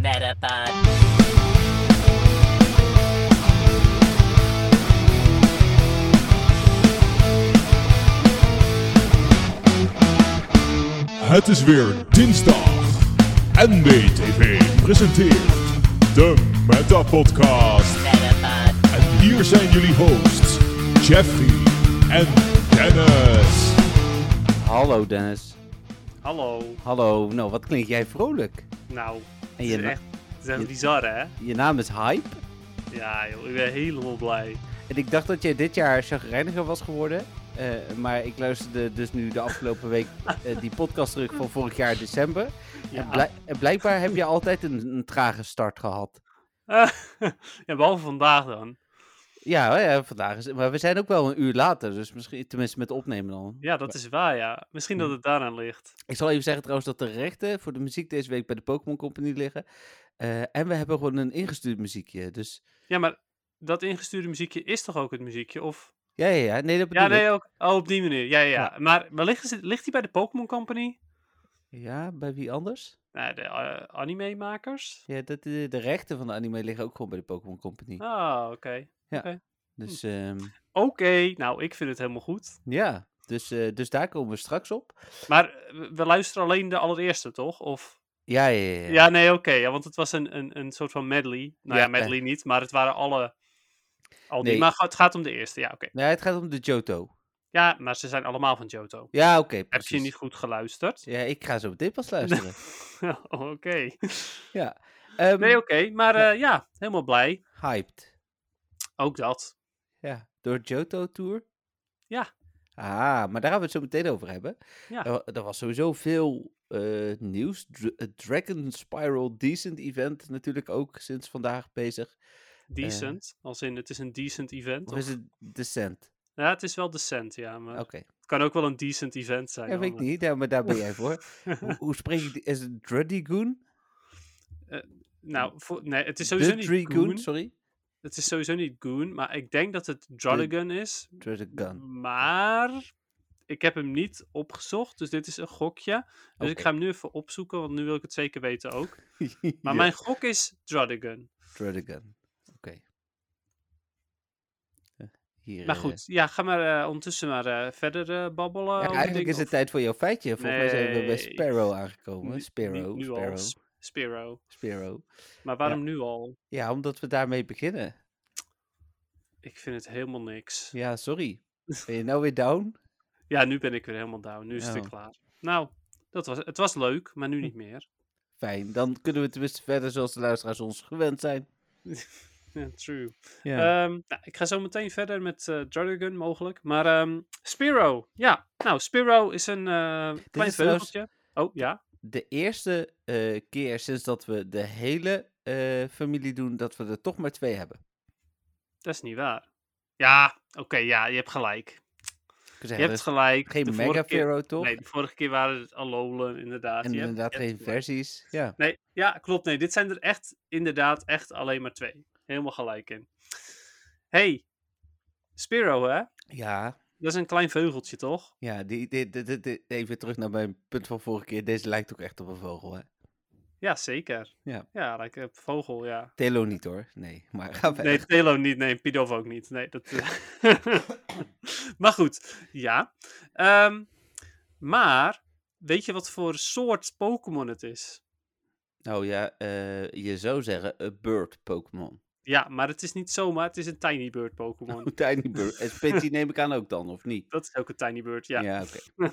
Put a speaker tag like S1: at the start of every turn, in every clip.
S1: Metapod.
S2: Het is weer dinsdag. NBTV presenteert de Meta Podcast.
S1: Metapod.
S2: En hier zijn jullie hosts, Jeffrey en Dennis.
S3: Hallo Dennis.
S4: Hallo.
S3: Hallo. Nou, wat klink jij vrolijk?
S4: Nou,
S3: En
S4: het is
S3: je,
S4: echt, het is echt
S3: je-
S4: bizar, hè?
S3: je naam is Hype.
S4: Ja, joh, ik ben helemaal blij.
S3: En ik dacht dat jij dit jaar chagrijniger was geworden. Eh, maar ik luisterde dus nu de afgelopen week eh, die podcast terug van vorig jaar december.
S4: Ja,
S3: En, blijk- en blijkbaar heb je altijd een, een trage start gehad.
S4: ja behalve vandaag dan.
S3: Ja, eh, vandaag is Maar we zijn ook wel een uur later. Dus misschien, tenminste met opnemen dan.
S4: Ja, dat is waar, ja. Misschien dat het daaraan ligt.
S3: Ik zal even zeggen trouwens dat de rechten voor de muziek deze week bij de Pokémon Company liggen. Eh, en we hebben gewoon een ingestuurd muziekje. Dus
S4: Ja, maar dat ingestuurde muziekje is toch ook het muziekje? Of...
S3: ja, ja, ja. Nee, dat bedoel
S4: Ja,
S3: ik.
S4: nee, ook. Oh, op die manier. Ja, ja, ja. Maar, maar ligt, het- ligt die bij de Pokémon Company?
S3: Ja, bij wie anders?
S4: Nou, de eh, animemakers?
S3: Ja, dat, de, de rechten van de anime liggen ook gewoon bij de Pokémon Company.
S4: Ah, oké.
S3: Dus, ehm,
S4: Oké, nou, ik vind het helemaal goed.
S3: ja, dus, eh, dus daar komen we straks op.
S4: Maar eh, we we luisteren alleen de allereerste, toch? Of...
S3: Ja, ja, ja.
S4: Ja, nee, oké. ja, want het was een, een, een soort van medley. Nou ja,
S3: Ja, eh.
S4: medley niet, maar het waren alle. Al die,
S3: Nee.
S4: Maar het gaat om de eerste, ja, oké.
S3: Nee, het gaat om de Johto.
S4: Ja, maar ze zijn allemaal van Johto.
S3: Ja, oké,
S4: Heb
S3: precies.
S4: je niet goed geluisterd?
S3: Ja, ik ga zo meteen pas luisteren.
S4: oké.
S3: ja. Ehm,
S4: Nee, oké. maar eh, ja, helemaal blij.
S3: Hyped.
S4: Ook dat.
S3: Ja, door Johto Tour.
S4: Ja.
S3: Ah, maar daar gaan we het zo meteen over hebben.
S4: Ja.
S3: Er, wa- er was sowieso veel eh, nieuws. Dra- eh, Dragon Spiral Decent Event natuurlijk ook sinds vandaag bezig.
S4: Decent. Als in, het is een decent event.
S3: Of Eh. is het Descent?
S4: Ja, het is wel decent, ja. Maar
S3: Oké.
S4: het kan ook wel een decent event zijn. eh.
S3: Ja,
S4: hoor,
S3: weet ik
S4: maar-
S3: niet, ja, maar daar ben jij voor. hoe, hoe spreek ik die? Is het Druddigoon?
S4: Nou, voor, nee, het is sowieso niet
S3: Druddigoon,
S4: Goon.
S3: sorry.
S4: Het is sowieso niet Goon, maar ik denk dat het Drodigan is.
S3: Druddigoon.
S4: Maar ik heb hem niet opgezocht, dus dit is een gokje. Dus ik
S3: Oké.
S4: ga hem nu even opzoeken, want nu wil ik het zeker weten ook. Maar mijn gok is Drodigan.
S3: Druddigoon. Oké. Eh, Hier,
S4: Maar
S3: eh,
S4: goed, ja, ga maar eh, ondertussen maar eh, verder eh, babbelen.
S3: ja,
S4: over
S3: eigenlijk
S4: dingen,
S3: is het
S4: of-
S3: tijd voor jouw feitje. Volgens mij zijn we bij
S4: Nee.
S3: Sparrow
S4: Nu-
S3: aangekomen.
S4: niet
S3: Sparrow,
S4: nu al,
S3: Sparrow,
S4: S- Sparrow.
S3: Sparrow.
S4: Maar waarom nu al?
S3: Ja, omdat we daarmee beginnen.
S4: Ik vind het helemaal niks. Ja,
S3: Ja, sorry. Ben je nou weer down?
S4: nu ben ik weer helemaal down. Nu is het weer
S3: Oh.
S4: klaar. Nou, dat was, het was leuk, maar
S3: Hm.
S4: nu niet meer.
S3: Fijn, dan kunnen we tenminste verder zoals de luisteraars ons gewend zijn. Eh,
S4: Ja, True.
S3: Ja.
S4: Ehm, nou, ik ga zo meteen verder met eh Dragon mogelijk. Maar ehm Spiro, ja. Nou, Spiro is een eh klein
S3: is trouwens-
S4: vleugeltje. Oh, ja.
S3: de eerste eh, keer sinds dat we de hele eh, familie doen, dat we er toch maar twee hebben.
S4: Dat is niet waar. Ja, oké, ja, je hebt gelijk.
S3: Ik kan
S4: Je
S3: zeggen, er
S4: hebt
S3: is
S4: gelijk.
S3: geen
S4: vorige
S3: Mega
S4: keer-
S3: Pharaoh, toch?
S4: Nee, de vorige keer waren het Alolan, inderdaad.
S3: en
S4: Je hebt-
S3: inderdaad
S4: je hebt
S3: geen
S4: gelijk.
S3: versies. Ja.
S4: Nee, ja, klopt. Nee, dit zijn er echt, inderdaad, echt alleen maar twee. Helemaal gelijk in. hey, Spiro, hè?
S3: Ja,
S4: Dat is een klein veugeltje, toch?
S3: ja die, die, die- die- die- even terug naar mijn punt van vorige keer. Deze lijkt ook echt op een vogel, hè?
S4: Ja, zeker.
S3: Ja.
S4: Ja, lijkt een vogel, ja.
S3: Telo niet, hoor. Nee, maar ga verder.
S4: Nee, Telo niet. Nee, Pidov ook niet. Nee, dat... eh, maar goed, ja. Ehm, maar, weet je wat voor soort Pokémon het is?
S3: Nou ja, eh, je zou zeggen een bird Pokémon.
S4: Ja, maar het is niet zomaar. Het is een Tiny Bird Pokémon.
S3: Een tiny bird. En Spitty neem ik aan ook dan, of niet?
S4: Dat is ook een Tiny Bird, ja.
S3: Ja, oké.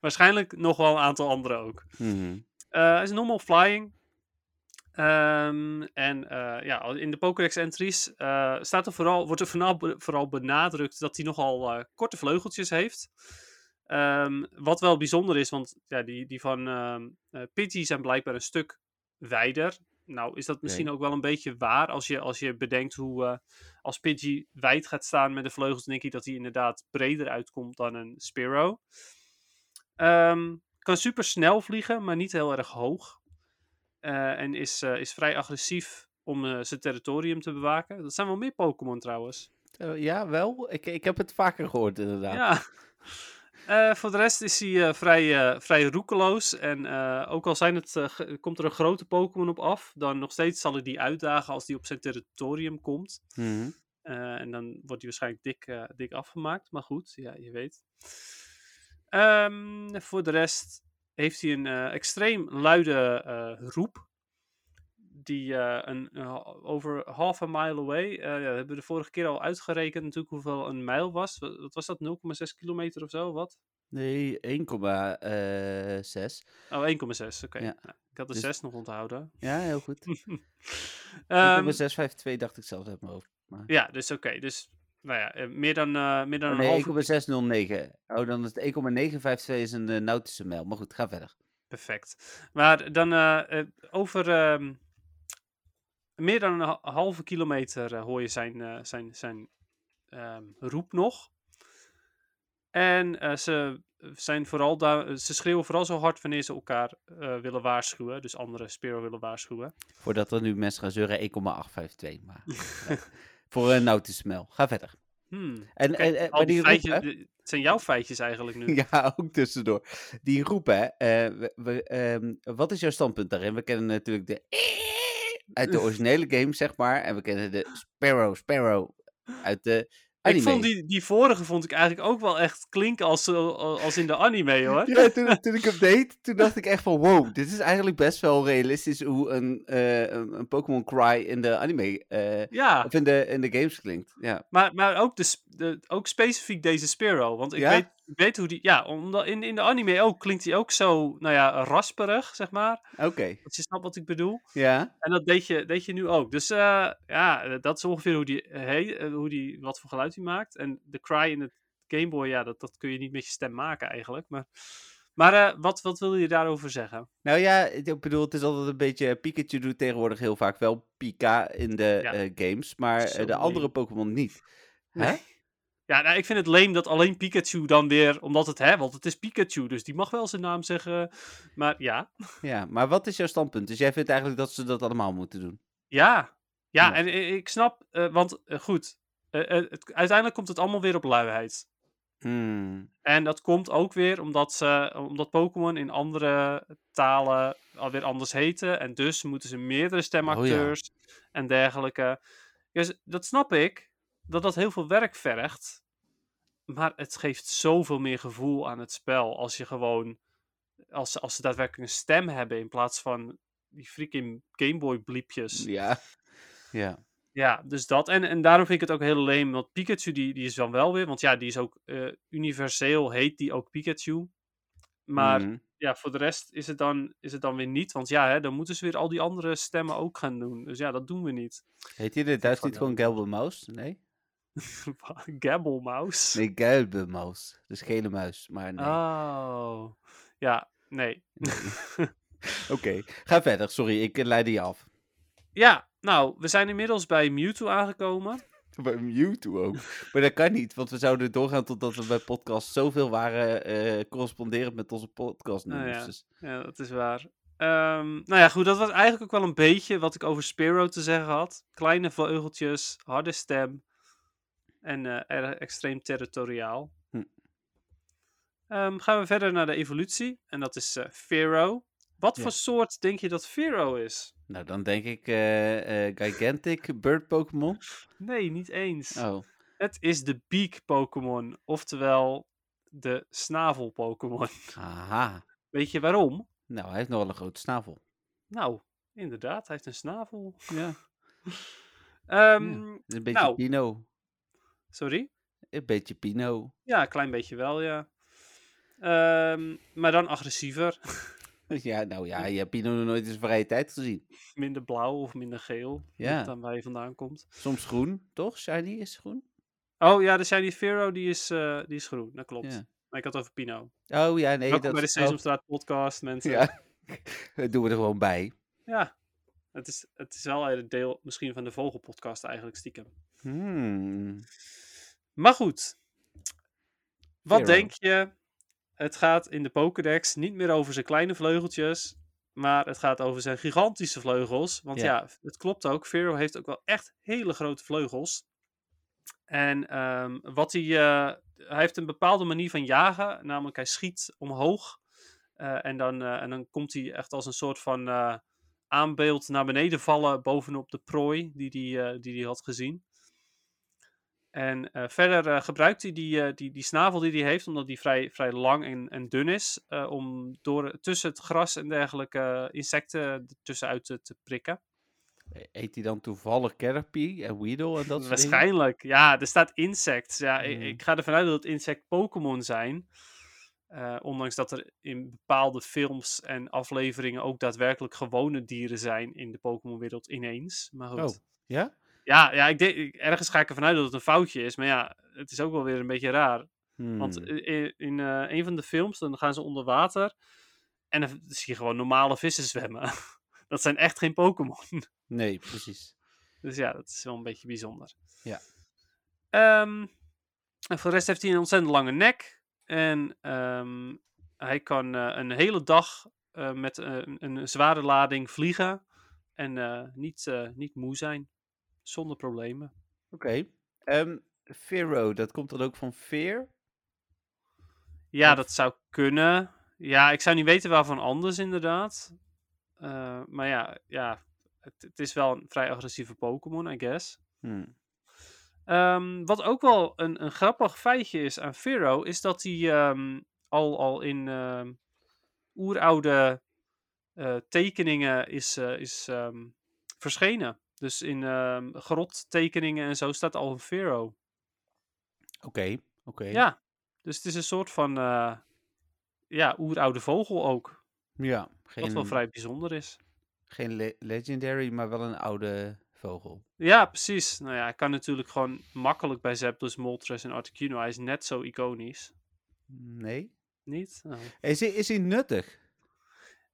S4: Waarschijnlijk nog wel een aantal andere ook.
S3: Mhm.
S4: Eh, Het is normal flying. Ehm, en eh, ja, al- in de Pokédex-entries eh, staat er vooral, wordt er vooral, vooral benadrukt dat hij nogal eh, korte vleugeltjes heeft. Ehm, wat wel bijzonder is, want ja, die, die van ehm eh, Pidgey zijn blijkbaar een stuk wijder. Nou, is dat misschien ook wel een beetje waar als je, als je bedenkt hoe eh, als Pidgey wijd gaat staan met de vleugels, denk ik dat hij inderdaad breder uitkomt dan een Spiro. Ehm, kan super snel vliegen, maar niet heel erg hoog. Eh, en is, eh, is vrij agressief om eh, zijn territorium te bewaken. Dat zijn wel meer Pokémon trouwens.
S3: Eh, ja, wel. Ik, ik heb het vaker gehoord, inderdaad.
S4: Ja. Eh, voor de rest is hij eh, vrij, eh, vrij roekeloos. En eh, ook al zijn het, eh, ge- komt er een grote Pokémon op af, dan nog steeds zal hij die uitdagen als die op zijn territorium komt.
S3: Mhm.
S4: Eh, en dan wordt hij waarschijnlijk dik, eh, dik afgemaakt. Maar goed, ja, je weet. Ehm, voor de rest heeft hij een eh, extreem luide eh, roep. Die eh, een, een ha- over half a mile away. eh, ja, we hebben de vorige keer al uitgerekend natuurlijk hoeveel een mijl was. Wa- Wat was dat? 0,6 kilometer of zo? Wat?
S3: Nee, eh, 1,6.
S4: Oh, 1,6. Oké.
S3: Ja.
S4: Nou, ik had de
S3: Dus-
S4: 6 nog onthouden.
S3: ja, heel goed.
S4: Ehm,
S3: 1,652 dacht ik zelf uit mijn hoofd. Maar...
S4: ja, dus oké. dus nou ja, eh, meer dan, eh, meer dan
S3: Oh,
S4: een
S3: nee,
S4: half
S3: 1,609. Oh, dan is het 1,952 is een eh, nautische mijl. Maar goed, ga verder.
S4: Perfect. Maar dan eh, eh, over ehm, meer dan een ha- halve kilometer eh, hoor je zijn, eh, zijn, zijn ehm, roep nog. En eh, ze, zijn vooral daar, eh, ze schreeuwen vooral zo hard wanneer ze elkaar eh, willen waarschuwen. Dus andere Spiro willen waarschuwen.
S3: Voordat er nu mensen gaan zeuren, 1,852. Maar ja. voor een nautische mijl. Ga verder.
S4: Hmm.
S3: En,
S4: Oké,
S3: en, en
S4: Al
S3: maar
S4: die
S3: die roep,
S4: feitjes,
S3: hè?
S4: de- het zijn jouw feitjes eigenlijk nu.
S3: Ja, ook tussendoor. Die roep, hè. eh, we, we, ehm, wat is jouw standpunt daarin? We kennen natuurlijk de... Uit de originele game, zeg maar. En we kennen de Sparrow, Sparrow uit de anime.
S4: ik vond die, die vorige vond ik eigenlijk ook wel echt klinken als, zo- als in de anime hoor.
S3: Ja, toen, toen ik hem deed, toen dacht ik echt van wow, dit is eigenlijk best wel realistisch hoe een, eh, een, een Pokémon Cry in de anime eh,
S4: Ja.
S3: of in de, in de games klinkt. Ja,
S4: Maar, maar ook, de, sp- de- ook specifiek deze Spiro. Want ik,
S3: Ja?
S4: weet, ik weet hoe die. Ja, omdat in, in de anime ook klinkt hij ook zo, nou ja, rasperig, zeg maar.
S3: oké.
S4: Dat je snapt wat ik bedoel.
S3: Ja,
S4: En dat deed je, deed je nu ook. Dus eh, ja, eh, dat is ongeveer hoe die, eh, he- eh, hoe die, wat voor geluid hij maakt. En de cry in het Game Boy, ja, dat, dat kun je niet met je stem maken eigenlijk. Maar, maar eh, wat, wat wilde je daarover zeggen?
S3: nou ja, ik bedoel, het is altijd een beetje, eh, Pikachu doet tegenwoordig heel vaak wel Pika in de
S4: Ja.
S3: eh, games, maar eh,
S4: Zo
S3: de
S4: lame.
S3: andere Pokémon niet. Hè?
S4: Nee. Ja, nou, ik vind het leem dat alleen Pikachu dan weer, omdat het, hè, want het is Pikachu, dus die mag wel zijn naam zeggen. Maar ja.
S3: Ja, maar wat is jouw standpunt? Dus jij vindt eigenlijk dat ze dat allemaal moeten doen?
S4: Ja, ja,
S3: Ja.
S4: en i- ik snap, eh, want eh, goed, eh, eh, het- uiteindelijk komt het allemaal weer op luiheid.
S3: Hmm,
S4: En dat komt ook weer omdat, ze, omdat Pokémon in andere talen alweer anders heten. En dus moeten ze meerdere stemacteurs en dergelijke. Dus dat snap ik, dat dat heel veel werk vergt. Maar het geeft zoveel meer gevoel aan het spel als je gewoon, als, ze- als ze daadwerkelijk een stem hebben in plaats van die freaking Gameboy bliepjes.
S3: Ja. Ja.
S4: Ja, dus dat. En, en daarom vind ik het ook heel leem. Want Pikachu die, die is dan wel weer. Want ja, die is ook eh, universeel heet die ook Pikachu. Maar
S3: Hmm.
S4: ja, voor de rest is het dan, is het dan weer niet. Want ja, hè, dan moeten ze weer al die andere stemmen ook gaan doen. Dus ja, dat doen we niet.
S3: Heet hij in het Duits
S4: van
S3: niet gewoon Gelbemouse? Nee?
S4: Gabble mouse.
S3: Nee, Gelbemouse. Dus gele muis, maar nee.
S4: Oh. Ja, nee.
S3: Oké, ga verder. Sorry, ik eh, leidde je af.
S4: ja, nou, we zijn inmiddels bij Mewtwo aangekomen.
S3: Bij Mewtwo ook. Maar dat kan niet, want we zouden doorgaan totdat we bij podcast zoveel waren eh, corresponderend met onze podcast
S4: Ah, ja.
S3: Dus,
S4: Ja, dat is waar. Ehm, nou ja, goed, dat was eigenlijk ook wel een beetje wat ik over Spiro te zeggen had. Kleine vleugeltjes, harde stem en eh, erg extreem territoriaal.
S3: Hm.
S4: Ehm, gaan we verder naar de evolutie en dat is eh Pharaoh. Wat
S3: Ja.
S4: voor soort denk je dat Pharaoh is?
S3: nou, dan denk ik eh, eh, Gigantic Bird Pokémon.
S4: Nee, niet eens.
S3: Oh,
S4: Het is de beak Pokémon, oftewel de snavel Pokémon.
S3: aha.
S4: Weet je waarom?
S3: Nou, hij heeft nogal een grote snavel.
S4: Nou, inderdaad, hij heeft een snavel.
S3: Ja.
S4: Ehm,
S3: Het is Een beetje
S4: Nou.
S3: Pino.
S4: Sorry?
S3: Een beetje Pino.
S4: Ja, een klein beetje wel, ja. Ehm, maar dan agressiever.
S3: Ja, nou ja, je hebt Pino nog nooit in zijn vrije tijd gezien.
S4: minder blauw of minder geel.
S3: Ja.
S4: Ja. Dan waar je vandaan komt.
S3: Soms groen, toch? Shiny is groen?
S4: Oh ja, de Shiny Pharaoh die is, eh, die is groen. Dat klopt.
S3: Ja.
S4: Maar ik had het over Pino.
S3: Oh ja, nee.
S4: Welkom
S3: dat
S4: bij de
S3: is- oh,
S4: Sesamstraat podcast, mensen. Ja.
S3: Ja, dat doen we er gewoon bij.
S4: Het, is, het is wel een deel misschien van de Vogelpodcast eigenlijk stiekem.
S3: Hmm.
S4: Maar goed. Wat
S3: Pharaoh.
S4: denk je? Het gaat in de Pokédex niet meer over zijn kleine vleugeltjes. Maar het gaat over zijn gigantische vleugels. Want
S3: Ja.
S4: ja, het klopt ook. Pharaoh heeft ook wel echt hele grote vleugels. En ehm, wat hij eh, hij heeft een bepaalde manier van jagen. Namelijk, hij schiet omhoog. eh, en, dan, eh, en dan komt hij echt als een soort van eh, aanbeeld naar beneden vallen. bovenop de prooi die die, eh, die die had gezien. En eh, verder eh, gebruikt hij die, eh, die, die snavel die hij heeft, omdat die vrij, vrij lang en, en dun is, eh, om door, tussen het gras en dergelijke eh, insecten tussenuit te, te prikken.
S3: Eet hij dan toevallig Caterpie en Weedle en dat soort dingen?
S4: Waarschijnlijk, ja. Er staat insect. Ja, ik,
S3: Mhm.
S4: ik ga ervan uit dat het insect Pokémon zijn. Eh, ondanks dat er in bepaalde films en afleveringen ook daadwerkelijk gewone dieren zijn in de Pokémon-wereld ineens. Maar goed.
S3: Oh, ja?
S4: Ja, ja ik denk, ik- ergens ga ik ervan uit dat het een foutje is. Maar ja, het is ook wel weer een beetje raar. Want
S3: Hmm.
S4: i- i- in eh, een van de films, dan gaan ze onder water. En dan v- zie je gewoon normale vissen zwemmen. dat zijn echt geen Pokémon.
S3: Nee, precies.
S4: dus ja, dat is wel een beetje bijzonder.
S3: Ja.
S4: Ehm, en voor de rest heeft hij een ontzettend lange nek. En ehm, hij kan eh, een hele dag eh, met eh, een- een zware lading vliegen. En eh, niet, eh, niet moe zijn. Zonder problemen.
S3: Oké. Ehm, Pharaoh, dat komt dan ook van Fear?
S4: Ja,
S3: Of-
S4: dat zou kunnen. Ja, ik zou niet weten waarvan anders, inderdaad. Eh, maar ja, ja het, het is wel een vrij agressieve Pokémon, I guess.
S3: Hmm.
S4: Ehm, wat ook wel een, een grappig feitje is aan Pharaoh, is dat hij ehm, al, al in ehm, oeroude eh, tekeningen is, eh, is ehm, verschenen. Dus in ehm, grottekeningen en zo staat al een Pharaoh.
S3: Oké, oké.
S4: Ja, dus het is een soort van eh, ja, oeroude vogel ook.
S3: Ja,
S4: Wat wel
S3: Geen,
S4: vrij bijzonder is.
S3: geen le- legendary, maar wel een oude vogel.
S4: Ja, precies. Nou ja, hij kan natuurlijk gewoon makkelijk bij Zapdos, Moltres en Articuno. Hij is net zo iconisch.
S3: Nee?
S4: Niet? Oh.
S3: Is hij, is hij nuttig?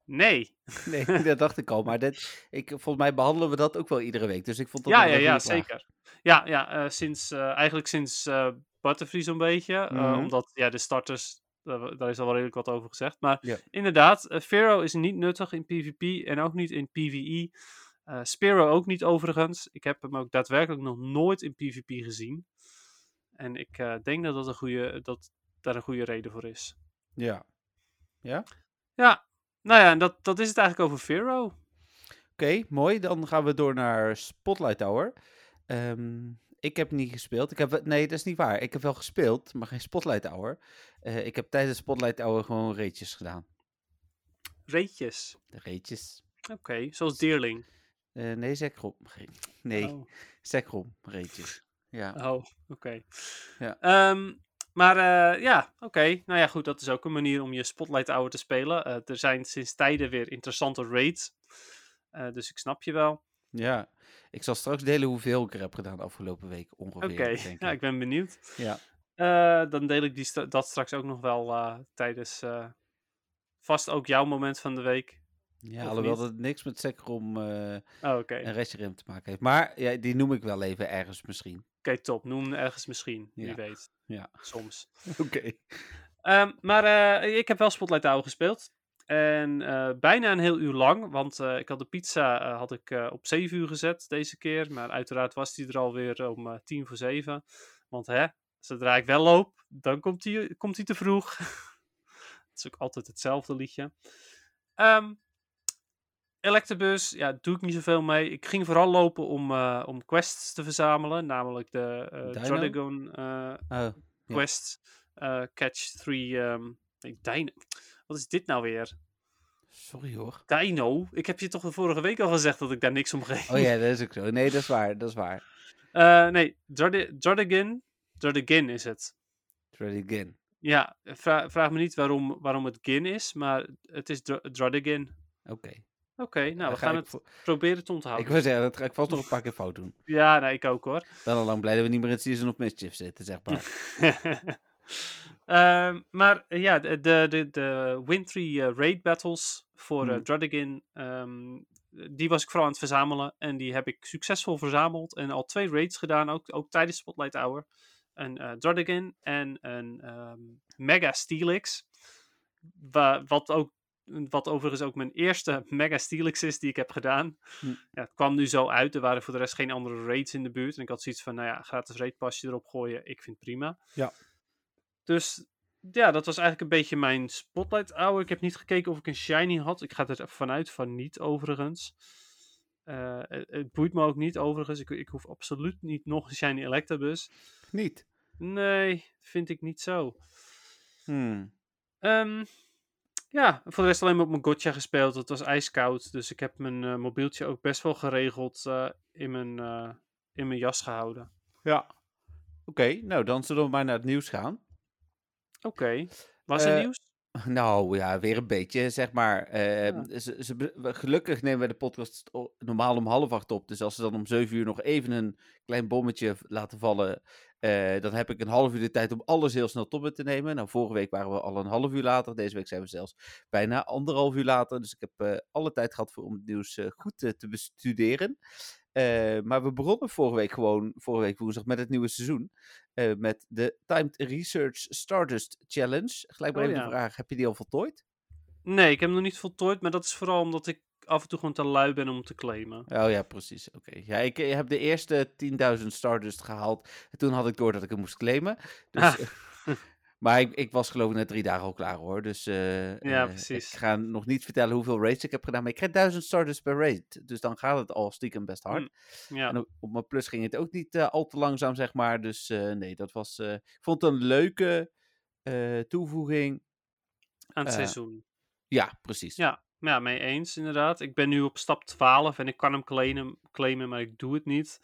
S4: Nee.
S3: Nee, dat dacht ik al. Maar dit, ik, volgens mij behandelen we dat ook wel iedere week. Dus ik vond dat
S4: ja,
S3: wel
S4: ja,
S3: een
S4: ja,
S3: goede vraag.
S4: zeker. Ja, ja eh, sinds, eh, eigenlijk sinds eh Butterfree zo'n beetje. eh,
S3: Mhm.
S4: omdat ja, de starters, daar wa- daar is al wel redelijk wat over gezegd. Maar
S3: Ja.
S4: inderdaad, eh, Pharaoh is niet nuttig in PvP en ook niet in PvE. Eh Spearow ook niet overigens. Ik heb hem ook daadwerkelijk nog nooit in PvP gezien. En ik eh, denk dat, dat, een goede, dat daar een goede reden voor is.
S3: Ja. Oké,
S4: Ja, nou ja, en dat, dat is het eigenlijk over Pharaoh.
S3: mooi. Dan gaan we door naar Spotlight Tower. Ehm, ik heb niet gespeeld. Ik heb, wel- nee, dat is niet waar. Ik heb wel gespeeld, maar geen Spotlight Tower. Eh, ik heb tijdens Spotlight Tower gewoon reetjes gedaan.
S4: Reetjes.
S3: De reetjes.
S4: Oké, zoals Deerling.
S3: Eh, nee, Zekrom. Geen- Nee,
S4: Oh.
S3: Zekrom. Reetjes. Ja.
S4: Oh, oké.
S3: Ja.
S4: Ehm, maar eh, ja, oké. Nou ja, goed, dat is ook een manier om je Spotlight Hour te spelen. Eh, er zijn sinds tijden weer interessante raids. Eh, dus ik snap je wel.
S3: ja. Ik zal straks delen hoeveel ik er heb gedaan afgelopen week ongeveer.
S4: Oké,
S3: denk
S4: ja,
S3: ik.
S4: ik ben benieuwd.
S3: Ja.
S4: Eh, dan deel ik die stra- dat straks ook nog wel eh, tijdens eh, vast ook jouw moment van de week.
S3: Ja,
S4: Of
S3: alhoewel
S4: niet?
S3: dat het niks met Zekrom eh
S4: Oh, oké,
S3: en Reshiram te maken heeft. Maar ja, die noem ik wel even ergens misschien.
S4: Oké, top. Noem ergens misschien,
S3: Ja.
S4: wie weet.
S3: Ja.
S4: Soms.
S3: Oké.
S4: Ehm, maar eh, ik heb wel Spotlight Hour gespeeld. En eh, bijna een heel uur lang, want eh, ik had de pizza eh, had ik, eh, op 7 uur gezet deze keer. Maar uiteraard was die er alweer om eh 10 voor 7. Want hè, zodra ik wel loop, dan komt die, komt die te vroeg. Het is ook altijd hetzelfde liedje. Ehm Electabus, ja, doe ik niet zoveel mee. Ik ging vooral lopen om, eh, om quests te verzamelen. Namelijk de eh
S3: Dino?
S4: Dragon eh,
S3: Oh, Ja.
S4: Quest, eh, Catch 3, ehm, ik- Dino. Wat is dit nou weer?
S3: sorry hoor.
S4: Dino? Ik heb je toch de vorige week al gezegd dat ik daar niks om geef?
S3: Oh ja, dat is ook zo. Nee, dat is waar. Dat is waar.
S4: Eh, nee, Jardi- Jardigan. Jardigan is het.
S3: Try it again.
S4: Ja, vra- vraag me niet waarom, waarom het Gin is, maar het is Dra- Jardigan. Oké,
S3: Oké.
S4: nou, we
S3: Dan ga
S4: gaan
S3: ik
S4: het
S3: vo-
S4: proberen te
S3: Ik
S4: onthouden.
S3: wil zeggen, dat ga ik vast nog een paar keer fout doen.
S4: Ja, nou, ik ook hoor.
S3: Ik ben al lang blij dat we niet meer in Season of Mischief zitten, zeg maar.
S4: Ehm, maar eh, ja, de, de, de, de Wintry eh, Raid Battles voor eh
S3: Mhm.
S4: Drodigan, die was ik vooral aan het verzamelen. En die heb ik succesvol verzameld. En al twee raids gedaan, ook, ook tijdens Spotlight Hour. Een eh Drodigan en een ehm, Mega Steelix. Wa- wat, ook, wat overigens ook mijn eerste Mega Steelix is die ik heb gedaan.
S3: Hm.
S4: Ja, het kwam nu zo uit. Er waren voor de rest geen andere raids in de buurt. En ik had zoiets van, nou ja, gratis raidpasje erop gooien. Ik vind prima. Dus ja, dat was eigenlijk een beetje mijn spotlight hour. Ik heb niet gekeken of ik een shiny had. Ik ga er even vanuit van niet, overigens. Eh, het, het boeit me ook niet, overigens. Ik, ik hoef absoluut niet nog een shiny Electabuzz.
S3: Niet.
S4: Nee, vind ik niet zo.
S3: Hmm.
S4: Ehm, ja, voor de rest alleen maar op mijn gotcha gespeeld. Het was ijskoud, dus ik heb mijn eh, mobieltje ook best wel geregeld eh, in, mijn, eh, in mijn jas gehouden.
S3: Ja. Oké, nou dan zullen we maar naar het nieuws gaan.
S4: Oké, was er
S3: Eh,
S4: nieuws?
S3: Nou ja, weer een beetje, zeg maar. Eh,
S4: Ja.
S3: ze, ze, be- we- gelukkig nemen wij de podcast o- normaal om half acht op. Dus als ze dan om zeven uur nog even een klein bommetje v- laten vallen, eh, dan heb ik een half uur de tijd om alles heel snel tot me te nemen. Nou, vorige week waren we al een half uur later. Deze week zijn we zelfs bijna anderhalf uur later. Dus ik heb eh, alle tijd gehad voor, om het nieuws eh, goed eh, te bestuderen. Eh, maar we begonnen vorige week gewoon, vorige week woensdag, met het nieuwe seizoen. Eh, met de Timed Research Stardust Challenge. Gelijk maar
S4: Oh
S3: even
S4: ja.
S3: de vraag, heb je die al voltooid?
S4: Nee, ik heb hem nog niet voltooid, maar dat is vooral omdat ik af en toe gewoon te lui ben om te claimen.
S3: Oh ja, precies. Oké. Ja, ik eh, heb de eerste 10.000 Stardust gehaald. En toen had ik door dat ik hem moest claimen. Dus,
S4: Ah.
S3: eh, maar ik, ik was geloof ik na drie dagen al klaar hoor. Dus eh,
S4: Ja,
S3: eh,
S4: precies.
S3: ik ga nog niet vertellen hoeveel raids ik heb gedaan. Maar ik krijg 1000 Stardust per raid. Dus dan gaat het al stiekem best hard.
S4: Hmm. Ja,
S3: En op, op mijn plus ging het ook niet eh, al te langzaam, zeg maar. Dus eh, nee, dat was. eh, ik vond het een leuke eh, toevoeging.
S4: aan het
S3: eh,
S4: seizoen.
S3: Ja, precies.
S4: Ja. Ja, mee eens inderdaad. Ik ben nu op stap 12 en ik kan hem claimen, claimen maar ik doe het niet.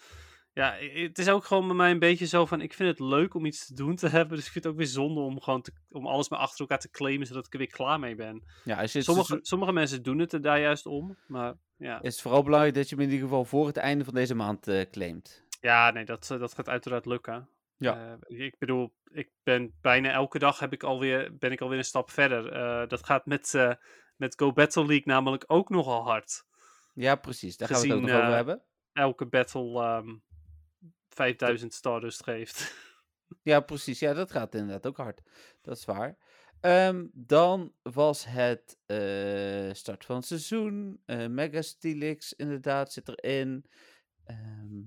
S4: Ja, i- i- het is ook gewoon bij mij een beetje zo van, ik vind het leuk om iets te doen te hebben. Dus ik vind het ook weer zonde om gewoon te, om alles maar achter elkaar te claimen, zodat ik er weer klaar mee ben.
S3: Ja, als je het dus
S4: Sommige,
S3: seizoen-
S4: sommige mensen doen het er daar juist om, maar ja.
S3: is het vooral belangrijk dat je hem in ieder geval voor het einde van deze maand eh, claimt.
S4: Ja, nee, dat, eh, dat gaat uiteraard lukken.
S3: Ja.
S4: Eh, ik bedoel, ik ben bijna elke dag heb ik alweer, ben ik alweer een stap verder. Eh, dat gaat met, eh, met Go Battle League namelijk ook nogal hard.
S3: Ja, precies. Daar gaan we het
S4: Gezien,
S3: ook nog
S4: eh,
S3: over hebben.
S4: Elke battle ehm 5000 stardust geeft.
S3: Ja, precies. Ja, dat gaat inderdaad ook hard. Dat is waar. Ehm, dan was het eh, start van het seizoen. eh Mega Steelix, inderdaad, zit erin. Ehm,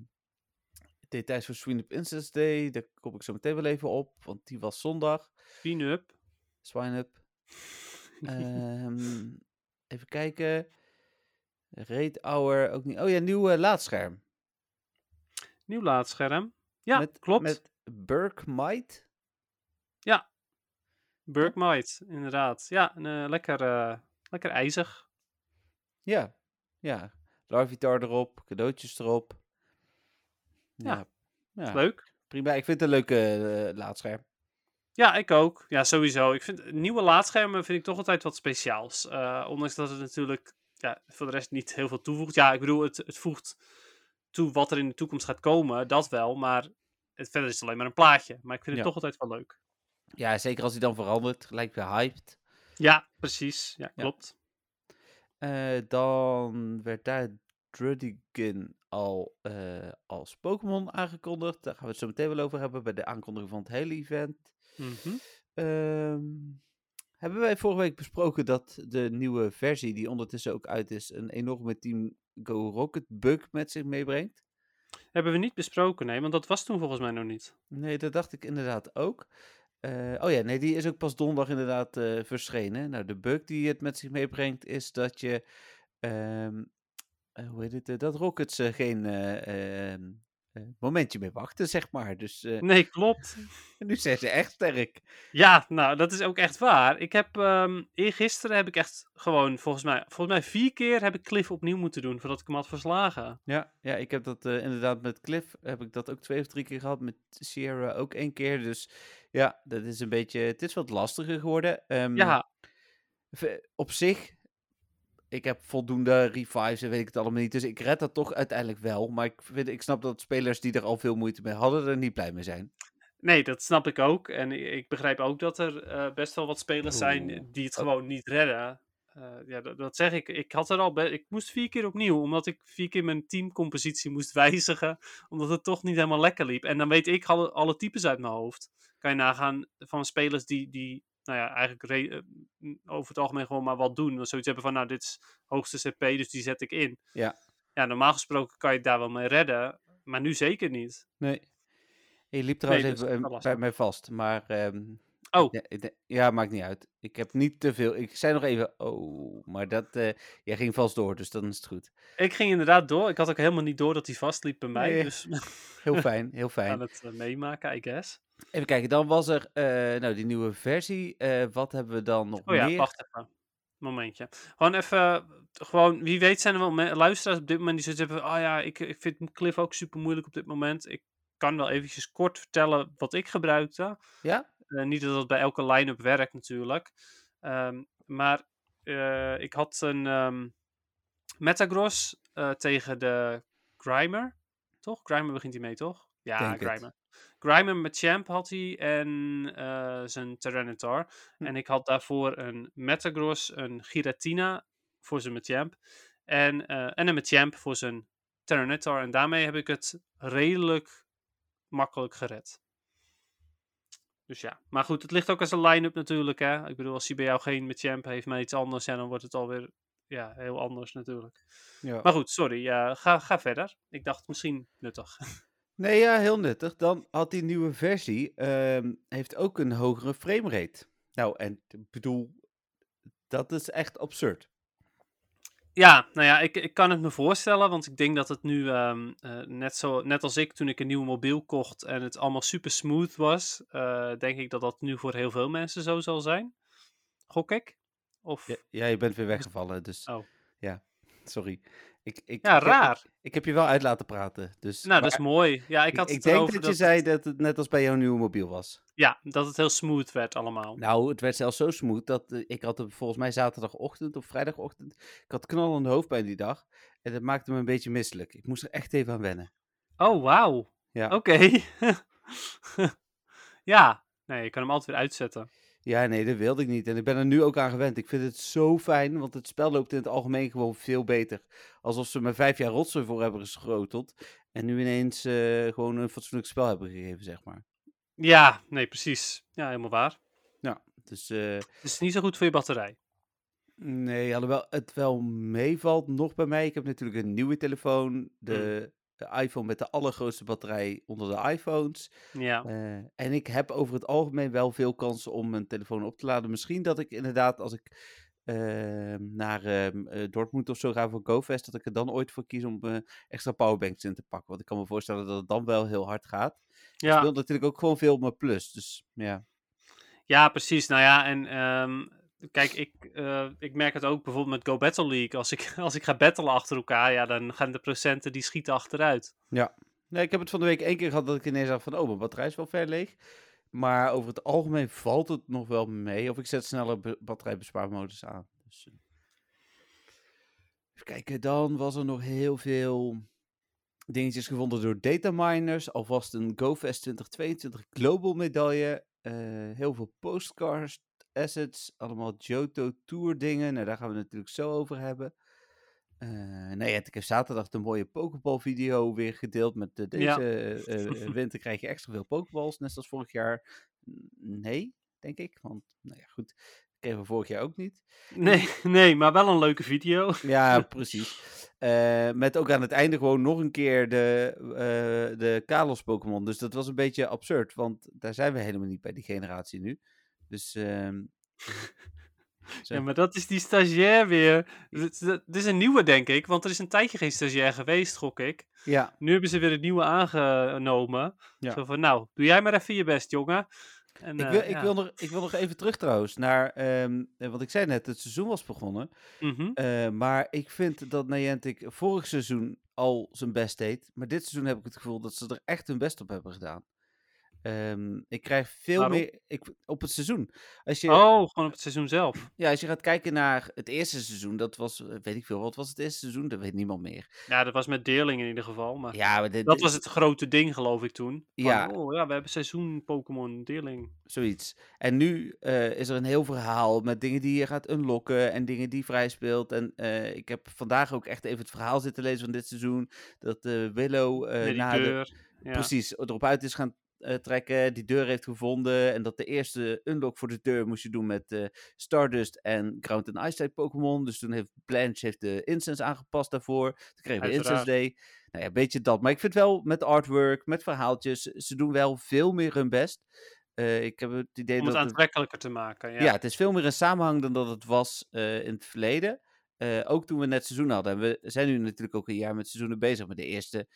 S3: details voor Swine Up Instance Day. Daar kom ik zo meteen wel even op, want die was zondag.
S4: Pin-up.
S3: Swine Up. Ehm, even kijken. Raid Hour, ook niet. Oh ja, nieuw eh, laadscherm.
S4: Nieuw laadscherm. Ja,
S3: met,
S4: klopt.
S3: Met Burke Might.
S4: Burkmite, inderdaad. Ja, een, eh, lekker, eh, lekker ijzig.
S3: Ja, ja. Larvitar erop, cadeautjes erop. Ja, ja.
S4: Leuk.
S3: prima. Ik vind het een leuke eh, laadscherm.
S4: Ja, ik ook. Ja, sowieso. Ik vind eh, nieuwe laadschermen vind ik toch altijd wat speciaals. Eh, ondanks dat het natuurlijk ja, voor de rest niet heel veel toevoegt. Ja, ik bedoel, het, het voegt toe wat er in de toekomst gaat komen, dat wel. Maar het, verder is het alleen maar een plaatje. Maar ik vind het
S3: Ja.
S4: toch altijd wel leuk.
S3: Ja, zeker als hij dan verandert, gelijk weer hyped.
S4: Ja, precies. Ja,
S3: Ja.
S4: klopt.
S3: Eh, dan werd daar Drudigan al eh, als Pokémon aangekondigd. Daar gaan we het zo meteen wel over hebben bij de aankondiging van het hele event.
S4: Mhm.
S3: Ehm, hebben wij vorige week besproken dat de nieuwe versie, die ondertussen ook uit is, een enorme Team Go Rocket bug met zich meebrengt?
S4: Hebben we niet besproken, nee, want dat was toen volgens mij nog niet.
S3: Nee, dat dacht ik inderdaad ook. Eh, oh ja, nee, die is ook pas donderdag inderdaad eh, verschenen. Nou, de bug die het met zich meebrengt is dat je, ehm, eh, hoe heet het, eh, dat Rockets eh, geen eh, ehm, eh, momentje meer wachten, zeg maar. Dus eh,
S4: Nee, klopt.
S3: nu zijn ze echt sterk.
S4: Ja, nou, dat is ook echt waar. Ik heb ehm eergisteren heb ik echt gewoon volgens mij, volgens mij vier keer heb ik Cliff opnieuw moeten doen voordat ik hem had verslagen.
S3: Ja, ja ik heb dat eh, inderdaad met Cliff, heb ik dat ook twee of drie keer gehad. Met Sierra ook één keer. Dus ja, dat is een beetje, het is wat lastiger geworden. Ehm,
S4: Ja,
S3: v- op zich, ik heb voldoende revives en weet ik het allemaal niet. Dus ik red dat toch uiteindelijk wel. Maar ik, vind, ik snap dat spelers die er al veel moeite mee hadden, er niet blij mee zijn.
S4: Nee, dat snap ik ook. En i- ik begrijp ook dat er eh, best wel wat spelers
S3: Oeh.
S4: zijn die het
S3: Oh.
S4: gewoon niet redden. Eh, ja, dat, dat zeg ik. Ik had er al. be- Ik moest vier keer opnieuw, omdat ik vier keer mijn teamcompositie moest wijzigen, omdat het toch niet helemaal lekker liep. En dan weet ik alle, alle types uit mijn hoofd. Kan je nagaan van spelers die, die nou ja, eigenlijk re- eh, m, over het algemeen gewoon maar wat doen. Dan zoiets hebben van, nou, dit is hoogste CP, dus die zet ik in.
S3: Ja.
S4: Ja, normaal gesproken kan je het daar wel mee redden, maar nu zeker niet.
S3: Nee. Je liep trouwens
S4: Nee, dus
S3: even
S4: dat is
S3: eh,
S4: wel
S3: bij
S4: lastig.
S3: mij vast. Maar ehm,
S4: Oh.
S3: Ja, ik denk- ja, maakt niet uit. Ik heb niet te veel. Ik zei nog even, oh, maar dat, eh, jij ging vast door, dus dan is het goed.
S4: Ik ging inderdaad door. Ik had ook helemaal niet door dat hij vastliep bij mij.
S3: Nee.
S4: Dus
S3: Heel fijn, heel fijn.
S4: aan het eh, meemaken, I guess.
S3: Even kijken, dan was er eh, nou, die nieuwe versie. Eh, wat hebben we dan nog
S4: Oh ja,
S3: meer?
S4: wacht even. Momentje. Gewoon even, gewoon, wie weet zijn er wel me- luisteraars op dit moment die zoiets hebben van, ah ja, ik, ik vind Cliff ook super moeilijk op dit moment. Ik kan wel eventjes kort vertellen wat ik gebruikte.
S3: Ja?
S4: Eh, niet dat dat bij elke line-up werkt natuurlijk. Ehm, maar eh, ik had een ehm Metagross eh, tegen de Grimer. Toch? Grimer begint hij mee, toch? Ja,
S3: Denk het.
S4: Grimer. Grimer met Champ had hij en eh, zijn Tyranitar.
S3: Hm.
S4: En ik had daarvoor een Metagross, een Giratina voor zijn Machamp. En, eh en een Machamp voor zijn Tyranitar. En daarmee heb ik het redelijk makkelijk gered. Dus ja. Maar goed, het ligt ook als een line-up natuurlijk. Hè? Ik bedoel, als hij bij jou geen Machamp heeft, maar iets anders. Ja, dan wordt het alweer ja, heel anders natuurlijk.
S3: Ja.
S4: Maar goed, sorry. eh, ga, ga verder. Ik dacht misschien nuttig.
S3: Nee, ja, heel nuttig. Dan had die nieuwe versie ehm, heeft ook een hogere framerate. Nou, en ik bedoel, dat is echt absurd.
S4: Ja, nou ja, ik, ik kan het me voorstellen, want ik denk dat het nu, ehm, eh, net, zo, net als ik toen ik een nieuw mobiel kocht en het allemaal super smooth was, eh, denk ik dat dat nu voor heel veel mensen zo zal zijn. Gok ik? Of,
S3: Ja, ja, je bent weer weggevallen, dus
S4: Oh.
S3: ja, sorry. Ik, ik,
S4: Ja,
S3: ik heb-
S4: raar.
S3: Ik, ik heb je wel uit laten praten, dus...
S4: nou, dat is mooi. Ja, ik
S3: Ik,
S4: had
S3: ik denk
S4: het
S3: dat
S4: erover
S3: je
S4: dat,
S3: zei
S4: het,
S3: dat het net als bij jouw nieuwe mobiel was.
S4: ja, dat het heel smooth werd allemaal.
S3: Nou, het werd zelfs zo smooth dat eh, ik had hem volgens mij zaterdagochtend of vrijdagochtend. Ik had knallende hoofdpijn die dag en dat maakte me een beetje misselijk. Ik moest er echt even aan wennen.
S4: Oh, wauw.
S3: Ja.
S4: Oké. ja, nee, je kan hem altijd weer uitzetten.
S3: Ja, nee, dat wilde ik niet en ik ben er nu ook aan gewend. Ik vind het zo fijn, want het spel loopt in het algemeen gewoon veel beter. Alsof ze me vijf jaar rotsen voor hebben geschoteld en nu ineens eh, gewoon een fatsoenlijk spel hebben gegeven, zeg maar.
S4: Ja, nee, precies. Ja, helemaal waar.
S3: Dus eh,
S4: Het is niet zo goed voor je batterij.
S3: Nee, alhoewel het wel meevalt nog bij mij. Ik heb natuurlijk een nieuwe telefoon. De, de iPhone met de allergrootste batterij onder de iPhones.
S4: Ja.
S3: Eh, en ik heb over het algemeen wel veel kans om mijn telefoon op te laden. Misschien dat ik inderdaad als ik ehm, naar ehm, eh, Dortmund of zo ga voor GoFest, dat ik er dan ooit voor kies om eh, extra powerbanks in te pakken. Want ik kan me voorstellen dat het dan wel heel hard gaat. Ik
S4: ja.
S3: wil natuurlijk ook gewoon veel op mijn plus. Dus ja.
S4: Ja, precies. Nou ja, en ehm, kijk, ik, eh, ik merk het ook bijvoorbeeld met Go Battle League. Als ik, als ik ga battelen achter elkaar, ja, dan gaan de procenten die schieten achteruit.
S3: Nee, ik heb het van de week één keer gehad dat ik ineens dacht van, oh, mijn batterij is wel ver leeg. Maar over het algemeen valt het nog wel mee. Of ik zet sneller be- batterijbespaarmodus aan. Dus, eh. Even kijken, dan was er nog heel veel dingetjes gevonden door dataminers. Alvast een GoFest 2022 Global medaille. eh, heel veel postcards, assets, allemaal Johto Tour dingen. Nou, daar gaan we het natuurlijk zo over hebben. Eh nou ja, ik heb zaterdag de mooie Pokéball video weer gedeeld met eh, deze
S4: Ja.
S3: eh, eh, winter krijg je extra veel Pokéballs, net als vorig jaar. N- Nee, denk ik, want nou ja, goed, kregen we vorig jaar ook niet.
S4: Nee, nee, maar wel een leuke video.
S3: Ja, precies. Eh, met ook aan het einde gewoon nog een keer de, eh de Kalos Pokémon. Dus dat was een beetje absurd, want daar zijn we helemaal niet bij die generatie nu. Dus ehm, Zo.
S4: Ja, maar dat is die stagiair weer. Dit dit- dit is een nieuwe, denk ik, want er is een tijdje geen stagiair geweest, gok ik.
S3: ja,
S4: Nu hebben ze weer een nieuwe aangenomen.
S3: Ja.
S4: Zo van, nou, doe jij maar even je best, jongen. En,
S3: ik
S4: eh,
S3: wil, ik,
S4: ja.
S3: wil nog, ik wil nog even terug trouwens naar ehm, eh, wat ik zei net. Het seizoen was begonnen.
S4: Mhm.
S3: Eh, maar ik vind dat Niantic vorig seizoen al zijn best deed. Maar dit seizoen heb ik het gevoel dat ze er echt hun best op hebben gedaan. Ehm, ik krijg veel
S4: Waarom?
S3: meer ik, op het seizoen. Als je,
S4: Oh, gewoon op het seizoen zelf.
S3: ja, als je gaat kijken naar het eerste seizoen, dat was, eh, weet ik veel, wat was het eerste seizoen? Dat weet niemand meer.
S4: Ja, dat was met Deerling in ieder geval, maar...
S3: Ja, maar dit,
S4: Dat was het grote ding, geloof ik, toen. Van,
S3: Ja.
S4: Oh ja, we hebben seizoen Pokémon Deerling.
S3: zoiets. En nu eh, is er een heel verhaal met dingen die je gaat unlocken en dingen die vrij speelt. En eh, ik heb vandaag ook echt even het verhaal zitten lezen van dit seizoen. Dat eh, Willow eh,
S4: Met die
S3: na de,
S4: deur. ja.
S3: precies erop uit is gaan eh, trekken, die deur heeft gevonden en dat de eerste unlock voor de deur moest je doen met eh, Stardust en Ground and Ice type Pokémon. Dus toen heeft Blanche heeft de incense aangepast daarvoor. Toen kregen we Incense
S4: Uiteraard.
S3: Day. Nou ja, een beetje dat. Maar ik vind wel met artwork, met verhaaltjes, ze doen wel veel meer hun best. Eh, ik heb het idee
S4: Om
S3: dat
S4: het
S3: het
S4: aantrekkelijker te maken. Ja.
S3: Ja. het is veel meer een samenhang dan dat het was eh, in het verleden. Eh, ook toen we net seizoenen hadden. En we zijn nu natuurlijk ook een jaar met seizoenen bezig. Maar de eerste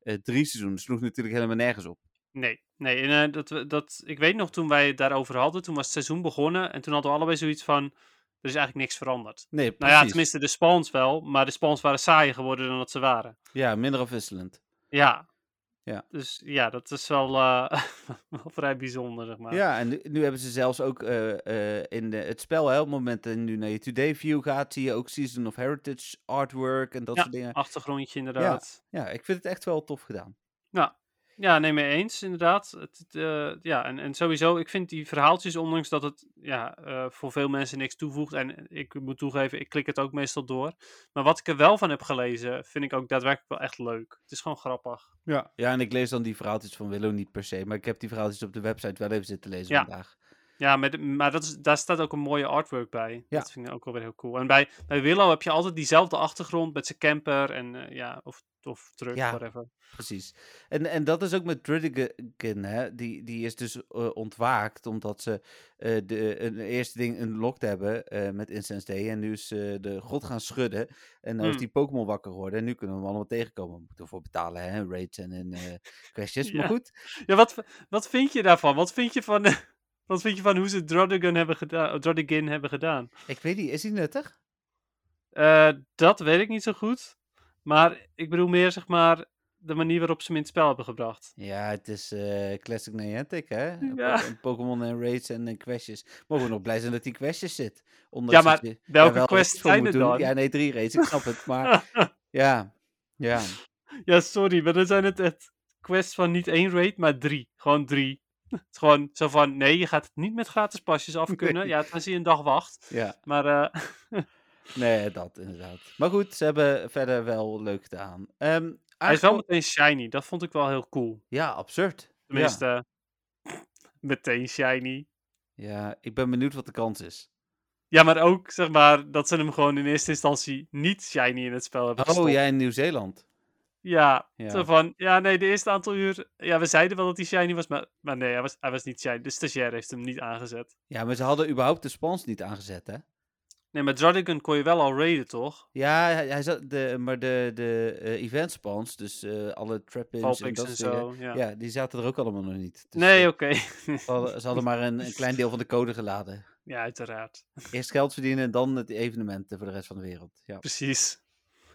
S3: eh, drie seizoenen sloeg natuurlijk helemaal nergens op.
S4: Nee, nee. En, eh, dat, we- dat, ik weet nog toen wij het daarover hadden, toen was het seizoen begonnen en toen hadden we allebei zoiets van, er is eigenlijk niks veranderd.
S3: Nee, precies.
S4: Nou ja, tenminste de spawns wel, maar de spawns waren saaier geworden dan dat ze waren.
S3: Ja, minder afwisselend.
S4: Ja.
S3: Ja.
S4: Dus ja, dat is wel, eh, wel vrij bijzonder, zeg maar.
S3: Ja, en nu, nu hebben ze zelfs ook eh, eh, in de, het spel, hè, op het moment dat je nu naar je Today View gaat, zie je ook Season of Heritage artwork en dat
S4: Ja.
S3: soort dingen.
S4: Achtergrondje inderdaad.
S3: Ja, ik vind het echt wel tof gedaan.
S4: Ja, nee, mee eens, inderdaad. Het, het, eh, ja, en, en sowieso, ik vind die verhaaltjes, ondanks dat het ja, eh, voor veel mensen niks toevoegt. En ik moet toegeven, ik klik het ook meestal door. Maar wat ik er wel van heb gelezen, vind ik ook daadwerkelijk wel echt leuk. Het is gewoon grappig.
S3: Ja. ja, en ik lees dan die verhaaltjes van Willow niet per se, maar ik heb die verhaaltjes op de website wel even zitten lezen
S4: Ja.
S3: vandaag.
S4: Ja, met, maar dat is, daar staat ook een mooie artwork bij.
S3: Ja.
S4: Dat vind ik ook wel weer heel cool. En bij, bij Willow heb je altijd diezelfde achtergrond met zijn camper en eh, ja, of, of truck,
S3: Ja.
S4: whatever.
S3: Precies. En, en dat is ook met Riddigan, hè? Die, die is dus eh, ontwaakt omdat ze eh, de, een eerste ding unlocked hebben eh, met Incense Day. En nu is eh, de god gaan schudden. En nou is
S4: Hmm.
S3: die Pokémon wakker geworden. En nu kunnen we hem allemaal tegenkomen. We moeten ervoor betalen, hè? in Raids en in eh questjes. Maar
S4: Ja.
S3: goed,
S4: Ja, wat, v- wat vind je daarvan? Wat vind je van, wat vind je van hoe ze Drodigan hebben gedaan, Drodigan hebben gedaan?
S3: ik weet niet, is hij nuttig?
S4: Eh, dat weet ik niet zo goed. Maar ik bedoel meer, zeg maar, de manier waarop ze hem in het spel hebben gebracht.
S3: Ja, het is eh, Classic Niantic, hè?
S4: Ja.
S3: Po- Pokémon en Raids en eh, questjes. Mogen we nog blij zijn dat die questjes zit?
S4: Ja,
S3: Ondanks
S4: maar
S3: dat je er
S4: Welke
S3: wel
S4: quests
S3: iets voor
S4: zijn
S3: moet
S4: er
S3: doen.
S4: dan?
S3: Ja,
S4: Ja,
S3: nee, drie raids, ik snap het. Maar Ja, ja.
S4: sorry, maar dan zijn het, het quests van niet één raid, maar drie. Gewoon drie. Het is gewoon zo van, nee, je gaat het niet met gratis pasjes af kunnen.
S3: Nee.
S4: Ja, tenzij je een dag wacht.
S3: ja.
S4: Maar eh,
S3: Nee, dat inderdaad. Maar goed, ze hebben verder wel leuk gedaan. Ehm,
S4: hij is wel
S3: aangekomen-
S4: meteen shiny. Dat vond ik wel heel cool.
S3: Ja, absurd.
S4: Tenminste, meteen shiny.
S3: Ja. ja, ik ben benieuwd wat de kans is.
S4: Ja, maar ook, zeg maar, dat ze hem gewoon in eerste instantie niet shiny in het spel hebben
S3: Oh,
S4: gestopt.
S3: jij in Nieuw-Zeeland.
S4: Ja,
S3: Ja.
S4: zo van, ja, nee, de eerste aantal uur. Ja, we zeiden wel dat hij shiny was, maar, maar nee, hij was, hij was niet shiny. De stagiair heeft hem niet aangezet.
S3: Ja, maar ze hadden überhaupt de spons niet aangezet, hè?
S4: Nee, maar Drodigan kon je wel al raiden, toch?
S3: Ja, hij, hij zat de, maar de, de eh, event spons, dus eh, alle trappings en
S4: Valpix
S3: dat
S4: en
S3: soort dingen.
S4: zo. Ja.
S3: Ja, die zaten er ook allemaal nog niet. Dus,
S4: nee,
S3: eh,
S4: oké.
S3: ze, hadden, ze hadden maar een, een klein deel van de code geladen.
S4: ja, uiteraard.
S3: Eerst geld verdienen en dan het evenement eh, voor de rest van de wereld. Ja.
S4: Precies.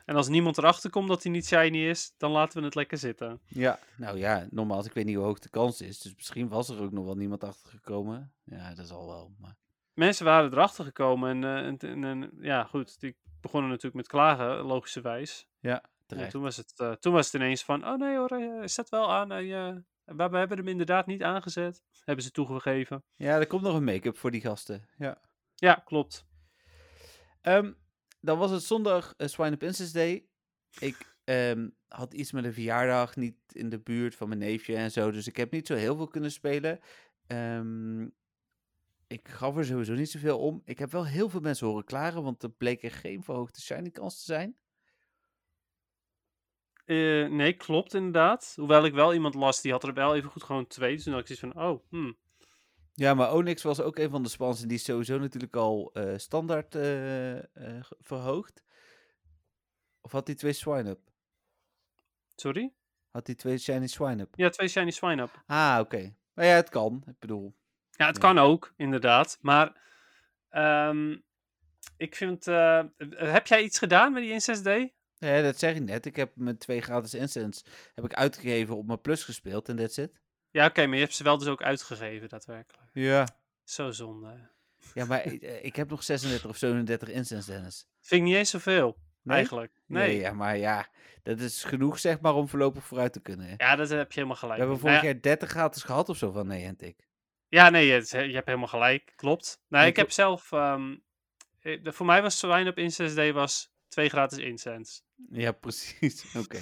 S4: En als niemand erachter komt dat hij niet shiny is, dan laten we het lekker zitten.
S3: Ja, nou ja, nogmaals, ik weet niet hoe hoog de kans is. Dus misschien was er ook nog wel niemand achter gekomen. Ja, dat zal wel. Maar...
S4: Mensen waren erachter gekomen en, eh, en, en- en- ja, goed, die begonnen natuurlijk met klagen, logischerwijs.
S3: Ja,
S4: Ja,
S3: terecht.
S4: toen, was het, eh, toen was het ineens van, oh nee hoor, hij eh, staat wel aan. Hij, eh, we, we hebben hem inderdaad niet aangezet. Hebben ze toegegeven.
S3: Ja, er komt nog een make-up voor die gasten. Ja.
S4: Ja, klopt.
S3: Ehm, dan was het zondag eh, Swine Up Incense Day. Ik ehm, had iets met een verjaardag, niet in de buurt van mijn neefje en zo. Dus ik heb niet zo heel veel kunnen spelen. Ehm, ik gaf er sowieso niet zoveel om. Ik heb wel heel veel mensen horen klagen, want er bleek er geen verhoogde shiny kans te zijn.
S4: Eh, nee, klopt inderdaad. Hoewel ik wel iemand las, die had er wel even goed gewoon twee. Dus toen had ik zoiets van, oh, hmm.
S3: Ja, maar Onyx was ook een van de spans en die is sowieso natuurlijk al eh, standaard eh, eh, ge- verhoogd. Of had hij twee swine-up?
S4: sorry?
S3: Had hij twee shiny swine-up?
S4: Ja, twee shiny swine up.
S3: Ah, oké. Nou ja, het kan. Ik bedoel,
S4: Ja, het
S3: Ja.
S4: kan ook, inderdaad. Maar ehm, ik vind, eh, heb jij iets gedaan met die Incest Day?
S3: ja, dat zeg ik net. Ik heb mijn twee gratis incense heb ik uitgegeven op mijn plus gespeeld en that's it.
S4: Ja, oké, maar je hebt ze wel dus ook uitgegeven, daadwerkelijk.
S3: Ja.
S4: Zo zonde.
S3: Ja, maar ik, eh, ik heb nog 36 of 37 incense, Dennis.
S4: Vind ik niet eens zoveel,
S3: Nee?
S4: eigenlijk. Nee.
S3: Ja, maar ja, dat is genoeg zeg maar om voorlopig vooruit te kunnen. hè.
S4: Ja, dat heb je helemaal
S3: We
S4: gelijk.
S3: hebben
S4: in. Nou
S3: vorig
S4: ja,
S3: jaar 30 gratis gehad of zo van Niantic.
S4: Ja, nee, je, het- je hebt helemaal gelijk. Klopt. Nou,
S3: Nee,
S4: ik heb zelf. ehm, eh, de- voor mij was Swine Up Incense Day was twee gratis incense.
S3: Ja, precies. Oké.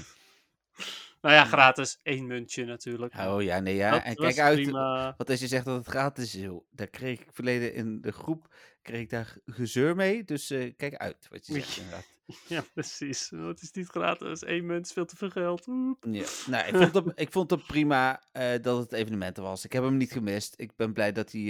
S4: Nou ja, gratis. één muntje natuurlijk.
S3: Oh ja, nee ja.
S4: Dat
S3: en
S4: was
S3: kijk uit. eh,
S4: prima.
S3: Want als je zegt dat het gratis is, joh, daar kreeg ik verleden in de groep kreeg ik daar gezeur mee. Dus eh, kijk uit wat je
S4: Oei.
S3: zegt inderdaad.
S4: Ja, precies. Het is niet gratis. Eén munt is veel te veel geld. Oep.
S3: Ja. Nou, ik vond het, ik vond het prima eh, dat het evenement er was. Ik heb hem niet gemist. Ik ben blij dat, hij,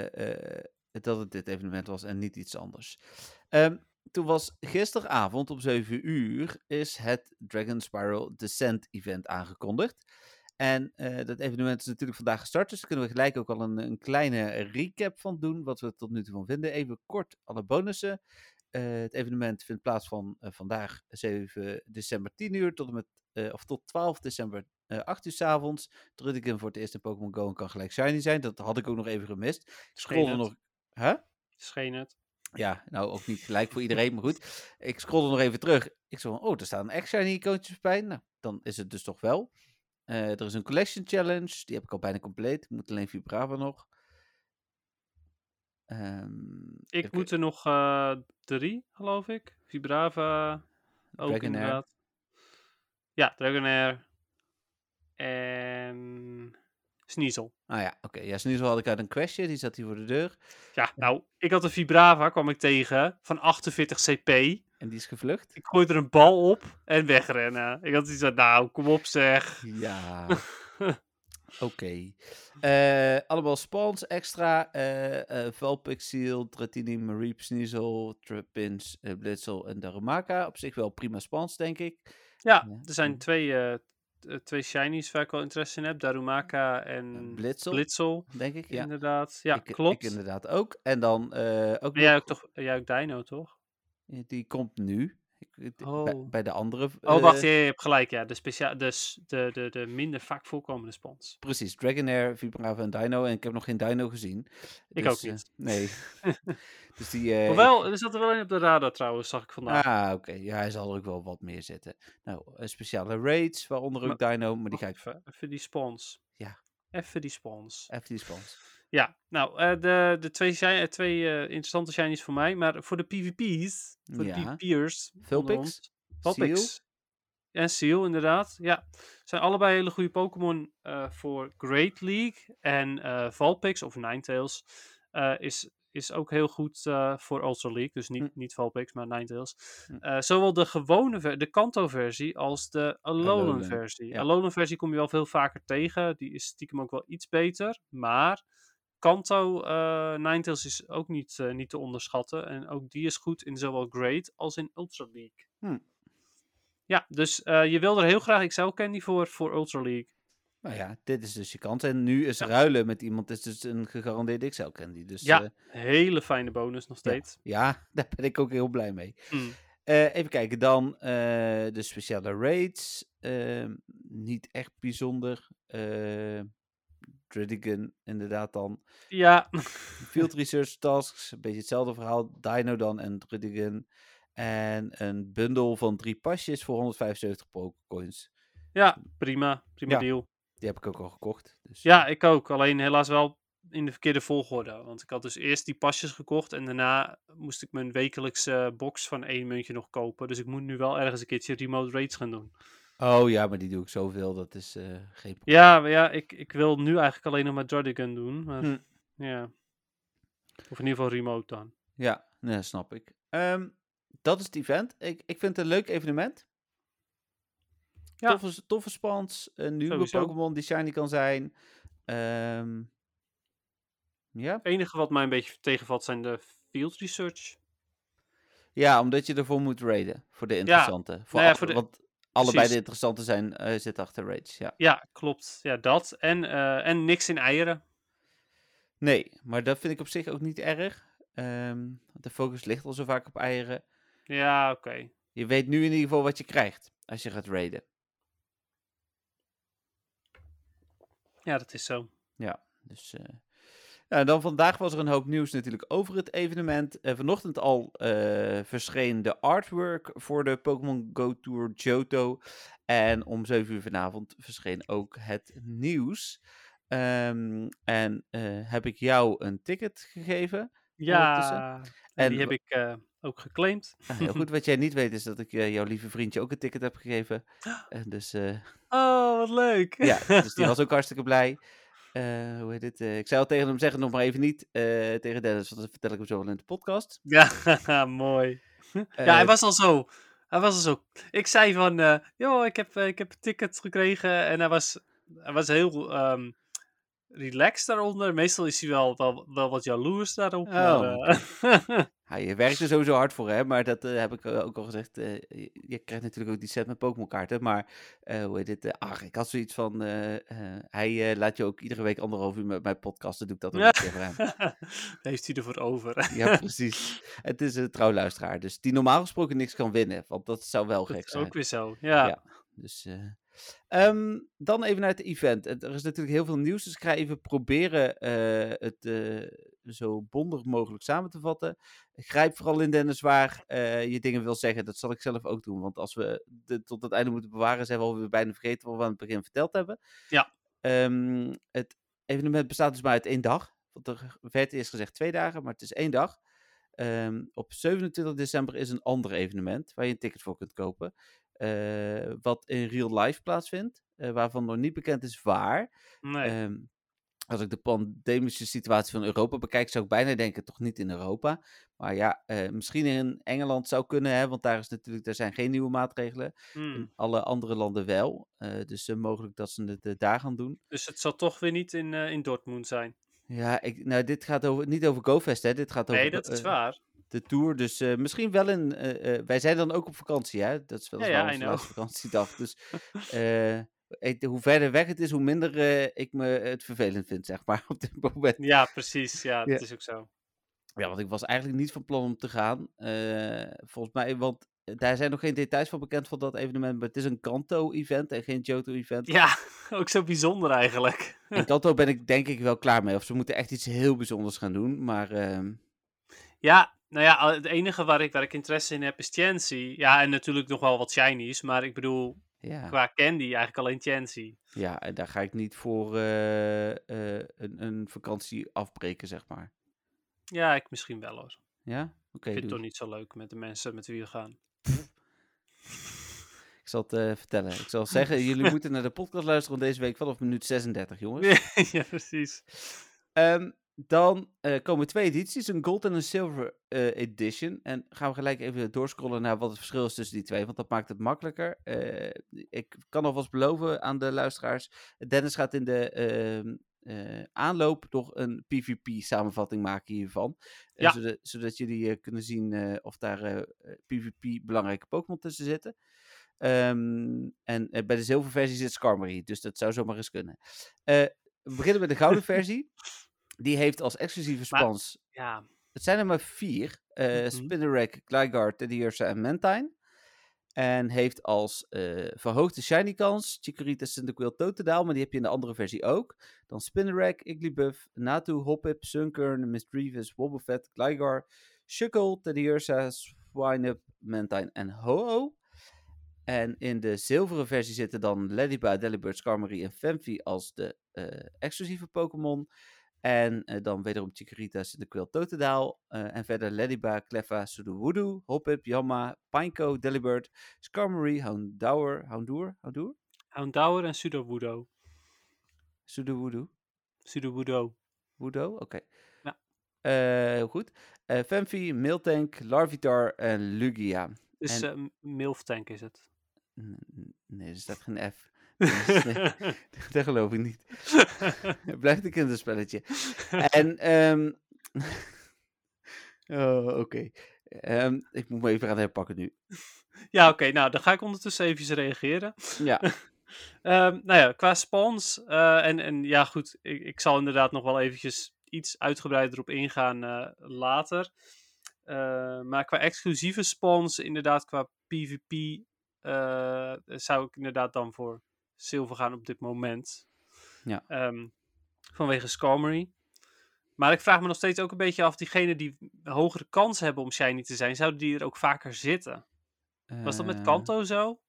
S3: eh, eh, dat het dit evenement was en niet iets anders. Ehm, toen was gisteravond om 7 uur is het Dragon Spiral Descent event aangekondigd. En eh, dat evenement is natuurlijk vandaag gestart, dus daar kunnen we gelijk ook al een, een kleine recap van doen, wat we er tot nu toe van vinden. Even kort alle bonussen. Eh, het evenement vindt plaats van eh, vandaag 7 december 10 uur tot en met eh, of tot 12 december eh 8 uur 's avonds. Druidikin voor het eerst in Pokémon Go en kan gelijk shiny zijn. Dat had ik ook nog even gemist. Ik scrollde
S4: het.
S3: nog... Huh?
S4: Scheen het.
S3: Ja, nou ook niet gelijk voor iedereen, maar goed. Ik scrollde nog even terug. Ik zo van, oh, er staan echt shiny icoontjes bij. Nou, dan is het dus toch wel. Eh, er is een collection challenge, die heb ik al bijna compleet. Ik moet alleen Vibrava nog. Ehm,
S4: Ik
S3: even
S4: moet er nog eh, drie, geloof ik. Vibrava. Ook
S3: Dragonair.
S4: inderdaad. Ja, Dragonair. En... Sneasel.
S3: kijken. Ah ja, oké. Ja, Sneasel had ik uit een questje, die zat hier voor de deur.
S4: Ja, nou, ik had een Vibrava, kwam ik tegen, van 48 CP.
S3: En die is gevlucht.
S4: Ik gooi er een bal op en wegrennen. Ik had iets van, nou, kom op zeg.
S3: Ja. Oké. Eh, allemaal spawns extra. eh eh Valpixiel, Dratini, Mareep, Sneasel, Trapinch, eh, Blitzel en Darumaka. Op zich wel prima spawns, denk ik. Eh,
S4: Ja,
S3: Ja,
S4: er
S3: ja.
S4: zijn twee, eh, t- eh, twee shinies waar ik wel interesse in heb. Darumaka en
S3: Blitzel,
S4: Blitzel,
S3: denk ik. Ja,
S4: inderdaad. Ja,
S3: ik,
S4: klopt.
S3: Ik inderdaad ook. En dan eh, ook
S4: Maar
S3: nog-
S4: jij ook toch, jij ook Dino, toch?
S3: die komt nu. Ik- ik- bij- bij,
S4: Oh.
S3: de andere.
S4: Oh, wacht,
S3: eh,
S4: je, je hebt gelijk. Ja, de, specia- de, s- de, de, de minder vaak voorkomende spons.
S3: Precies, Dragonair, Vibrava en Dino. En ik heb nog geen Dino gezien.
S4: Ik
S3: Dus,
S4: ook
S3: eh,
S4: niet.
S3: nee. dus die, eh,
S4: Hoewel, er zat er wel een op de radar trouwens, zag ik vandaag.
S3: Ah, oké. Ja, hij zal er ook wel wat meer zitten. Nou, eh, speciale raids, waaronder ook Dino, maar die ga ik
S4: even, even die spons.
S3: Ja.
S4: Even die spons.
S3: even die spans.
S4: Ja, nou, eh, de, de twee, shi- eh, twee eh, interessante shinies voor mij. Maar voor de PvP's, voor
S3: Ja.
S4: de PvP'ers. onder
S3: Vulpix,
S4: ons, Vulpix. En Seal, inderdaad. Ja, zijn allebei hele goede Pokémon eh, voor Great League. En eh Valpix of Ninetales eh, is, is ook heel goed eh, voor Ultra League. Dus niet,
S3: Hm.
S4: niet Valpix, maar Ninetales.
S3: Hm.
S4: Eh, zowel de gewone, ver- de Kanto-versie als de
S3: Alolan,
S4: Alolan-versie.
S3: ja.
S4: Alolan-versie kom je wel veel vaker tegen. Die is stiekem ook wel iets beter. Maar Kanto eh Ninetales is ook niet, eh, niet te onderschatten. En ook die is goed in zowel Great als in Ultra League.
S3: Hm.
S4: Ja, dus eh, je wil er heel graag XL Candy voor, voor Ultra League.
S3: Nou ja, dit is dus je kans. En nu is ruilen met iemand is dus een gegarandeerde XL-candy. Dus
S4: Ja.
S3: eh,
S4: Hele fijne bonus nog steeds.
S3: ja, daar ben ik ook heel blij mee.
S4: Hm.
S3: Eh, even kijken, dan eh, de speciale raids. ehm, niet echt bijzonder. Eh Dredigan inderdaad dan.
S4: Ja,
S3: Field Research Tasks, een beetje hetzelfde verhaal. Dino dan en Drudigan. En een bundel van drie pasjes voor 175 Pokécoins.
S4: ja prima. Prima
S3: Ja.
S4: deal.
S3: Die heb ik ook al gekocht. Dus
S4: Ja, ik ook. Alleen helaas wel in de verkeerde volgorde. Want ik had dus eerst die pasjes gekocht en daarna moest ik mijn wekelijkse eh, box van één muntje nog kopen. Dus ik moet nu wel ergens een keertje remote raids gaan doen.
S3: Oh ja, maar die doe ik zoveel. Dat is eh, geen probleem.
S4: Ja, maar ja ik, ik wil nu eigenlijk alleen nog maar Jardigan doen. Maar
S3: Hm.
S4: ja. Of in ieder geval remote dan.
S3: Ja, nee, dat snap ik. Ehm, dat is het event. Ik, ik vind het een leuk evenement.
S4: Ja.
S3: Toffe, toffe spans. Een nieuwe
S4: Sowieso.
S3: Pokémon die shiny kan zijn. Ehm, ja.
S4: Het enige wat mij een beetje tegenvalt zijn de field research.
S3: Ja, omdat je ervoor moet raiden. Voor de interessante. Voor
S4: nou ja,
S3: alle-
S4: voor de-
S3: Want allebei
S4: precies.
S3: de interessante zijn eh zit achter raids. Ja.
S4: Ja, klopt. Ja, dat. En, eh, en niks in eieren.
S3: Nee, maar dat vind ik op zich ook niet erg. Ehm, de focus ligt al zo vaak op eieren.
S4: Ja, oké.
S3: Je weet nu in ieder geval wat je krijgt als je gaat raiden.
S4: Ja, dat is zo.
S3: Dus, eh, nou, en dan vandaag was er een hoop nieuws natuurlijk over het evenement. Eh, vanochtend al eh, verscheen de artwork voor de Pokémon Go Tour Johto. En om 7 uur vanavond verscheen ook het nieuws. Ehm, en eh, heb ik jou een ticket gegeven?
S4: Ja,
S3: Ondertussen.
S4: en
S3: En
S4: die heb
S3: wa-
S4: ik eh, ook geclaimd.
S3: Ah, heel goed. Wat jij niet weet is dat ik eh, jouw lieve vriendje ook een ticket heb gegeven. En dus eh,
S4: Oh, wat leuk.
S3: ja, dus die was ook hartstikke blij. Eh, hoe heet dit? eh, ik zei al tegen hem, zeg het nog maar even niet eh, tegen Dennis, want dat vertel ik hem zo wel in de podcast.
S4: Ja, mooi. ja, hij
S3: Eh,
S4: was al zo. Hij was al zo. Ik zei van, eh joh, ik heb, eh, ik heb een ticket gekregen. En hij was, hij was heel ehm, relaxed daaronder. Meestal is hij wel, wel, wel wat jaloers daarop. maar,
S3: Oh.
S4: eh,
S3: Hij werkt er sowieso hard voor, hè? Maar dat eh, heb ik eh, ook al gezegd. eh, je- je krijgt natuurlijk ook die set met Pokémon kaarten. Maar eh, hoe heet dit? eh, ach, ik had zoiets van... eh, eh, hij eh, laat je ook iedere week anderhalf uur met mijn podcast. Dan doe ik dat ook
S4: Ja.
S3: een keer voor hem.
S4: heeft hij ervoor over.
S3: Ja, precies. Het is een trouwluisteraar. Dus die normaal gesproken niks kan winnen. Want dat zou wel
S4: Dat
S3: gek
S4: is
S3: zijn.
S4: ook weer zo. Ja.
S3: Ja. Dus, eh, ehm, dan even naar het event. Het- Er is natuurlijk heel veel nieuws, dus ik ga even proberen eh, het eh, zo bondig mogelijk samen te vatten. Grijp vooral in, Dennis, waar eh, je dingen wil zeggen. Dat zal ik zelf ook doen, want als we dit tot het einde moeten bewaren, zijn we alweer bijna vergeten wat we aan het begin verteld hebben.
S4: Ja.
S3: Ehm, het evenement bestaat dus maar uit één dag. Want er werd eerst gezegd twee dagen, maar het is één dag. Ehm, op 27 december is een ander evenement waar je een ticket voor kunt kopen eh, wat in real life plaatsvindt, eh, waarvan nog niet bekend is waar.
S4: Nee.
S3: Ehm, als ik de pandemische situatie van Europa bekijk, zou ik bijna denken, toch niet in Europa. Maar ja, eh, misschien in Engeland zou kunnen, hè, want daar, is natuurlijk, daar zijn geen nieuwe maatregelen.
S4: Hmm.
S3: In alle andere landen wel, Eh, dus eh, mogelijk dat ze het eh, daar gaan doen.
S4: Dus het zal toch weer niet in, eh, in Dortmund zijn.
S3: Ja, ik, nou, dit gaat over, niet over GoFest, hè. dit gaat over
S4: Nee, dat is
S3: eh,
S4: waar.
S3: de tour. Dus eh, misschien wel in. eh, eh, wij zijn dan ook op vakantie, hè? Dat is wel
S4: Ja,
S3: eens
S4: ja, I
S3: onze
S4: know.
S3: laatste vakantiedag. Dus eh, ik- hoe verder weg het is, hoe minder eh, ik me het vervelend vind, zeg maar, op dit moment.
S4: Ja, precies. Ja,
S3: Ja.
S4: dat is ook zo.
S3: Ja, want ik was eigenlijk niet van plan om te gaan. eh, volgens mij, want eh, daar zijn nog geen details van bekend van dat evenement. Maar het is een Kanto-event en geen Johto-event.
S4: Ja, ook zo bijzonder eigenlijk.
S3: En Kanto ben ik denk ik wel klaar mee. Of ze moeten echt iets heel bijzonders gaan doen. Maar ehm,
S4: Ja, nou ja, al- het enige waar ik, waar ik interesse in heb is Chancy. Ja, en natuurlijk nog wel wat shinies, maar ik bedoel,
S3: ja.
S4: qua candy eigenlijk alleen Chancy.
S3: Ja, en daar ga ik niet voor eh, eh, een, een vakantie afbreken, zeg maar.
S4: Ja, ik misschien wel hoor.
S3: Ja? Oké,
S4: ik vind het
S3: doe.
S4: toch niet zo leuk met de mensen met wie we gaan.
S3: ik zal het eh, vertellen. Ik zal zeggen, jullie moeten naar de podcast luisteren van deze week vanaf minuut 36, jongens.
S4: ja, precies.
S3: Ehm, dan eh, komen twee edities, een gold en een silver eh, edition. En gaan we gelijk even doorscrollen naar wat het verschil is tussen die twee, want dat maakt het makkelijker. Eh, ik kan alvast beloven aan de luisteraars, Dennis gaat in de ehm, eh, aanloop nog een PvP-samenvatting maken hiervan. Eh,
S4: Ja.
S3: zodat, zodat jullie eh, kunnen zien eh, of daar eh, eh, PvP-belangrijke Pokémon tussen zitten. Ehm, en eh, bij de zilverversie zit Skarmory, dus dat zou zomaar eens kunnen. Eh, we beginnen met de gouden versie. Die heeft als exclusieve
S4: Maar-
S3: spans.
S4: Ja,
S3: Het zijn er maar vier: eh
S4: Mhm.
S3: Spinnerack, Gligar, Teddiursa en Mantine. En heeft als eh, verhoogde shiny kans Chikorita, Cyndaquil, Totodile, maar die heb je in de andere versie ook. Dan Spinnerack, Igglybuff, Natu, Hoppip, Sunkern, Mistrevis, Wobbuffet, Gligar, Shuckle, Teddiursa, Swinub, Mantine en Ho-Oh. En in de zilveren versie zitten dan Lediba, Delibird, Skarmory en Famfi als de eh, exclusieve Pokémon. En eh, dan wederom Chikorita, Cyndaquil, Totodile. eh, en verder Lediba, Cleffa, Sudowoodo, Hoppip, Yamma, Pineco, Delibird, Skarmory, Houndour, Houndour, Houndour?
S4: Houndour en Sudowoodo.
S3: Sudowoodo?
S4: Sudowoodo.
S3: Woodo? Oké.
S4: Ja.
S3: Eh, heel goed. Eh Famfi, Miltank, Larvitar en Lugia.
S4: Dus
S3: En-
S4: eh, M- Milftank is het.
S3: N- n- Nee, er staat geen F. Dus, nee, dat geloof ik niet. Blijft een kinderspelletje. En, ehm oh, oké. Ehm, ik moet me even gaan herpakken nu.
S4: ja, oké, nou, dan ga ik ondertussen even reageren.
S3: Ja,
S4: Ehm, nou ja, qua spawns. eh, en, en ja, goed, ik, ik zal inderdaad nog wel eventjes iets uitgebreider op ingaan eh, later. Eh, maar qua exclusieve spawns, inderdaad, qua PvP, eh, zou ik inderdaad dan voor zilver gaan op dit moment.
S3: Ja.
S4: Ehm, vanwege Skarmory. Maar ik vraag me nog steeds ook een beetje af, diegenen die hogere kans hebben om shiny te zijn, zouden die er ook vaker zitten? Was dat met
S3: eh,
S4: Kanto zo?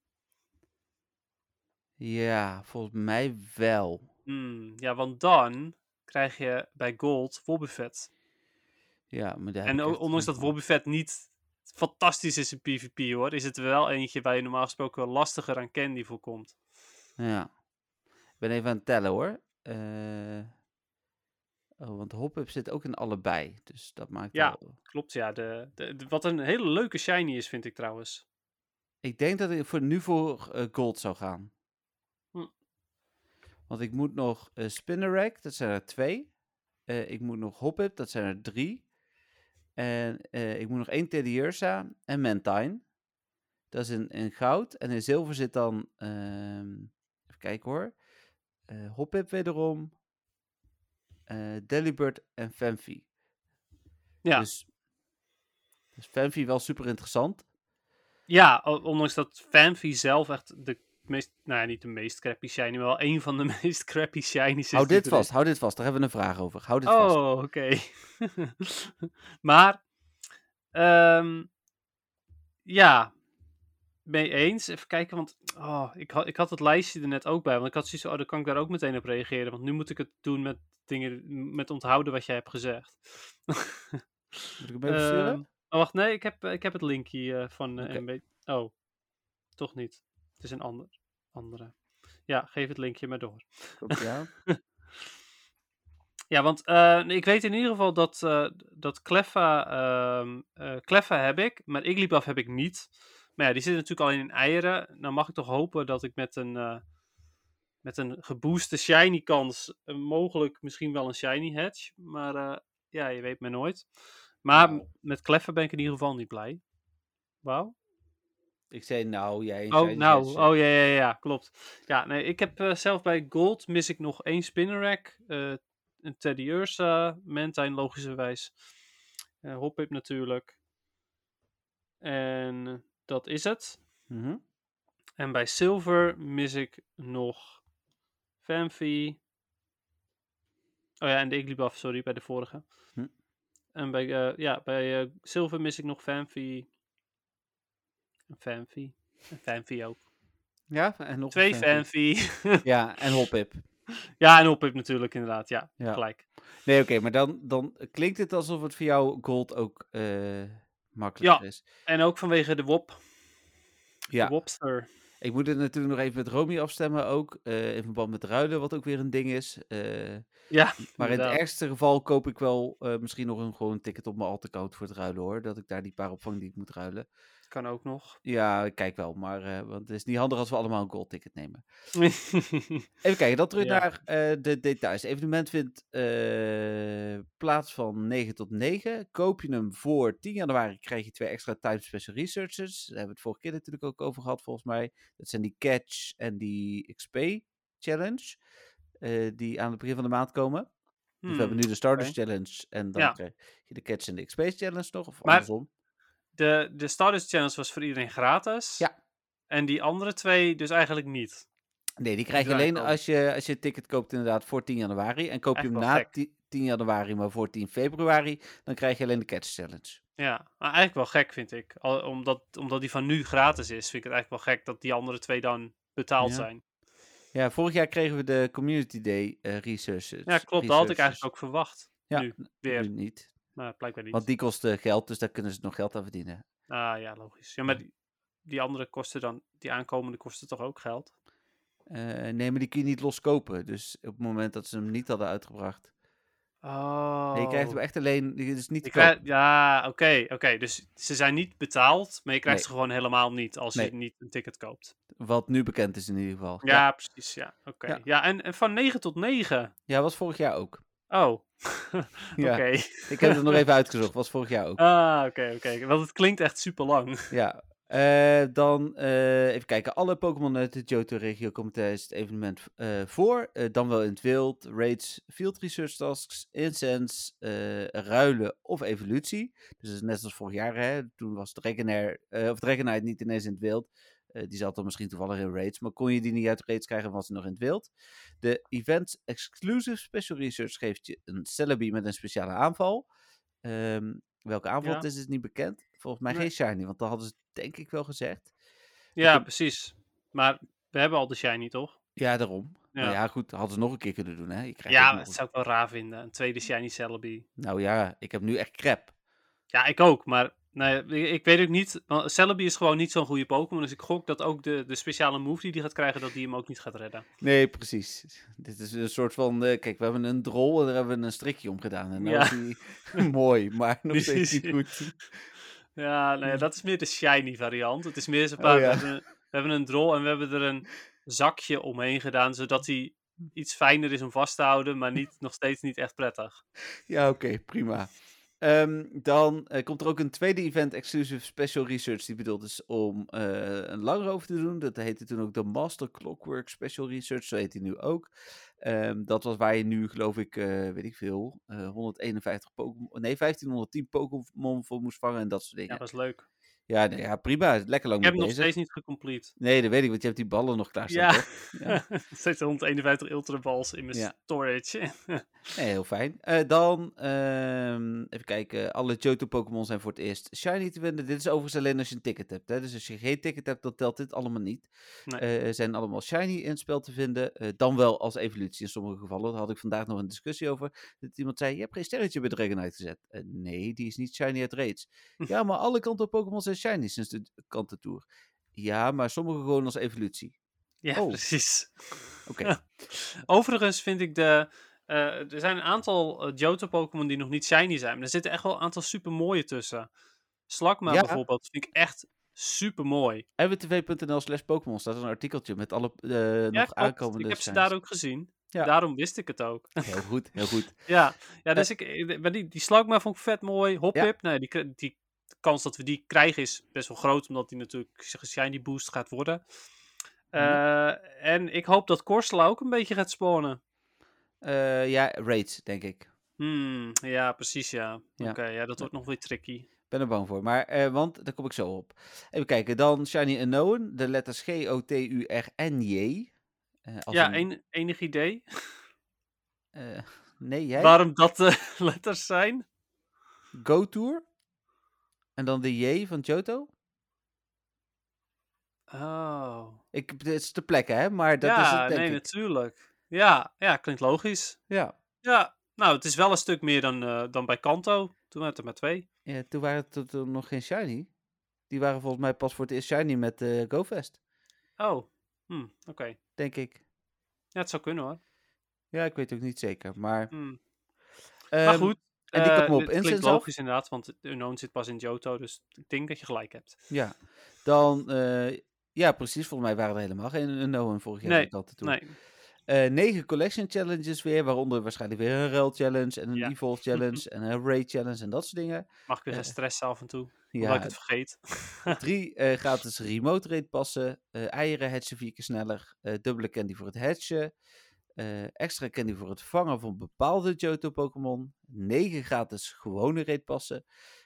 S3: Ja, volgens mij wel.
S4: Hmm, ja, want dan krijg je bij Gold Wobbuffet.
S3: Ja, maar daar heb
S4: En
S3: ik
S4: o-
S3: echt
S4: ondanks
S3: geen van.
S4: dat Wobbuffet niet fantastisch is in PvP hoor. Is het er wel eentje waar je normaal gesproken wel lastiger aan candy voor komt.
S3: Ja. Ik ben even aan het tellen hoor. Eh, oh, want hop-up zit ook in allebei. Dus dat maakt
S4: Ja.
S3: wel-
S4: Klopt, ja. De, de- de- wat een hele leuke shiny is, vind ik trouwens.
S3: Ik denk dat ik voor nu voor eh, gold zou gaan.
S4: Hm.
S3: Want ik moet nog eh Spinnerack, dat zijn er twee. Eh, ik moet nog Hoppip, dat zijn er drie. En eh, ik moet nog één Teddy Ursa en Mantine. Dat is in, in goud. En in zilver zit dan, ehm, even kijken hoor, Eh Hoppip wederom, eh Delibird en Fanfi.
S4: Ja.
S3: Dus, dus Fanfi wel super interessant.
S4: Ja, o- ondanks dat Fanfi zelf echt de meest, nou ja, niet de meest crappy shiny, maar wel een van de meest crappy shinies is.
S3: Hou
S4: die
S3: dit
S4: er is.
S3: vast, hou dit vast. Daar hebben we een vraag over. Hou dit vast.
S4: Oh, oké. maar, ehm, ja, mee eens. Even kijken, want oh, ik, had, ik had het lijstje er net ook bij. Want ik had zoiets van, oh, dan kan ik daar ook meteen op reageren. Want nu moet ik het doen met dingen, met onthouden wat jij hebt gezegd.
S3: Moet ik hem even sturen?
S4: Ehm, oh, wacht, nee, ik heb, ik heb het linkje eh, van eh,
S3: Oké.
S4: MB. Oh, toch niet. Het is een ander, andere. Ja, geef het linkje maar door.
S3: Komt ie aan?
S4: Ja, want eh, ik weet in ieder geval dat, eh dat Cleffa, ehm, eh, Cleffa heb ik, maar Igglybuff heb ik niet. Maar ja, die zitten natuurlijk alleen in eieren. Dan mag ik toch hopen dat ik met een, eh, met een gebooste shiny kans eh, mogelijk misschien wel een shiny hatch. Maar eh, ja, je weet maar nooit. Maar
S3: Nou.
S4: met Cleffa ben ik in ieder geval niet blij. Wauw.
S3: Ik zei nou, jij.
S4: Oh,
S3: zei-
S4: nou.
S3: zei-
S4: Oh, ja, ja, ja, ja, klopt. Ja, nee, ik heb eh, zelf bij Gold mis ik nog één Spinnerack. eh, een Teddy Ursa, Mantine logischerwijs. eh Hoppip natuurlijk. En dat is het.
S3: Mhm.
S4: En bij Silver mis ik nog Fanfi. Oh ja, en de Igglybuff, sorry, bij de vorige.
S3: Hm.
S4: En bij, eh, ja, bij eh Silver mis ik nog Fanfi. En Fanfi. En Fanfi ook.
S3: Ja, en nog
S4: Twee
S3: een fanfic.
S4: fanfi.
S3: Ja, en Hoppip.
S4: ja, en Hoppip natuurlijk, inderdaad. Ja,
S3: Ja.
S4: gelijk.
S3: Nee, oké, maar dan, dan klinkt het alsof het voor jou gold ook eh makkelijker
S4: Ja.
S3: is.
S4: En ook vanwege de WOP.
S3: Ja.
S4: De Wopster.
S3: Ik moet het natuurlijk nog even met Romy afstemmen ook. eh, in verband met ruilen, wat ook weer een ding is. eh,
S4: Ja,
S3: maar in het
S4: inderdaad.
S3: ergste geval koop ik wel eh, misschien nog een gewoon ticket op mijn al te koud voor het ruilen hoor. Dat ik daar die paar opvang die ik moet ruilen.
S4: Kan ook nog.
S3: Ja, ik kijk wel, maar eh, want het is niet handig als we allemaal een gold ticket nemen. Even kijken, dan terug
S4: Ja.
S3: naar eh, de details. Evenement vindt eh, plaats van 9 tot 9. Koop je hem voor 10 januari, krijg je twee extra Time Special Researchers. Daar hebben we het vorige keer natuurlijk ook over gehad, volgens mij. Dat zijn die Catch en die XP Challenge, eh, die aan het begin van de maand komen. Dus we hebben
S4: Hmm.
S3: nu de Starters Challenge en dan
S4: Ja.
S3: krijg je de Catch en de XP Challenge nog, of
S4: Maar-
S3: andersom.
S4: De, de Stardust Challenge was voor iedereen gratis.
S3: Ja.
S4: En die andere twee dus eigenlijk niet.
S3: Nee, die krijg je
S4: draai ik
S3: alleen
S4: al.
S3: als je, als je het ticket koopt inderdaad voor 10 januari. En koop je
S4: Echt
S3: hem
S4: wel
S3: na
S4: gek.
S3: 10 10 januari, maar voor 10 februari, dan krijg je alleen de Catch Challenge.
S4: Ja, maar eigenlijk wel gek vind ik. Al, omdat, omdat die van nu gratis is, vind ik het eigenlijk wel gek dat die andere twee dan betaald
S3: Ja.
S4: zijn.
S3: Ja, vorig jaar kregen we de Community Day eh resources.
S4: Ja, klopt. Dat had ik eigenlijk ook verwacht.
S3: Ja,
S4: nu weer.
S3: Nu niet.
S4: Maar blijkbaar niet.
S3: Want die kosten geld, dus daar kunnen ze nog geld aan verdienen.
S4: Ah ja, logisch. Ja, maar die, die andere kosten dan, die aankomende kosten toch ook geld?
S3: Eh nee, maar die kun je niet los kopen. Dus op het moment dat ze hem niet hadden uitgebracht.
S4: Oh.
S3: Nee, je krijgt hem echt alleen, het is niet
S4: Je
S3: te
S4: krijgt-
S3: koop.
S4: ja, oké, oké. Dus ze zijn niet betaald, maar je krijgt
S3: Nee.
S4: ze gewoon helemaal niet als
S3: Nee.
S4: je niet een ticket koopt.
S3: Wat nu bekend is in ieder geval.
S4: Ja,
S3: ja,
S4: precies, ja. Oké.
S3: Ja.
S4: Ja, en, en van 9 tot 9.
S3: ja, was vorig jaar ook.
S4: Oh,
S3: Ja.
S4: oké.
S3: Ik heb het nog even uitgezocht, was vorig jaar ook.
S4: Ah, oké, oké. Want het klinkt echt super lang.
S3: Ja. eh, dan eh, even kijken. Alle Pokémon uit de Johto-regio komen tijdens het evenement eh, voor. Eh, dan wel in het wild, raids, field research tasks, incense, eh, ruilen of evolutie. Dus dat is net als vorig jaar. Hè? Toen was Dragonair, eh, of Dragonite niet ineens in het wild. Eh, die zat dan misschien toevallig in raids. Maar kon je die niet uit raids krijgen, was ze nog in het wild. De event exclusive special research geeft je een Celebi met een speciale aanval. Ehm, welke aanval
S4: Ja.
S3: het is, is niet bekend. Volgens mij
S4: Nee.
S3: geen shiny, want dat hadden ze denk ik wel gezegd.
S4: Ja,
S3: heb-
S4: precies. Maar we hebben al de shiny, toch?
S3: Ja, daarom. Ja,
S4: Ja.
S3: ja goed, hadden ze nog een keer kunnen doen, hè? Je krijgt ook
S4: Ja,
S3: nog
S4: dat
S3: een-
S4: zou ik wel raar vinden. Een tweede shiny Celebi.
S3: Nou ja, ik heb nu echt crap.
S4: Ja, ik ook, maar Nee, ik, ik weet ook niet. want Celebi is gewoon niet zo'n goede Pokémon. Dus ik gok dat ook de, de speciale move die die gaat krijgen, dat die hem ook niet gaat redden.
S3: Nee, precies. Dit is een soort van, eh, kijk, we hebben een drol en daar hebben we een strikje om gedaan. En nou
S4: Ja.
S3: is die mooi, maar nog steeds niet
S4: Precies.
S3: goed.
S4: Ja, nou ja, dat is meer de shiny variant. Het is meer zo'n paar.
S3: ja.
S4: we, hebben, een- we hebben een drol en we hebben er een zakje omheen gedaan, zodat hij iets fijner is om vast te houden, maar niet, nog steeds niet echt prettig.
S3: Ja, oké, prima. Ehm, dan eh, komt er ook een tweede event, Exclusive Special Research, die bedoeld is om eh, een langer over te doen. Dat heette toen ook de Master Clockwork Special Research, zo heet die nu ook. Ehm, dat was waar je nu, geloof ik, eh, weet ik veel, eh, 151 Pokémon, nee, 1510 Pokémon voor moest vangen en dat soort
S4: Ja,
S3: dingen.
S4: dat is leuk.
S3: Ja, nee, ja prima, lekker lang
S4: Ik heb hem
S3: mee
S4: nog
S3: bezig.
S4: steeds niet gecomplete.
S3: Nee, dat weet ik, want je hebt die ballen nog klaarstaan,
S4: Ja,
S3: toch? Ja.
S4: ja. steeds 151 Ultra Balls in mijn
S3: Ja.
S4: storage.
S3: Nee, heel fijn. Eh, dan, ehm, even kijken. Alle Johto-Pokémon zijn voor het eerst shiny te winnen. Dit is overigens alleen als je een ticket hebt. Hè? Dus als je geen ticket hebt, dan telt dit allemaal niet.
S4: Nee.
S3: Eh, er zijn allemaal shiny in het spel te vinden. Eh, dan wel als evolutie in sommige gevallen. Daar had ik vandaag nog een discussie over. Dat iemand zei, je hebt geen sterretje bij Dragonite gezet. Eh, nee, die is niet shiny uit raids. ja, maar alle kanten Pokémon zijn shiny sinds de kanten tour. Ja, maar sommige gewoon als evolutie.
S4: Ja,
S3: Oh.
S4: precies.
S3: Oké.
S4: Overigens vind ik de. eh, er zijn een aantal eh, Johto-Pokémon die nog niet shiny zijn. Maar er zitten echt wel een aantal supermooie tussen. Slakma
S3: Ja.
S4: bijvoorbeeld vind ik echt supermooi.
S3: mwtv.nl slash Pokémon staat een artikeltje met alle eh,
S4: Ja,
S3: nog
S4: klopt.
S3: aankomende
S4: Ik heb ze
S3: shinies.
S4: daar ook gezien.
S3: Ja.
S4: Daarom wist ik het ook.
S3: Heel goed, heel goed.
S4: ja. ja, dus ik, eh, maar die, die Slakma vond ik vet mooi. Hoppip, nou, die, kri- die kans dat we die krijgen is best wel groot. Omdat die natuurlijk een shiny boost gaat worden.
S3: Mhm.
S4: Eh, en ik hoop dat Korsla ook een beetje gaat spawnen.
S3: Eh, ja, raids, denk ik.
S4: Hmm, ja, precies, ja.
S3: Ja.
S4: Oké, ja, dat wordt nog weer tricky.
S3: Ben er bang voor. Maar, eh, want daar kom ik zo op. Even kijken, dan Shiny Unknown. De letters G, O, T, U, R en J. Eh, als
S4: ja,
S3: een-
S4: een- enig idee
S3: eh, nee, jij?
S4: waarom dat de letters zijn?
S3: Go Tour. En dan de J van Johto.
S4: Oh.
S3: Ik, het is te plekken, hè? Maar dat is
S4: ja,
S3: het, denk
S4: nee,
S3: ik.
S4: natuurlijk. Ja, ja, klinkt logisch.
S3: Ja.
S4: Ja, nou, het is wel een stuk meer dan, eh, dan bij Kanto. Toen waren het er maar twee.
S3: Ja, toen waren het tot- toen nog geen Shiny. Die waren volgens mij pas voor het eerst Shiny met eh GoFest,
S4: Oh, hm, oké.
S3: denk ik.
S4: Ja, het zou kunnen hoor.
S3: Ja, ik weet het ook niet zeker, maar...
S4: Hm. maar
S3: ehm,
S4: goed.
S3: en die
S4: eh,
S3: komt me op
S4: dit
S3: Incense
S4: klinkt
S3: af.
S4: logisch inderdaad, want de Unknown zit pas in Johto, dus ik denk dat je gelijk hebt.
S3: Ja, dan... eh, ja, precies. Volgens mij waren er helemaal geen Unknown vorig jaar.
S4: Nee,
S3: dat ik dat toen.
S4: Nee,
S3: Eh, negen collection challenges weer, waaronder waarschijnlijk weer een ruil challenge en een
S4: Ja.
S3: evolve challenge en een raid challenge en dat soort dingen.
S4: mag ik weer
S3: Eh,
S4: gaan stressen af en toe, omdat
S3: Ja,
S4: ik het vergeet.
S3: drie eh, gratis remote raid passen, eh, eieren hatchen vier keer sneller, eh, dubbele candy voor het hatchen, eh, extra candy voor het vangen van bepaalde Johto Pokémon, negen gratis gewone raid passen,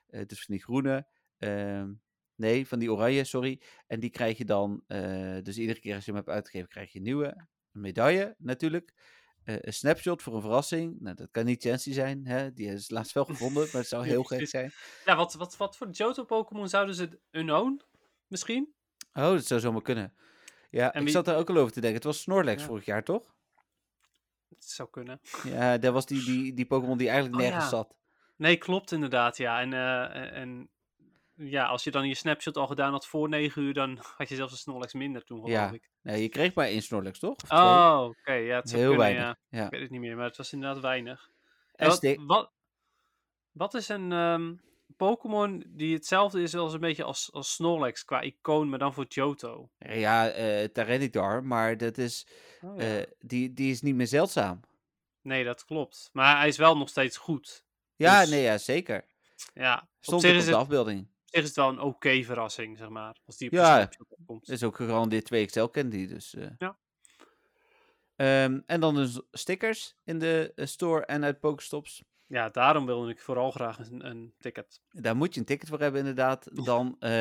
S3: eh, dus van die groene, ehm, nee, van die oranje, sorry, en die krijg je dan, eh, dus iedere keer als je hem hebt uitgegeven krijg je een nieuwe een medaille natuurlijk. eh, een snapshot voor een verrassing. Nou, dat kan niet Chancy zijn. Hè? Die is laatst wel gevonden, maar het zou
S4: Ja,
S3: heel gek
S4: precies.
S3: zijn.
S4: Ja, wat, wat, wat voor Johto-Pokémon zouden ze unknown? Misschien?
S3: Oh, dat zou zomaar kunnen. Ja,
S4: En
S3: ik
S4: wie-
S3: zat daar ook al over te denken. Het was Snorlax
S4: Ja.
S3: vorig jaar, toch?
S4: Het zou kunnen.
S3: Ja, dat was die, die, die Pokémon die eigenlijk
S4: Oh,
S3: nergens
S4: ja.
S3: zat.
S4: Nee, klopt inderdaad, ja. En, eh, en ja, als je dan je snapshot al gedaan had voor 9 uur, dan had je zelfs een Snorlax minder toen, geloof
S3: Ja,
S4: ik.
S3: Nee, je kreeg maar één Snorlax, toch? Of twee?
S4: Oh, oké. ja, het zou
S3: Heel
S4: kunnen,
S3: weinig.
S4: ja.
S3: Ja.
S4: Ik weet het niet meer, maar het was inderdaad weinig. En
S3: En
S4: wat,
S3: Stik-
S4: wat, wat is een ehm, Pokémon die hetzelfde is als een beetje als, als Snorlax qua icoon, maar dan voor Johto?
S3: Ja, eh Tyranitar, maar dat is,
S4: Oh, ja.
S3: eh, die, die is niet meer zeldzaam.
S4: nee, dat klopt. Maar hij is wel nog steeds goed.
S3: Ja,
S4: Dus-
S3: nee, ja, zeker.
S4: Ja,
S3: Stond
S4: zich
S3: ook op
S4: is
S3: de
S4: het-
S3: afbeelding.
S4: op zich is het wel een oké verrassing, zeg maar. Als die op
S3: Ja. Dus
S4: ja. snapshot komt.
S3: Dat is ook gegarandeerd 2 XL Candy, dus... eh.
S4: Ja.
S3: Ehm, en dan dus stickers in de eh, store en uit Pokestops.
S4: Ja, daarom wilde ik vooral graag een, een ticket.
S3: Daar moet je een ticket voor hebben, inderdaad. Dan eh,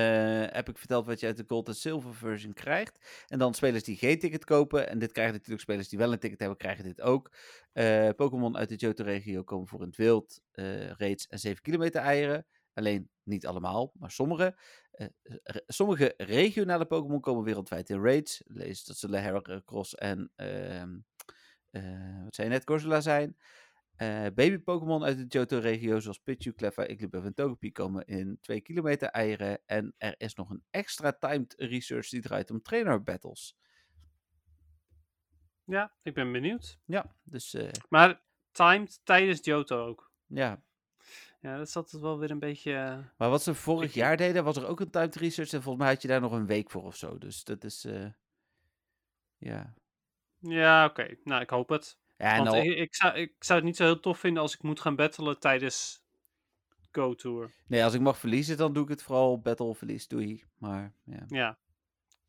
S3: heb ik verteld wat je uit de Gold en Silver version krijgt. En dan spelers die geen ticket kopen. En dit krijgen natuurlijk spelers die wel een ticket hebben, krijgen dit ook. Eh, Pokémon uit de Johto-regio komen voor in het wild. eh raids en 7 kilometer eieren. Alleen niet allemaal, maar sommige. Eh, re- sommige regionale Pokémon komen wereldwijd in raids. Lees dat zullen Heracross en... ehm, eh, wat zei je net, Corsola zijn. Eh, Baby-Pokémon uit de Johto-regio zoals Pichu, Cleffa, Igglybuff en Togepi komen in 2 kilometer eieren. En er is nog een extra timed research die draait om trainer battles.
S4: Ja, ik ben benieuwd.
S3: Ja, dus eh,
S4: Maar timed tijdens Johto ook.
S3: ja.
S4: Ja, dat zat het wel weer een beetje... eh,
S3: Maar wat ze vorig
S4: Ik-
S3: jaar deden, was er ook een timed research. En volgens mij had je daar nog een week voor of zo. Dus dat is, eh, ja.
S4: Ja, oké. Nou, ik hoop het.
S3: ja en
S4: Want
S3: al-
S4: ik, ik, zou, ik zou het niet zo heel tof vinden als ik moet gaan battelen tijdens Go Tour.
S3: Nee, als ik mag verliezen, dan doe ik het vooral op battle verlies, doei. Maar ja.
S4: Ja.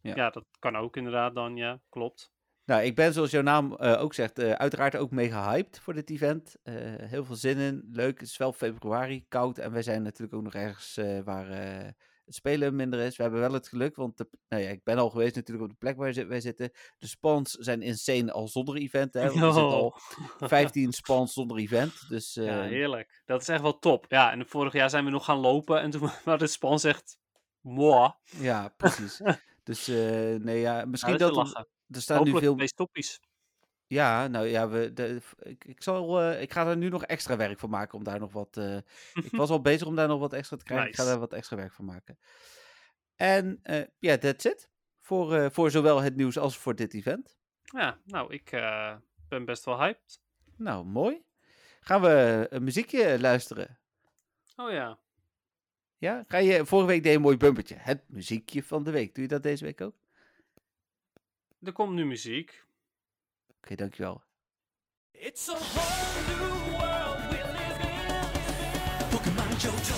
S3: Ja.
S4: ja. dat kan ook inderdaad dan, ja. Klopt.
S3: Nou, ik ben zoals jouw naam eh, ook zegt, eh, uiteraard ook mega hyped voor dit event. Eh, heel veel zin in, leuk. Het is wel februari, koud en wij zijn natuurlijk ook nog ergens eh, waar eh, het spelen minder is. We hebben wel het geluk, want de, nou ja, ik ben al geweest natuurlijk op de plek waar zi- wij zitten. De spawns zijn insane al zonder event. Hè, want Er zitten al
S4: Oh.
S3: 15 spawns zonder event, dus eh,
S4: Ja, heerlijk. Dat is echt wel top. Ja, en vorig jaar zijn we nog gaan lopen en toen waren de spans echt... Mwah.
S3: ja, precies. Dus eh, nee, ja, misschien
S4: Nou, dat
S3: dat... er-
S4: is te lachen.
S3: er staan nu
S4: Hopelijk
S3: veel
S4: de meest toppies.
S3: Ja, nou ja, we, de, v- ik, ik, zal, eh, ik ga er nu nog extra werk van maken om daar nog wat. eh, ik was al bezig om daar nog wat extra te krijgen. Ik ga
S4: Nice.
S3: daar wat extra werk van maken. En eh, ja, that's it. Voor, eh, voor zowel het nieuws als voor dit event.
S4: Ja, nou, ik eh, ben best wel hyped.
S3: Nou, mooi. Gaan we een muziekje luisteren?
S4: Oh ja.
S3: Ja, ga je, vorige week deed je een mooi bumpertje. Het muziekje van de week. Doe je dat deze week ook? Oké,
S4: Er komt nu muziek.
S3: dankjewel.
S1: It's a whole new world we live in. Pokemon Johto.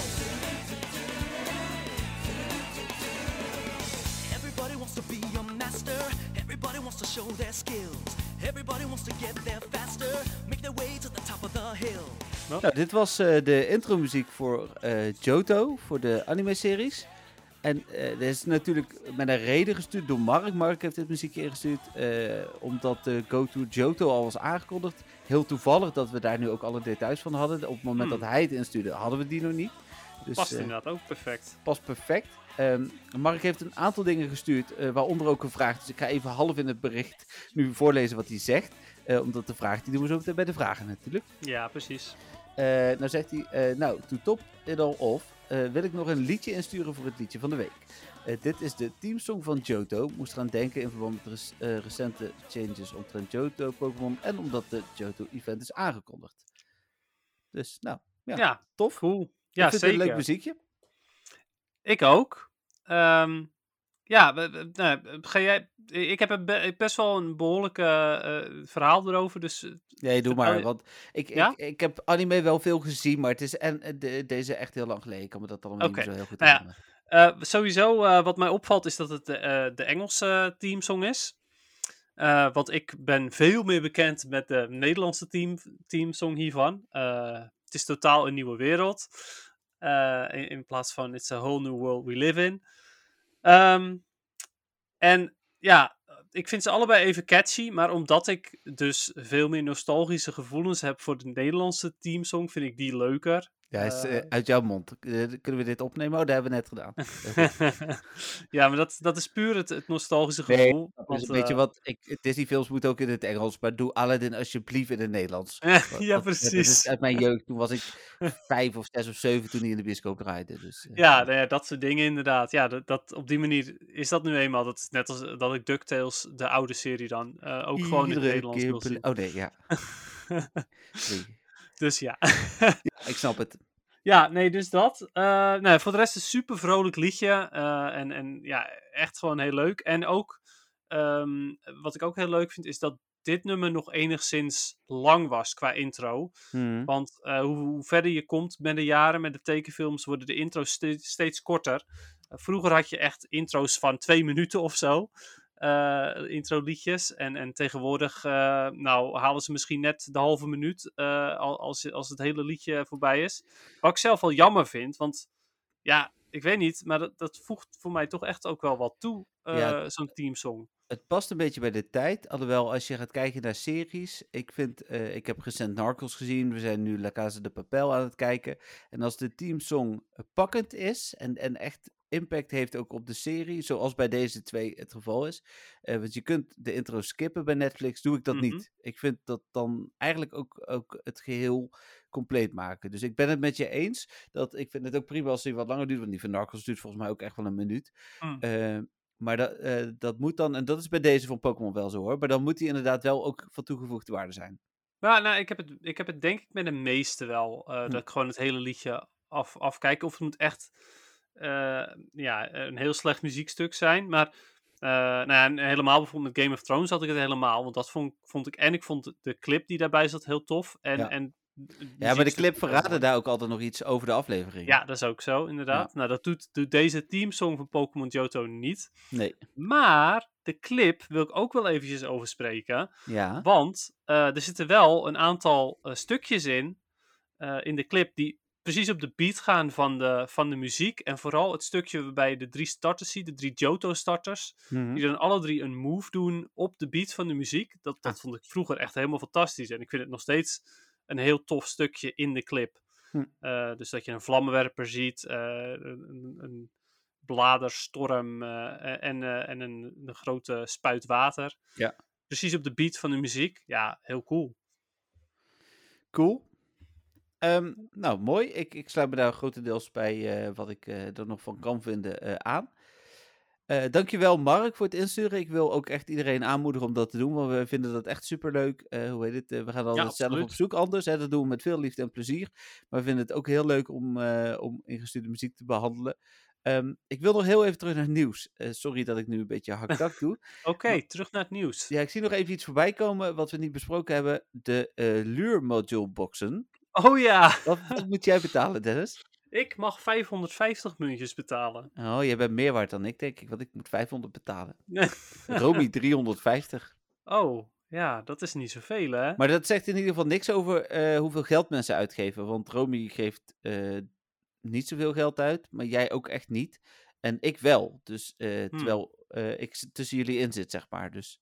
S1: Everybody wants to be a master. Everybody wants to show their skills. Everybody wants to get there faster. Make their way to the top of the hill.
S3: Nou, dit was eh, de intromuziek voor eh Johto, voor de anime-series. En eh dit is natuurlijk met een reden gestuurd door Mark. Mark heeft dit muziekje ingestuurd eh, omdat de Go To Johto al was aangekondigd. Heel toevallig dat we daar nu ook alle details van hadden. Op het moment
S4: Hmm.
S3: dat hij het instuurde, hadden we die nog niet. Dus,
S4: Past
S3: eh,
S4: inderdaad ook perfect.
S3: past perfect. Ehm, Mark heeft een aantal dingen gestuurd, eh, waaronder ook een vraag. Dus ik ga even half in het bericht nu voorlezen wat hij zegt. Eh, omdat de vraag, die doen we zo meteen bij de vragen natuurlijk.
S4: Ja, precies.
S3: Eh, nou zegt hij, eh, nou, to top it all off, eh, wil ik nog een liedje insturen voor het liedje van de week. Eh, dit is de teamsong van Johto. Moest eraan denken in verband met rec- eh, recente changes omtrent Johto Pokémon en omdat de Johto event is aangekondigd. Dus, nou, ja,
S4: Ja,
S3: tof.
S4: cool.
S3: Ik
S4: Ja,
S3: vind het
S4: zeker.
S3: een leuk muziekje.
S4: Ik ook. Ehm, ja, we- we- nou, ga jij, ik heb een be- best wel een behoorlijk eh, eh, verhaal erover. Dus eh,
S3: Nee, doe
S4: Vertel
S3: maar,
S4: je-
S3: want ik,
S4: Ja?
S3: ik, ik heb anime wel veel gezien, maar het is en, eh, de- deze echt heel lang geleden. Ik kan me dat allemaal
S4: Oké,
S3: niet meer zo heel goed
S4: nou ja.
S3: herinneren.
S4: eh, sowieso eh, wat mij opvalt is dat het de, eh, de Engelse teamsong is. Eh, want ik ben veel meer bekend met de Nederlandse team, teamsong hiervan. Eh, het is totaal een nieuwe wereld. Eh, in, in plaats van It's a whole new world we live in. Ehm, en ja, ik vind ze allebei even catchy. Maar omdat ik dus veel meer nostalgische gevoelens heb voor de Nederlandse teamsong, vind ik die leuker.
S3: Ja, is, eh,
S4: eh,
S3: uit jouw mond. Eh, Kunnen we dit opnemen? Oh, dat hebben we net gedaan. Heel goed.
S4: ja, maar dat, dat is puur het, het nostalgische
S3: Nee,
S4: gevoel.
S3: Dus
S4: want,
S3: een beetje
S4: eh,
S3: wat ik, Disney-films moeten ook in het Engels, maar doe Aladdin alsjeblieft in het Nederlands. Want
S4: ja,
S3: dat- Dat is
S4: precies.
S3: uit mijn jeugd. Toen was ik vijf of zes of zeven toen hij in de bioscoop draaide. Dus, eh,
S4: Ja, nou ja, dat soort dingen inderdaad. Ja, dat, dat, op die manier is dat nu eenmaal. Dat is net als eh, dat ik DuckTales, de oude serie dan, eh, ook gewoon in het
S3: iedere
S4: Nederlands
S3: keer
S4: wil
S3: bel-
S4: zien.
S3: Oh nee, ja. sorry.
S4: dus ja.
S3: Ik snap het.
S4: ja, nee, dus dat. Eh, nou, ja, voor de rest een super vrolijk liedje. eh, en, en ja, echt gewoon heel leuk. En ook, ehm, wat ik ook heel leuk vind, is dat dit nummer nog enigszins lang was qua intro.
S3: Hmm.
S4: Want eh, hoe, hoe verder je komt met de jaren, met de tekenfilms, worden de intro's ste- steeds korter. Eh, vroeger had je echt intro's van twee minuten of zo. eh intro liedjes. En, en tegenwoordig eh, nou, halen ze misschien net de halve minuut eh, al- als, als het hele liedje voorbij is. Wat ik zelf wel jammer vind, want ja, ik weet niet, maar dat, dat voegt voor mij toch echt ook wel wat toe, eh,
S3: Ja.
S4: zo'n teamsong.
S3: Het past een beetje bij de tijd. Alhoewel, als je gaat kijken naar series. Ik vind, eh, ik heb recent Narcos gezien. We zijn nu La Casa de Papel aan het kijken. En als de teamsong eh, pakkend is en, en echt impact heeft ook op de serie, zoals bij deze twee het geval is. Eh, want je kunt de intro skippen bij Netflix, doe ik dat
S4: Mhm.
S3: niet. Ik vind dat dan eigenlijk ook, ook het geheel compleet maken. Dus ik ben het met je eens, dat ik vind het ook prima als die wat langer duurt, want die van Narcos duurt volgens mij ook echt wel een minuut.
S4: Mm.
S3: Eh, maar dat, eh, dat moet dan, en dat is bij deze van Pokémon wel zo hoor, maar dan moet die inderdaad wel ook van toegevoegde waarde zijn.
S4: Nou, nou ik, heb het, ik heb het denk ik met de meeste wel. eh,
S3: Hm.
S4: Dat ik gewoon het hele liedje af, afkijk. Of het moet echt eh, ja, een heel slecht muziekstuk zijn. Maar eh, nou ja, en helemaal bijvoorbeeld met Game of Thrones had ik het helemaal. Want dat vond, vond ik. En ik vond de clip die daarbij zat heel tof. En,
S3: Ja.
S4: en
S3: Ja, maar de clip
S4: verraden
S3: verraadde daar ook altijd nog iets over de aflevering.
S4: Ja, dat is ook zo, inderdaad. Nou, dat doet, doet deze teamsong van Pokémon Johto niet.
S3: Nee.
S4: Maar de clip wil ik ook wel eventjes over spreken.
S3: Ja.
S4: Want eh, er zitten wel een aantal eh, stukjes in, eh, in de clip, die precies op de beat gaan van de, van de muziek. En vooral het stukje waarbij je de drie starters ziet, de drie Johto-starters, die
S3: Mhm.
S4: dan alle drie een move doen op de beat van de muziek. Dat, dat
S3: Ah.
S4: vond ik vroeger echt helemaal fantastisch. En ik vind het nog steeds een heel tof stukje in de clip.
S3: Hm.
S4: Eh, dus dat je een vlammenwerper ziet, eh, een, een- een bladerstorm eh, en, eh, en een, een grote spuit water precies op de beat van de muziek. Ja, heel cool.
S3: Cool. Ehm, nou, mooi. Ik, ik sluit me daar grotendeels bij eh, wat ik eh, er nog van kan vinden eh, aan. Eh dankjewel Mark voor het insturen. Ik wil ook echt iedereen aanmoedigen om dat te doen, want we vinden dat echt superleuk. Eh hoe heet het? Eh, we gaan altijd zelf op
S4: absoluut.
S3: zoek anders. Hè? Dat doen we met veel liefde en plezier. Maar we vinden het ook heel leuk om, eh, om ingestuurde muziek te behandelen. Ehm, ik wil nog heel even terug naar het nieuws. Eh, sorry dat ik nu een beetje hakdak doe.
S4: Oké, terug naar het nieuws.
S3: Ja, ik zie nog even iets voorbij komen wat we niet besproken hebben. De eh Lure Module Boxen.
S4: Oh ja,
S3: Wat, wat moet jij betalen, Dennis?
S4: ik mag 550 muntjes betalen.
S3: Oh, jij bent meer waard dan ik, denk ik. Want ik moet 500 betalen.
S4: Nee.
S3: Romy 350.
S4: Oh, ja, dat is niet zoveel hè?
S3: Maar dat zegt in ieder geval niks over eh, hoeveel geld mensen uitgeven. Want Romy geeft eh, niet zoveel geld uit. Maar jij ook echt niet. En ik wel. Dus eh, terwijl eh, ik z- tussen jullie in zit, zeg maar. Dus.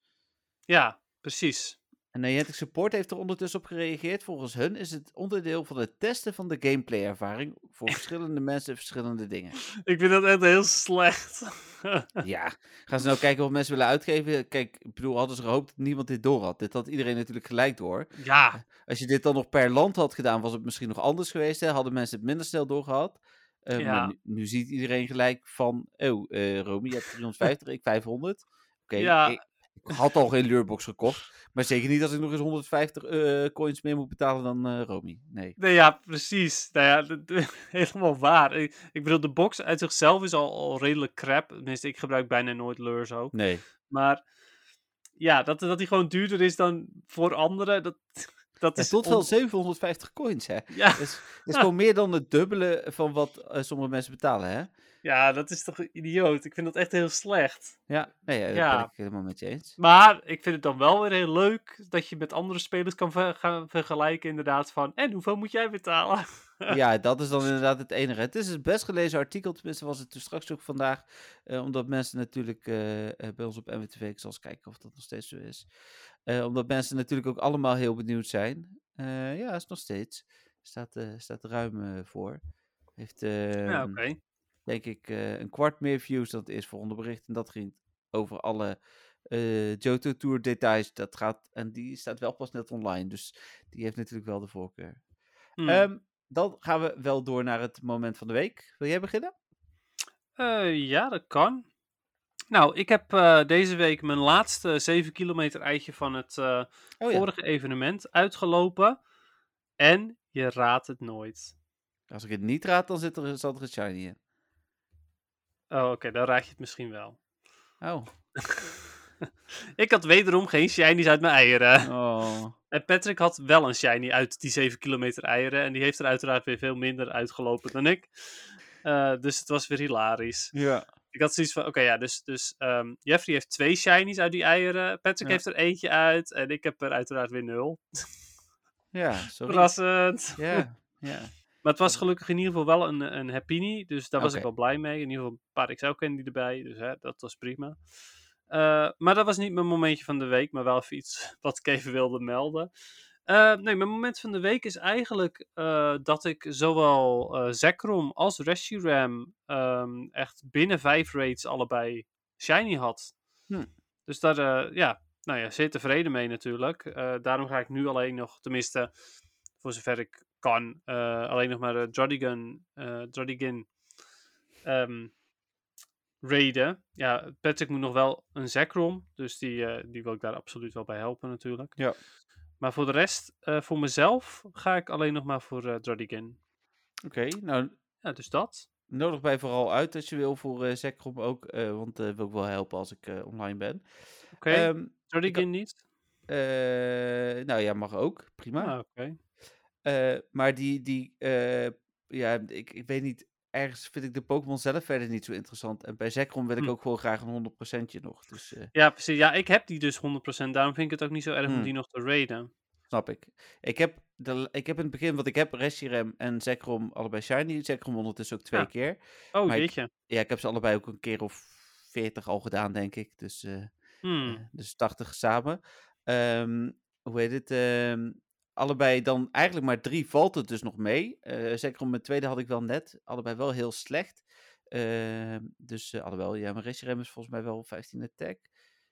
S4: Ja, precies.
S3: En Niantic Support heeft er ondertussen op gereageerd. Volgens hun is het onderdeel van het testen van de gameplay-ervaring. Voor verschillende mensen verschillende dingen.
S4: Ik vind dat echt heel slecht.
S3: Ja, gaan ze nou kijken wat mensen willen uitgeven? Kijk, ik bedoel, hadden ze gehoopt dat niemand dit door had. Dit had iedereen natuurlijk gelijk door.
S4: ja,
S3: Als je dit dan nog per land had gedaan, was het misschien nog anders geweest. Hè? Hadden mensen het minder snel doorgehad. Eh,
S4: Ja.
S3: Maar nu, nu ziet iedereen gelijk van, oh, eh Romy, je hebt 350, ik 500. Oké,
S4: Ja.
S3: ik, ik had al geen lurebox gekocht. Maar zeker niet als ik nog eens 150 eh, coins meer moet betalen dan eh Romy. Nee.
S4: nee, ja, precies. Nou ja, dat- dat- helemaal waar. Ik, ik bedoel, de box uit zichzelf is al, al redelijk crap. Tenminste, ik gebruik bijna nooit lures ook.
S3: Nee.
S4: Maar ja, dat, dat die gewoon duurder is dan voor anderen, dat, dat
S3: Het
S4: is...
S3: stond
S4: on-
S3: wel 750 coins, hè?
S4: Ja.
S3: Dat is, dat is gewoon meer dan het dubbele van wat eh, sommige mensen betalen, hè?
S4: Ja, dat is toch idioot. Ik vind dat echt heel slecht.
S3: Ja, nee, ja, dat ben
S4: Ja.
S3: ik helemaal met je eens.
S4: Maar ik vind het dan wel weer heel leuk dat je met andere spelers kan ver- gaan vergelijken inderdaad van... En hoeveel moet jij betalen?
S3: Ja, dat is dan inderdaad het enige. Het is het best gelezen artikel, tenminste was het toen straks ook vandaag. eh, omdat mensen natuurlijk eh, eh, bij ons op MWTV, ik zal eens kijken of dat nog steeds zo is. Eh, omdat mensen natuurlijk ook allemaal heel benieuwd zijn. Eh, ja, is nog steeds. Staat, eh, staat ruim eh, voor. Heeft,
S4: ja,
S3: ehm,
S4: oké.
S3: denk ik, eh, een kwart meer views dan het eerstvolgende bericht. En dat ging over alle eh Johto Tour details. Dat gaat, en die staat wel pas net online. Dus die heeft natuurlijk wel de voorkeur.
S4: Hmm.
S3: Ehm, dan gaan we wel door naar het moment van de week. Wil jij beginnen?
S4: Eh, ja, dat kan. Nou, ik heb eh, deze week mijn laatste 7 kilometer eitje van het eh,
S3: Oh
S4: vorige evenement uitgelopen. En je raadt het nooit.
S3: Als ik het niet raad, dan zit er, zat er een shiny in.
S4: Oh, oké, dan raad je het misschien wel.
S3: Oh.
S4: Ik had wederom geen shinies uit mijn eieren.
S3: oh.
S4: En Patrick had wel een shiny uit die 7 kilometer eieren. En die heeft er uiteraard weer veel minder uitgelopen dan ik. Eh, dus het was weer hilarisch.
S3: Ja.
S4: Ik had zoiets van: oké, ja, dus, dus ehm, Jeffrey heeft twee shinies uit die eieren. Patrick
S3: Ja.
S4: heeft er eentje uit. En ik heb er uiteraard weer nul.
S3: Ja, sorry.
S4: Verrassend.
S3: Ja, ja.
S4: Maar het was gelukkig in ieder geval wel een, een happini. Dus daar was
S3: Oké.
S4: ik wel blij mee. In ieder geval een paar XL candy erbij. Dus hè, dat was prima. Eh, maar dat was niet mijn momentje van de week. Maar wel even iets wat ik even wilde melden. Eh, nee, mijn moment van de week is eigenlijk eh, dat ik zowel eh Zekrom als Reshiram ehm, echt binnen vijf raids allebei shiny had.
S3: Hm.
S4: Dus daar, eh, ja, nou ja, zeer tevreden mee natuurlijk. Eh, daarom ga ik nu alleen nog, tenminste, voor zover ik kan, eh, alleen nog maar eh Drodigan, eh, Drodigan ehm, raiden. Ja, Patrick moet nog wel een Zekrom, dus die, eh, die wil ik daar absoluut wel bij helpen natuurlijk.
S3: Ja.
S4: Maar voor de rest, eh, voor mezelf, ga ik alleen nog maar voor eh Drodigan.
S3: Oké, nou
S4: Ja, dus dat.
S3: nodig mij vooral uit als je wil voor eh Zekrom ook, eh, want eh wil ik wel helpen als ik eh, online ben.
S4: Oké,
S3: Ehm,
S4: Drodigan niet?
S3: eh, nou ja, mag ook, prima.
S4: Ah, oké.
S3: Eh, maar die, die eh, ja, ik, ik weet niet, ergens vind ik de Pokémon zelf verder niet zo interessant. En bij Zekrom wil ik
S4: Hm.
S3: ook gewoon graag een 100%je nog, dus eh,
S4: Ja, precies. Ja, ik heb die dus 100%. Daarom vind ik het ook niet zo erg om
S3: Hmm.
S4: die nog te raiden.
S3: snap ik. Ik heb, de, l- ik heb in het begin, wat ik heb, Reshiram en Zekrom allebei shiny. Zekrom ondertussen ook twee
S4: Ja.
S3: keer.
S4: Oh,
S3: Maar ik-
S4: jeetje.
S3: Ja, ik heb ze allebei ook een keer of 40 al gedaan, denk ik. Dus, eh,
S4: Hmm.
S3: eh, dus 80 samen. Ehm, hoe heet het? ehm, allebei dan eigenlijk maar drie valt het dus nog mee. Eh zeker om mijn tweede had ik wel net. Allebei wel heel slecht. Ehm, dus eh, alhoewel, ja, mijn Reshiram is volgens mij wel 15 attack.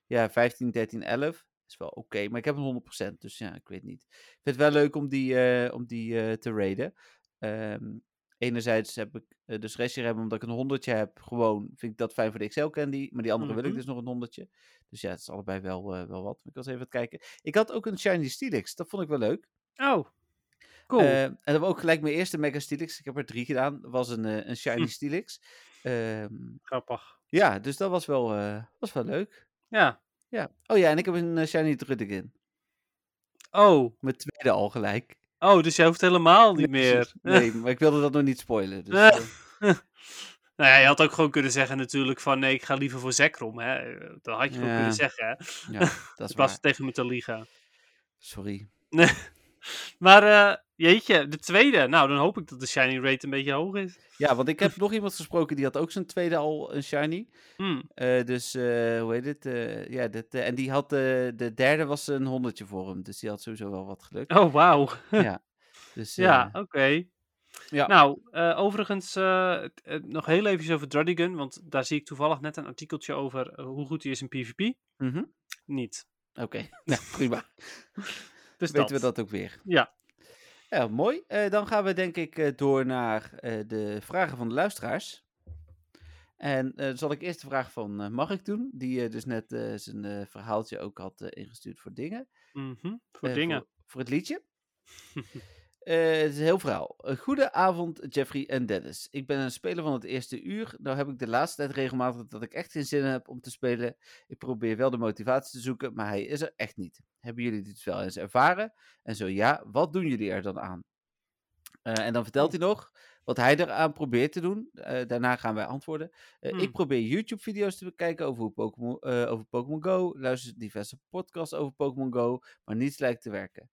S3: Ja, 15, 13, 11. Is wel oké, maar ik heb een 100%, dus ja, ik weet niet. Ik vind het wel leuk om die, eh, om die eh, te raiden. Ehm, enerzijds heb ik eh, dus Reshiram, omdat ik een 100 heb, gewoon vind ik dat fijn voor de XL Candy. Maar die andere wil
S4: Mhm.
S3: ik dus nog een 100. Dus ja, het is allebei wel, eh, wel wat. Ik was even aan het kijken. Ik had ook een Shiny Steelix, dat vond ik wel leuk.
S4: Oh, cool.
S3: Eh, en dat was ook gelijk mijn eerste Mega Steelix. Ik heb er drie gedaan. Dat was een, eh, een Shiny
S4: Hm.
S3: Steelix. Ehm,
S4: Grappig.
S3: ja, dus dat was wel, eh, was wel leuk.
S4: Ja.
S3: Ja. Oh ja, en ik heb een eh, Shiny Drudigan.
S4: Oh.
S3: Mijn tweede al gelijk.
S4: oh, dus jij hoeft helemaal niet
S3: Nee,
S4: meer.
S3: Nee, maar ik wilde dat nog niet spoilen. Dus,
S4: Eh.
S3: eh,
S4: nou ja, je had ook gewoon kunnen zeggen natuurlijk van nee, ik ga liever voor Zekrom. Hè. Dat had je gewoon
S3: Ja,
S4: kunnen zeggen. Hè.
S3: ja, dat
S4: In
S3: is
S4: plaats
S3: waar.
S4: van tegen me te liegen.
S3: Sorry.
S4: Maar eh, jeetje, de tweede. Nou, dan hoop ik dat de shiny rate een beetje hoog is.
S3: Ja, want ik heb nog iemand gesproken die had ook zijn tweede al een Shiny.
S4: Hmm.
S3: Eh, dus eh, hoe heet het? eh, ja, dat, eh, en die had eh, de derde was een honderdje voor hem. Dus die had sowieso wel wat geluk.
S4: Oh, wauw.
S3: Dus,
S4: Ja,
S3: eh,
S4: oké.
S3: Ja.
S4: Nou, eh, overigens eh, t- eh, nog heel even over Drodigan, want daar zie ik toevallig net een artikeltje over eh, hoe goed hij is in PvP.
S3: mhm.
S4: Niet.
S3: Oké, nou prima.
S4: Dus
S3: Weten we
S4: dat.
S3: dat ook weer.
S4: Ja.
S3: Ja, mooi. Eh, dan gaan we denk ik eh, door naar eh, de vragen van de luisteraars. En eh, zal ik eerst de vraag van eh, Mark doen, die eh, dus net eh, zijn eh, verhaaltje ook had eh, ingestuurd voor dingen.
S4: Mhm, Voor
S3: Eh,
S4: dingen.
S3: Voor, voor het liedje. Eh, het is een heel verhaal. Eh, Goedenavond, Jeffrey en Dennis. Ik ben een speler van het eerste uur. Nou heb ik de laatste tijd regelmatig dat ik echt geen zin heb om te spelen. Ik probeer wel de motivatie te zoeken, maar hij is er echt niet. Hebben jullie dit wel eens ervaren? En zo ja, wat doen jullie er dan aan? Eh, en dan vertelt hij nog wat hij eraan probeert te doen. Eh, daarna gaan wij antwoorden. Eh,
S4: Hmm.
S3: Ik probeer YouTube-video's te bekijken over, hoe Pokémon, eh, over Pokémon Go. Luister diverse podcasts over Pokémon Go. Maar niets lijkt te werken.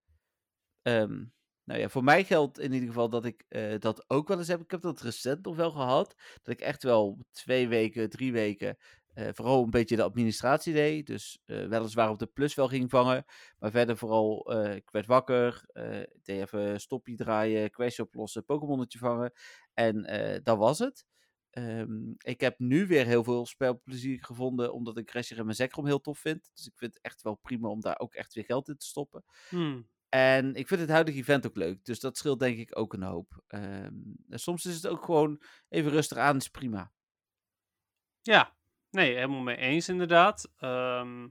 S3: Ehm, nou ja, voor mij geldt in ieder geval dat ik eh, dat ook wel eens heb. Ik heb dat recent nog wel gehad. Dat ik echt wel twee weken, drie weken. eh, vooral een beetje de administratie deed. Dus eh, weliswaar op de plus wel ging vangen. Maar verder vooral, eh, ik werd wakker. eh, ik deed even stoppie draaien, questje oplossen, Pokémonnetje vangen. En eh, dat was het. Ehm, ik heb nu weer heel veel spelplezier gevonden, omdat ik Crasher en mijn Zekrom heel tof vind. Dus ik vind het echt wel prima om daar ook echt weer geld in te stoppen.
S4: Hmm.
S3: En ik vind het huidige event ook leuk. Dus dat scheelt denk ik ook een hoop. Ehm, en soms is het ook gewoon even rustig aan, is prima.
S4: Ja, nee, helemaal mee eens inderdaad. Ehm,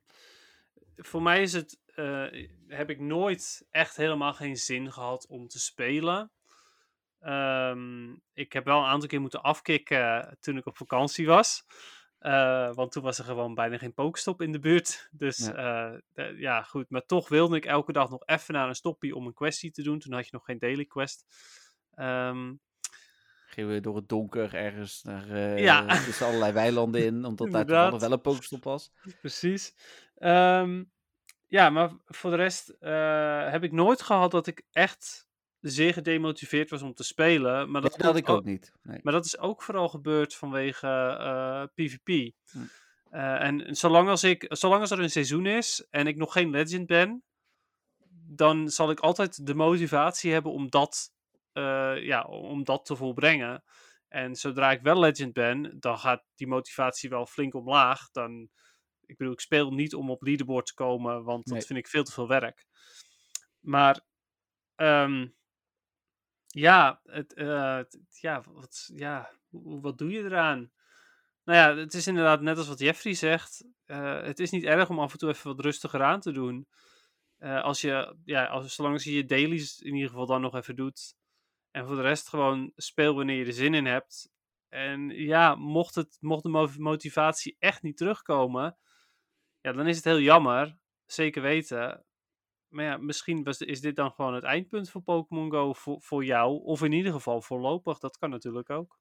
S4: voor mij is het, eh, heb ik nooit echt helemaal geen zin gehad om te spelen. Ehm, ik heb wel een aantal keer moeten afkicken eh, toen ik op vakantie was. Eh, want toen was er gewoon bijna geen pokestop in de buurt. Dus
S3: Ja.
S4: ja. ja, goed. Maar toch wilde ik elke dag nog even naar een stoppie om een questie te doen. Toen had je nog geen daily quest. Ehm,
S3: Gingen we door het donker ergens naar eh,
S4: Ja.
S3: tussen allerlei weilanden in, omdat daar
S4: Inderdaad.
S3: toevallig wel een pokestop was.
S4: Precies. Ehm, ja, maar voor de rest eh, heb ik nooit gehad dat ik echt zeer gedemotiveerd was om te spelen. Maar
S3: Dat,
S4: dat,
S3: dat had
S4: komt
S3: ik ook niet. Nee.
S4: maar dat is ook vooral gebeurd vanwege eh, PvP.
S3: Hm.
S4: Eh, en zolang als, ik, zolang als er een seizoen is en ik nog geen legend ben, dan zal ik altijd de motivatie hebben om dat, eh, ja, om dat te volbrengen. En zodra ik wel legend ben, dan gaat die motivatie wel flink omlaag. Dan, ik bedoel, ik speel niet om op leaderboard te komen, want dat
S3: Nee.
S4: vind ik veel te veel werk. Maar ehm, ja, het, eh, het- ja, wat, ja hoe- wat doe je eraan? Nou ja, het is inderdaad net als wat Jeffrey zegt. eh, het is niet erg om af en toe even wat rustiger aan te doen. Eh, als je, ja, als, zolang als je je dailies in ieder geval dan nog even doet. En voor de rest gewoon speel wanneer je er zin in hebt. En ja, mocht, het, mocht de mo- motivatie echt niet terugkomen, ja, dan is het heel jammer. Zeker weten. Maar ja, misschien was, is dit dan gewoon het eindpunt voor Pokémon Go voor, voor jou. Of in ieder geval voorlopig. Dat kan natuurlijk ook.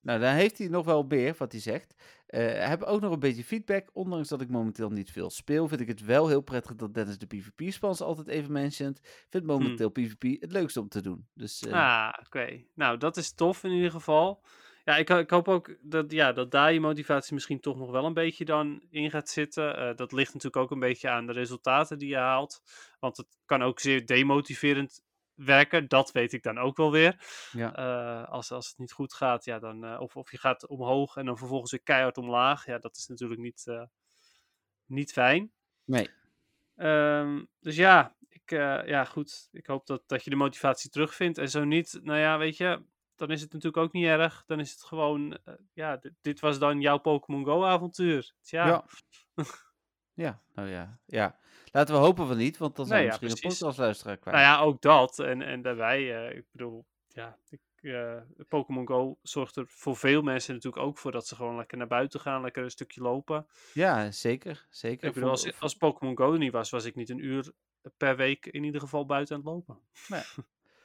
S3: Nou, dan heeft hij nog wel meer wat hij zegt. Eh heb ook nog een beetje feedback. Ondanks dat ik momenteel niet veel speel, vind ik het wel heel prettig dat Dennis de PvP-spans altijd even mentioned. Vind momenteel PvP het leukste om te doen. Dus eh,
S4: Hmm. Ah, oké. Nou, dat is tof in ieder geval. Ja, ik, ho- ik hoop ook dat, ja, dat daar je motivatie misschien toch nog wel een beetje dan in gaat zitten. Eh, dat ligt natuurlijk ook een beetje aan de resultaten die je haalt. Want het kan ook zeer demotiverend werken. Dat weet ik dan ook wel weer.
S3: Ja.
S4: Eh, als, als het niet goed gaat, ja, dan, eh, of, of je gaat omhoog en dan vervolgens weer keihard omlaag. Ja, dat is natuurlijk niet, eh, niet fijn.
S3: nee.
S4: Ehm, dus ja, ik, eh, ja, goed. Ik hoop dat, dat je de motivatie terugvindt. En zo niet, nou ja, weet je, dan is het natuurlijk ook niet erg. Dan is het gewoon, eh, ja, dit, dit was dan jouw Pokémon Dus Go-avontuur. Tja,
S3: Ja. Ja, nou ja. ja. Laten we hopen van niet, want dan zijn
S4: Nee,
S3: we
S4: ja,
S3: misschien een
S4: precies.
S3: podcastluisteraar kwijt.
S4: nou ja, ook dat. En, en daarbij, eh, ik bedoel, ja, ik, eh, Pokémon Go zorgt er voor veel mensen natuurlijk ook voor dat ze gewoon lekker naar buiten gaan, lekker een stukje lopen.
S3: ja. zeker. zeker.
S4: Ik bedoel,
S3: Voor-
S4: als, als Pokémon Go er niet was, was ik niet een uur per week in ieder geval buiten aan het lopen.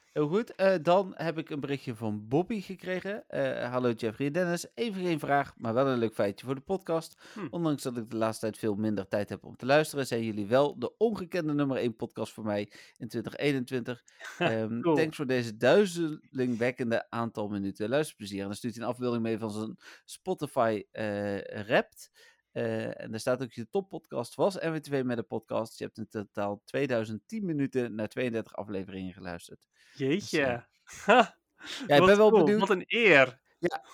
S3: Heel goed, eh, dan heb ik een berichtje van Bobby gekregen. Eh, hallo Jeffrey en Dennis, even geen vraag, maar wel een leuk feitje voor de podcast.
S4: Hm.
S3: Ondanks dat ik de laatste tijd veel minder tijd heb om te luisteren, zijn jullie wel de ongekende nummer 1 podcast voor mij in 2021. Ehm,
S4: cool.
S3: Thanks voor deze duizelingwekkende aantal minuten luisterplezier. En dan stuurt hij een afbeelding mee van zijn Spotify eh Wrapped. Eh, en daar staat ook je toppodcast was NW2 met de podcast. Je hebt in totaal 2010 minuten naar 32 afleveringen geluisterd.
S4: Jeetje.
S3: Ja, ik
S4: Dus, eh, Wat
S3: ben wel
S4: cool,
S3: benieuwd.
S4: Wat een eer.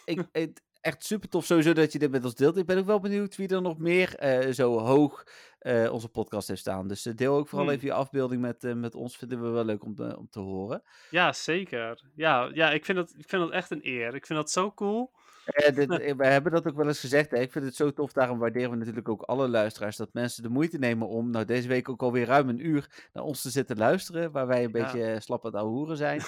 S3: Ik, het- echt super tof sowieso dat je dit met ons deelt. Ik ben ook wel benieuwd wie er nog meer eh, zo hoog eh, onze podcast heeft staan. Dus eh, deel ook vooral
S4: Hmm.
S3: even je afbeelding met, eh, met ons. Vinden we wel leuk om, te- om te horen.
S4: Ja, zeker. Ja, ja ik, vind dat, ik vind dat echt een eer. Ik vind dat zo cool.
S3: Eh, dit- eh, we hebben dat ook wel eens gezegd. Hè? Ik vind het zo tof. Daarom waarderen we natuurlijk ook alle luisteraars. Dat mensen de moeite nemen om nou, deze week ook alweer ruim een uur naar ons te zitten luisteren. Waar wij een
S4: Ja.
S3: beetje eh, slap aan het ouwehoeren zijn.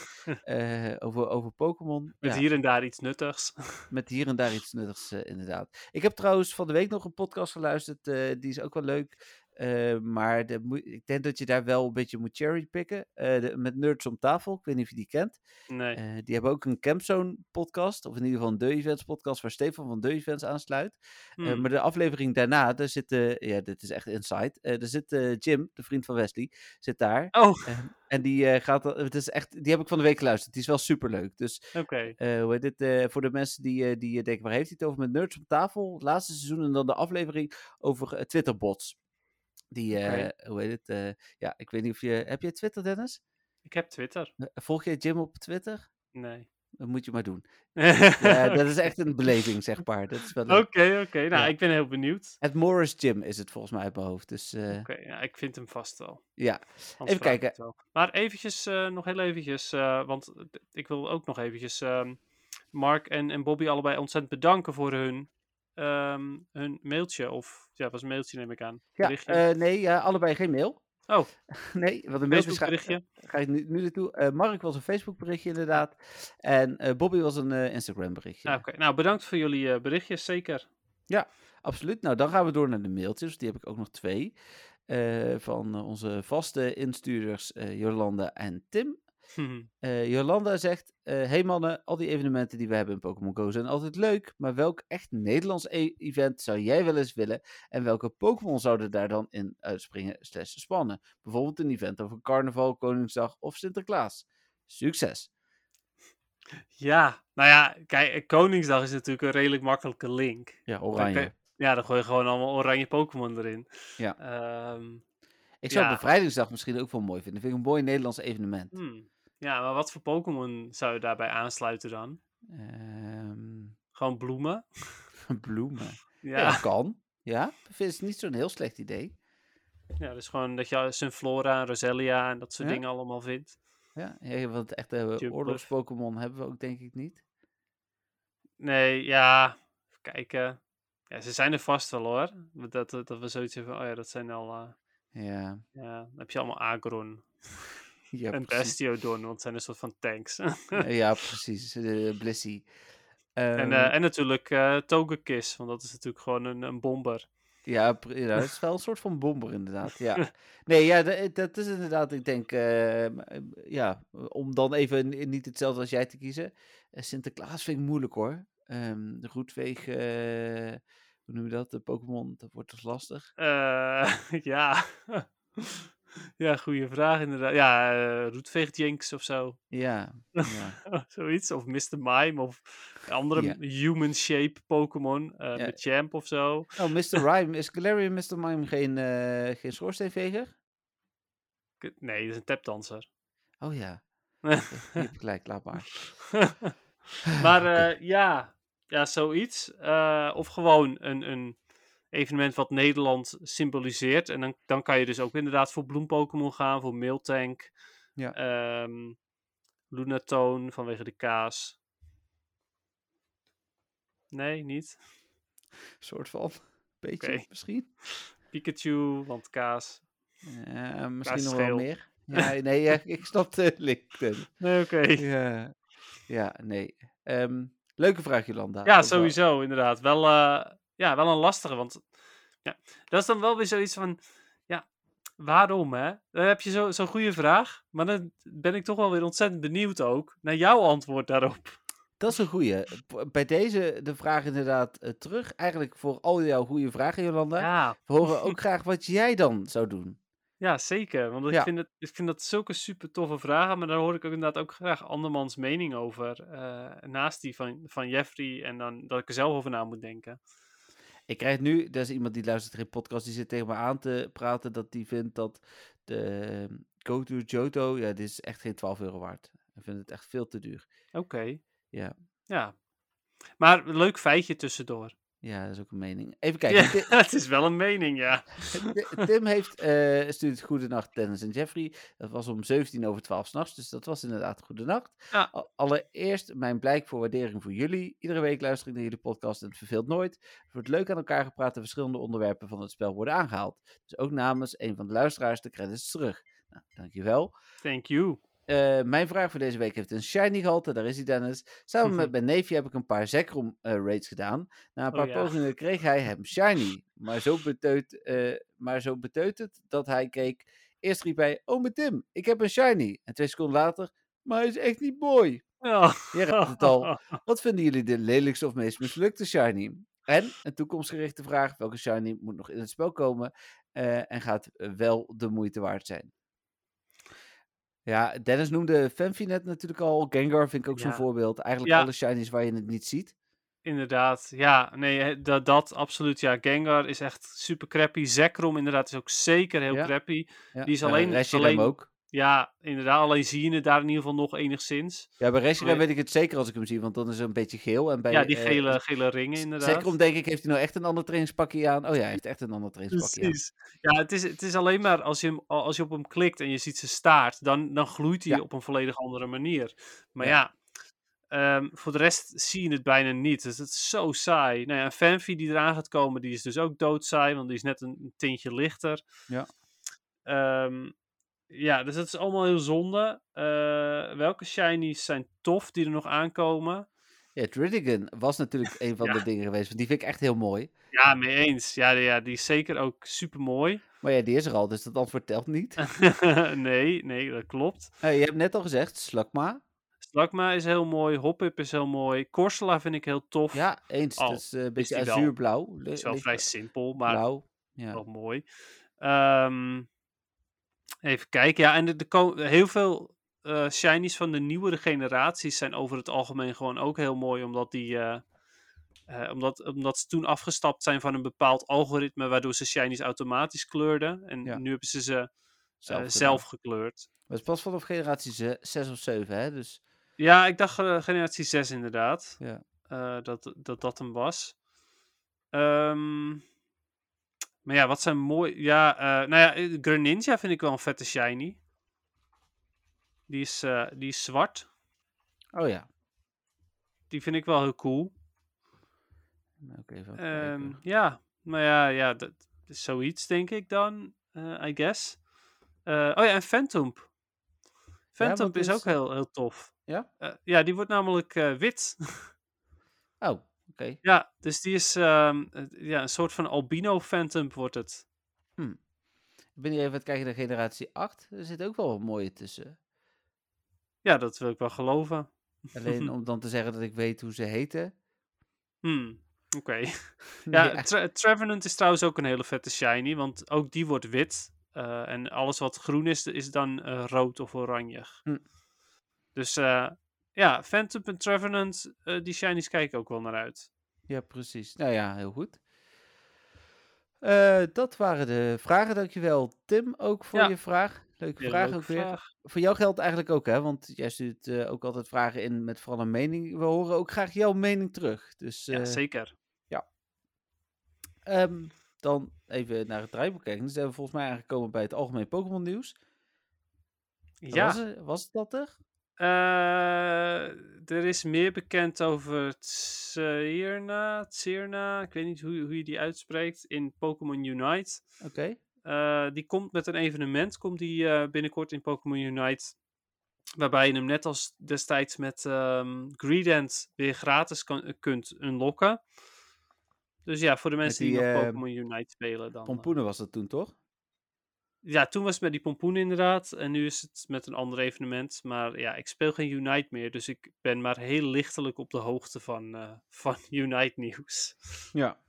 S3: eh, over over Pokémon.
S4: Met
S3: Ja.
S4: hier en daar iets nuttigs.
S3: Met hier en daar iets nuttigs, eh, inderdaad. Ik heb trouwens van de week nog een podcast geluisterd. eh, die is ook wel leuk. eh, maar de, moe- ik denk dat je daar wel een beetje moet cherrypicken. Eh, de- met Nerds om tafel. Ik weet niet of je die kent.
S4: Nee.
S3: Eh, die hebben ook een Campzone podcast. Of in ieder geval een De Events podcast. Waar Stefan van De Events aansluit. Eh,
S4: Hmm.
S3: maar de aflevering daarna. Daar zit, eh, ja dit is echt insight. eh daar zit eh, Jim, de vriend van Wesley. Zit daar.
S4: Oh,
S3: Eh, en die eh, gaat. al- Het is echt, die heb ik van de week geluisterd. Die is wel super leuk. Dus
S4: oké.
S3: eh, hoe heet dit? eh, voor de mensen die, eh, die eh, denken, waar heeft hij het over met Nerds op tafel? Het laatste seizoen en dan de aflevering over eh, Twitterbots. Die,
S4: Oké.
S3: eh, hoe heet het? eh, ja, ik weet niet of je... Heb je Twitter, Dennis?
S4: Ik heb Twitter.
S3: Eh, Volg jij Jim op Twitter?
S4: Nee.
S3: Dat moet je maar doen. Ja,
S4: Oké,
S3: dat is echt een beleving, zeg maar. Dat is wel leuk.
S4: oké. Nou,
S3: Ja.
S4: ik ben heel benieuwd.
S3: Het Morris Jim is het volgens mij uit mijn hoofd. Dus eh,
S4: Oké, nou, ik vind hem vast wel.
S3: ja,
S4: Anders
S3: Even
S4: vraag ik
S3: kijken.
S4: het wel. Maar eventjes, eh, nog heel eventjes, eh, want eh, d- ik wil ook nog eventjes ehm, Mark en, en Bobby allebei ontzettend bedanken voor hun, ehm, hun mailtje. Of ja, het was een mailtje neem ik aan.
S3: ja
S4: Berichtje.
S3: eh, nee, ja, allebei geen mail.
S4: Oh.
S3: Nee, wat een mail
S4: Facebook berichtje.
S3: ga ik nu, nu naartoe. Eh, Mark was een Facebook berichtje inderdaad. En eh, Bobby was een eh, Instagram berichtje.
S4: Nou, oké. nou, bedankt voor jullie eh, berichtjes, zeker.
S3: Absoluut. Nou, dan gaan we door naar de mailtjes. Die heb ik ook nog twee. eh, van eh, onze vaste instuurders eh, Jolanda en Tim.
S4: Hm.
S3: Eh, Jolanda zegt: eh, Hey mannen, al die evenementen die we hebben in Pokémon Go zijn altijd leuk. Maar welk echt Nederlands e- event zou jij wel eens willen? En welke Pokémon zouden daar dan in uitspringen slash spannen? Bijvoorbeeld een event over carnaval, Koningsdag of Sinterklaas. Succes!
S4: Ja, nou ja, kijk, eh, Koningsdag is natuurlijk een redelijk makkelijke link.
S3: Ja,
S4: Dan kun
S3: oranje.
S4: je- Ja, dan gooi je gewoon allemaal oranje Pokémon erin.
S3: Ja.
S4: Ehm,
S3: Ik zou
S4: Ja.
S3: Bevrijdingsdag misschien ook wel mooi vinden. Vind ik een mooi Nederlands evenement.
S4: Hmm. Ja, maar wat voor Pokémon zou je daarbij aansluiten dan?
S3: Ehm,
S4: Gewoon bloemen?
S3: bloemen. Ja.
S4: Ja,
S3: dat kan. Ja, ik vind het niet zo'n heel slecht idee.
S4: ja dus gewoon dat je Sunflora, Roselia en dat soort
S3: Ja.
S4: dingen allemaal vindt.
S3: Ja, ja want echt eh
S4: Jigglypuff.
S3: oorlogs-Pokémon hebben we ook denk ik niet.
S4: Nee, ja, even kijken. Ja, ze zijn er vast wel hoor. Dat, dat, dat we zoiets hebben van, oh ja, dat zijn al... eh,
S3: Ja,
S4: ja, dan heb je allemaal Agron
S3: ja
S4: en
S3: precies.
S4: Bastiodon, want het zijn een soort van tanks.
S3: ja, precies. eh, Blissey.
S4: en,
S3: Ehm,
S4: eh, en natuurlijk eh Togekiss, want dat is natuurlijk gewoon een, een bomber.
S3: Ja, pr- ja, dat is wel een soort van bomber inderdaad, ja. Nee, ja, da- dat is inderdaad, ik denk, eh, m- eh, ja, om dan even n- eh, niet hetzelfde als jij te kiezen. Eh, Sinterklaas vind ik moeilijk hoor. Ehm, de Roetveeg, eh, hoe noem je dat, de Pokémon, dat wordt dus lastig.
S4: Eh, ja. ja, goede vraag inderdaad. Ja, eh Roetveegjenks of zo.
S3: Ja, ja.
S4: Zoiets. Of Mr. Mime of een andere
S3: Ja.
S4: human shape Pokémon. eh
S3: Ja.
S4: Met Champ of zo.
S3: Oh, Mr. Rhyme, is Galarian Mr. Mime geen, eh geen schoorsteenveger?
S4: K- Nee, dat is een tapdanser.
S3: Oh ja, je hebt gelijk, laat maar.
S4: maar eh, ja. ja, zoiets. Eh, of gewoon een, een evenement wat Nederland symboliseert. En dan, dan kan je dus ook inderdaad voor Bloem Pokémon gaan, voor Miltank.
S3: Ja.
S4: Ehm, Lunatone vanwege de kaas. Nee, niet.
S3: soort van, beetje
S4: Oké.
S3: misschien.
S4: Pikachu, want kaas.
S3: Ja, misschien nog
S4: scheel.
S3: wel meer. Ja, nee, ja, ik snap de link. Dennis.
S4: Nee, oké.
S3: Ja, ja nee. Ehm, leuke vraag, Jolanda.
S4: Ja,
S3: Ook wel.
S4: sowieso, inderdaad. Wel, eh, ja, wel een lastige, want ja, dat is dan wel weer zoiets van, ja, waarom hè? Dan heb je zo- zo'n goede vraag, maar dan ben ik toch wel weer ontzettend benieuwd ook naar jouw antwoord daarop.
S3: Dat is een goeie. B- Bij deze de vraag inderdaad eh, terug. Eigenlijk voor al jouw goede vragen, Jolanda.
S4: Ja,
S3: We horen ook graag wat jij dan zou doen.
S4: ja zeker, want ik,
S3: Ja.
S4: vind het, ik vind dat zulke super toffe vragen, maar daar hoor ik ook inderdaad ook graag andermans mening over, eh, naast die van, van Jeffrey en dan dat ik er zelf over na moet denken.
S3: Ik krijg nu, dat is iemand die luistert geen podcast, die zit tegen me aan te praten dat die vindt dat de ehm, Go to Johto, ja, dit is echt geen 12 euro waard. Ik vind het echt veel te duur.
S4: Oké.
S3: Ja.
S4: Ja. Maar leuk feitje tussendoor.
S3: Ja, dat is ook een mening. Even kijken.
S4: Ja,
S3: Ti-
S4: het is wel een mening, ja.
S3: Ti- Tim heeft, eh stuurt Goedenacht Dennis en Jeffrey. Dat was om 17 over 12 s'nachts, dus dat was inderdaad Goedenacht.
S4: Ja.
S3: A- Allereerst mijn blijk voor waardering voor jullie. Iedere week luister ik naar jullie podcast en het verveelt nooit. Het wordt leuk aan elkaar gepraat en verschillende onderwerpen van het spel worden aangehaald. Dus ook namens een van de luisteraars de credits terug. Nou, dankjewel.
S4: Thank you.
S3: Eh, mijn vraag voor deze week heeft een shiny gehalte. Daar is hij, Dennis. Samen met mijn neefje heb ik een paar Zekrom eh, raids gedaan. Na een
S4: Mhm. Oh,
S3: paar
S4: ja.
S3: pogingen kreeg hij hem shiny. Maar zo, beteut, eh, maar zo beteuterd dat hij keek. Eerst riep hij, oh mijn Tim, ik heb een shiny. En twee seconden later, maar hij is echt niet mooi.
S4: Ja.
S3: Je raadt het al. Wat vinden jullie de lelijkste of meest mislukte shiny? En een toekomstgerichte vraag, welke shiny moet nog in het spel komen eh, en gaat eh, wel de moeite waard zijn? Ja, Dennis noemde Fanfi net natuurlijk al. Gengar vind ik ook zo'n
S4: Ja.
S3: voorbeeld. Eigenlijk
S4: Ja.
S3: alle shinies waar je het niet ziet.
S4: Inderdaad. Ja, nee, hè, dat, dat absoluut. Ja, Gengar is echt super crappy. Zekrom inderdaad is ook zeker heel
S3: Ja.
S4: crappy.
S3: Ja,
S4: Die is
S3: bij
S4: alleen-
S3: Reshiram
S4: alleen-
S3: ook.
S4: Ja, inderdaad. Alleen zie je het daar in ieder geval nog enigszins.
S3: Ja, bij Reshiram
S4: Nee.
S3: weet ik het zeker als ik hem zie, want dan is hij een beetje geel. En bij,
S4: ja, die
S3: eh,
S4: gele, gele ringen
S3: Z-
S4: inderdaad.
S3: Zekrom denk ik, heeft hij nou echt een ander trainingspakje aan? Oh ja, hij heeft echt een ander trainingspakje aan.
S4: Precies. Ja, het is, het is alleen maar als je, hem, a- als je op hem klikt en je ziet zijn staart, dan, dan gloeit hij
S3: Ja.
S4: op een volledig andere manier. Maar
S3: Ja.
S4: ja, ehm, voor de rest zie je het bijna niet. Dus dat is zo saai. Nou ja, een Fanfi die eraan gaat komen, die is dus ook doodsaai, want die is net een tintje lichter.
S3: Ja.
S4: Ehm, ja, dus dat is allemaal heel zonde. Eh, welke shinies zijn tof die er nog aankomen?
S3: Ja, Tridigan was natuurlijk een van
S4: Ja.
S3: de dingen geweest, want die vind ik echt heel mooi.
S4: Ja, mee eens. Ja, ja die is zeker ook super mooi.
S3: Maar ja, die is er al, dus dat antwoord telt niet.
S4: nee, nee, dat klopt.
S3: Eh, je hebt net al gezegd, Slakma.
S4: Slakma is heel mooi. Hoppip is heel mooi. Korsela vind ik heel tof.
S3: Ja, eens.
S4: Oh,
S3: dat is eh, een beetje
S4: die wel-
S3: azuurblauw. Le-
S4: is wel
S3: licht
S4: vrij simpel, maar
S3: blauw. Ja.
S4: wel mooi. Ehm, even kijken. Ja, en de, de ko- heel veel eh, shinies van de nieuwere generaties zijn over het algemeen gewoon ook heel mooi, omdat die, eh, Eh, omdat, omdat ze toen afgestapt zijn van een bepaald algoritme waardoor ze shinies automatisch kleurden. En
S3: Ja.
S4: nu hebben ze ze eh,
S3: Zelf, gedaan.
S4: zelf gekleurd.
S3: Maar het is pas vanaf generatie 6 of 7, hè? Dus
S4: Ja, ik dacht eh, generatie 6 inderdaad.
S3: Ja.
S4: Eh, dat, dat dat hem was. Ehm, maar ja, wat zijn mooi. Ja, eh, nou ja, eh, Greninja vind ik wel een vette shiny. Die is, eh, die is zwart.
S3: oh ja.
S4: Die vind ik wel heel cool.
S3: Nou, Oké, even
S4: Ehm,
S3: kijken.
S4: ja, maar ja, ja dat, is zoiets denk ik dan, eh, I guess. Eh, oh ja, en Phantom. Phantom
S3: want
S4: is
S3: die
S4: ook
S3: is-
S4: heel, heel tof.
S3: Ja?
S4: Eh, ja, die wordt namelijk eh, wit.
S3: Oh, oké.
S4: ja, dus die is ehm, het- ja, een soort van albino Phantom wordt het.
S3: Ik ben hier even aan het kijken naar generatie 8. Er zit ook wel wat mooie tussen.
S4: Ja, dat wil ik wel geloven.
S3: Alleen om dan te zeggen dat ik weet hoe ze heten.
S4: Hmm, Oké.
S3: Nee,
S4: Ja, Tra- Trevenant is trouwens ook een hele vette shiny, want ook die wordt wit. Eh, en alles wat groen is, is dan eh, rood of oranje.
S3: Hm.
S4: Dus eh, ja, Phantom en Trevenant, eh, die shinies kijk ik ook wel naar uit.
S3: Ja, precies. Nou ja, heel goed. Eh, dat waren de vragen. Dankjewel, Tim, ook voor
S4: Ja.
S3: je vraag. Leuke
S4: Ja,
S3: vraag
S4: leuke
S3: ook weer.
S4: vraag.
S3: Voor jou geldt eigenlijk ook, hè? Want jij stuurt eh, ook altijd vragen in met vooral een mening. We horen ook graag jouw mening terug. Dus
S4: Ja,
S3: eh,
S4: zeker.
S3: ehm, dan even naar het draaiboek kijken. Dan zijn we volgens mij aangekomen bij het algemeen Pokémon nieuws. Was,
S4: Ja,
S3: het- was het dat er?
S4: eh, er is meer bekend over Tsirna, Tsirna, ik weet niet hoe, hoe je die uitspreekt, in Pokémon Unite.
S3: Oké.
S4: Eh, die komt met een evenement, komt die eh, binnenkort in Pokémon Unite. Waarbij je hem net als destijds met ehm Greedent weer gratis kan, eh, kunt unlocken. Dus ja, voor de mensen die,
S3: die,
S4: nog
S3: eh,
S4: Pokémon Unite spelen dan. eh,
S3: Pompoenen was dat toen, toch?
S4: ja, toen was het met die pompoen inderdaad. En nu is het met een ander evenement. Maar ja, ik speel geen Unite meer. Dus ik ben maar heel lichtelijk op de hoogte van, eh, van Unite nieuws.
S3: Ja.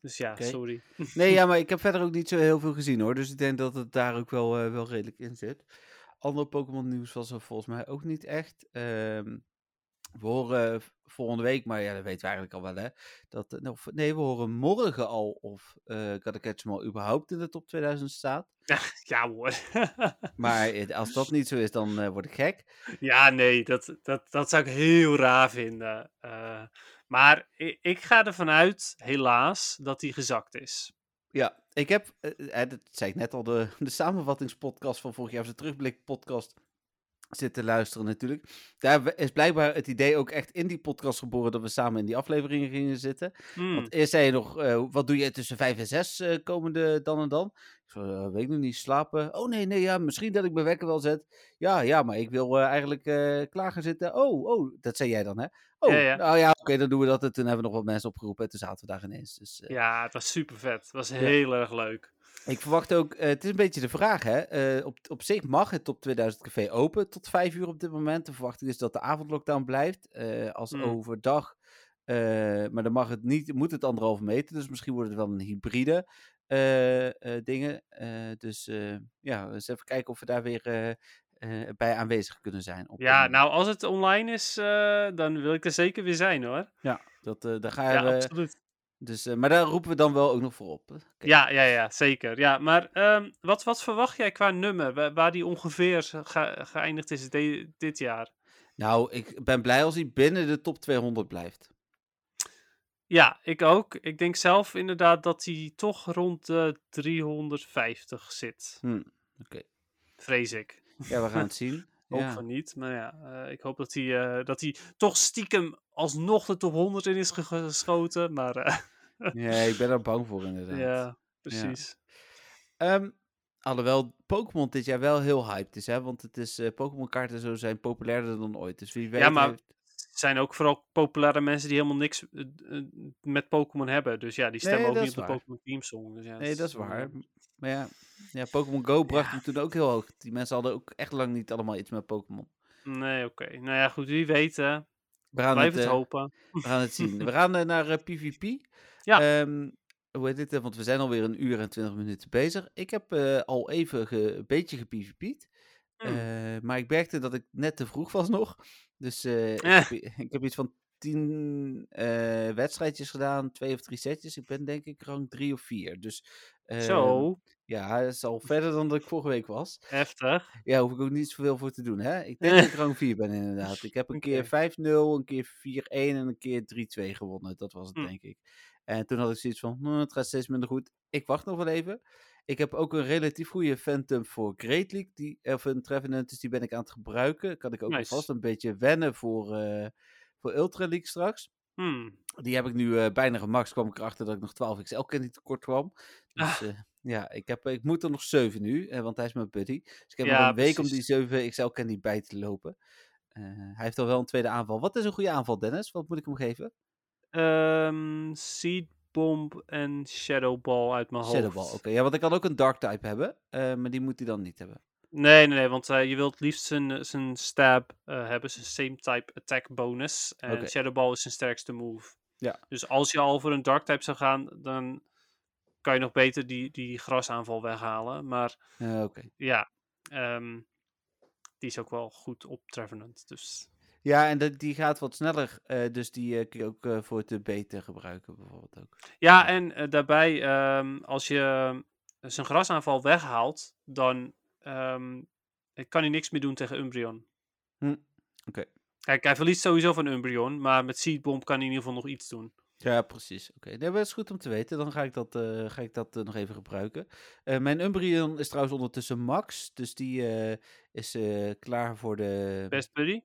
S4: Dus ja,
S3: Oké.
S4: sorry.
S3: Nee, ja, maar ik heb verder ook niet zo heel veel gezien hoor. Dus ik denk dat het daar ook wel, eh, wel redelijk in zit. Ander Pokémon nieuws was er volgens mij ook niet echt. Ehm, we horen v- volgende week, maar ja, dat weten we eigenlijk al wel hè. Dat, eh, nou, v- nee, we horen morgen al of eh Catacatchmal überhaupt in de top 2000 staat.
S4: Ja hoor.
S3: Maar eh, als dat niet zo is, dan eh, word ik gek.
S4: Ja, nee, dat, dat, dat zou ik heel raar vinden. Eh, maar ik, ik ga ervan uit, helaas, dat hij gezakt is.
S3: Ja, ik heb, eh, eh, dat zei ik net al, de, de samenvattingspodcast van vorig jaar, of de terugblikpodcast, zit te luisteren natuurlijk. Daar we- is blijkbaar het idee ook echt in die podcast geboren dat we samen in die afleveringen gingen zitten.
S4: Hmm,
S3: Want eerst zei je nog, eh, wat doe je tussen vijf en zes eh, komende dan en dan? Ik zo, eh, weet ik nog niet, slapen? Oh nee, nee, ja, misschien dat ik mijn wekker wel zet. Ja, ja, maar ik wil eh, eigenlijk eh, klaar gaan zitten. Oh, oh, dat zei jij dan hè? Oh,
S4: Ja, ja.
S3: nou ja, oké, dan doen we dat. En toen hebben we nog wat mensen opgeroepen en toen zaten we daar ineens. Dus, eh,
S4: ja, het was super vet. Het was heel erg leuk.
S3: ik verwacht ook, eh, het is een beetje de vraag, hè. eh, op, op zich mag het Top 2000 Café open tot vijf uur op dit moment. De verwachting is dat de avondlockdown blijft. eh, als
S4: Mm.
S3: overdag, eh, maar dan mag het niet, moet het anderhalve meter. Dus misschien wordt het wel een hybride eh, eh, dingen. Eh, dus eh, ja, eens even kijken of we daar weer eh, eh, bij aanwezig kunnen zijn. op dat
S4: Ja,
S3: moment.
S4: nou, als het online is, eh, dan wil ik er zeker weer zijn hoor.
S3: Dat, eh, daar gaan
S4: Ja,
S3: we,
S4: absoluut.
S3: dus, eh, maar daar roepen we dan wel ook nog voor op. Oké.
S4: Ja, ja, ja, zeker. Ja, maar ehm, wat, wat verwacht jij qua nummer? Waar, waar die ongeveer ge- geëindigd is de- dit jaar?
S3: Nou, ik ben blij als hij binnen de top 200 blijft.
S4: Ja, ik ook. Ik denk zelf inderdaad dat hij toch rond de 350 zit.
S3: Hm, Oké.
S4: Vrees ik.
S3: Ja, we gaan het zien.
S4: Hoop
S3: Ja.
S4: van niet. Maar ja, eh, ik hoop dat hij, eh, dat hij toch stiekem alsnog de top 100 in is ge- geschoten. Maar eh,
S3: Nee, ik ben er bang voor inderdaad.
S4: ja, precies.
S3: Ehm, alhoewel Pokémon dit jaar wel heel hyped is, hè? Want het is eh, Pokémon kaarten zo zijn populairder dan ooit. Dus wie weet.
S4: maar-
S3: heeft-
S4: Het zijn ook vooral populaire mensen die helemaal niks eh, eh, met Pokémon hebben. Dus ja, die stemmen
S3: Nee,
S4: ook
S3: dat
S4: niet
S3: is
S4: op de
S3: waar.
S4: Pokémon Team Song. Dus ja,
S3: Nee,
S4: het
S3: dat is
S4: dan,
S3: waar.
S4: eh,
S3: Maar ja, ja Pokémon Go bracht
S4: Ja.
S3: hem toen ook heel hoog. Die mensen hadden ook echt lang niet allemaal iets met Pokémon.
S4: Nee, oké. Nou ja, goed. Wie weet, hè.
S3: We gaan
S4: Blijf het
S3: eh,
S4: hopen.
S3: We gaan het zien. We gaan eh, naar eh, PvP.
S4: Ja.
S3: Ehm, hoe heet dit? eh, Want we zijn alweer een uur en twintig minuten bezig. Ik heb eh, al even ge- een beetje gepvp'd.
S4: Hmm.
S3: Eh, maar ik merkte dat ik net te vroeg was nog. Dus eh, ik,
S4: Eh.
S3: heb, i- ik heb iets van tien eh, wedstrijdjes gedaan, twee of drie setjes. Ik ben denk ik rang drie of vier. Dus eh,
S4: Zo,
S3: ja, dat is al verder dan dat ik vorige week was.
S4: heftig.
S3: Ja, hoef ik ook niet zoveel voor te doen. Hè? Ik denk dat ik rang 4 ben inderdaad. Ik heb een keer 5-0, een keer 4-1 en een keer 3-2 gewonnen. Dat was het
S4: Hm.
S3: denk ik. En toen had ik zoiets van, "Hm, het gaat steeds minder goed. Ik wacht nog wel even. Ik heb ook een relatief goede phantom voor Great League. Die, of een Trevenant, dus die ben ik aan het gebruiken. Kan ik ook
S4: Nice.
S3: alvast een beetje wennen voor, eh, voor Ultra League straks.
S4: Hmm.
S3: Die heb ik nu eh, bijna gemaxt. kwam ik erachter dat ik nog 12 XL candy tekort kwam. Dus
S4: Ah.
S3: eh, ja, ik, heb, ik moet er nog 7 nu, eh, want hij is mijn buddy. Dus ik heb nog
S4: Ja,
S3: een week om die
S4: precies.
S3: 7 XL candy bij te lopen. Eh, hij heeft al wel een tweede aanval. Wat is een goede aanval, Dennis? Wat moet ik hem geven?
S4: Ehm, Seed Bomb en Shadow Ball uit mijn hoofd.
S3: Shadowball, oké. Ja, want ik kan ook een dark type hebben, eh, maar die moet hij dan niet hebben.
S4: Nee, nee, nee, want eh, je wilt liefst zijn, eh, zijn stab eh, hebben, zijn same type attack bonus. En
S3: Oké.
S4: Shadow Ball is zijn sterkste move.
S3: Ja.
S4: Dus als je al voor een dark type zou gaan, dan kan je nog beter die, die grasaanval weghalen. Maar
S3: Eh, oké.
S4: ja, ehm, die is ook wel goed op Trevenant. Dus
S3: Ja, en dat- die gaat wat sneller, eh, dus die eh, kun je ook eh, voor te beter gebruiken bijvoorbeeld ook.
S4: Ja, en eh, daarbij, ehm, als je eh, zijn grasaanval weghaalt, dan ehm, eh, kan hij niks meer doen tegen Umbreon.
S3: Hm, oké.
S4: Kijk, hij verliest sowieso van Umbreon, maar met Seedbomb kan hij in ieder geval nog iets doen.
S3: Ja, precies. Oké, nee, maar dat is goed om te weten. Dan ga ik dat, eh, ga ik dat eh, nog even gebruiken. Eh, mijn Umbreon is trouwens ondertussen max. Dus die eh, is eh, klaar voor de...
S4: Best buddy?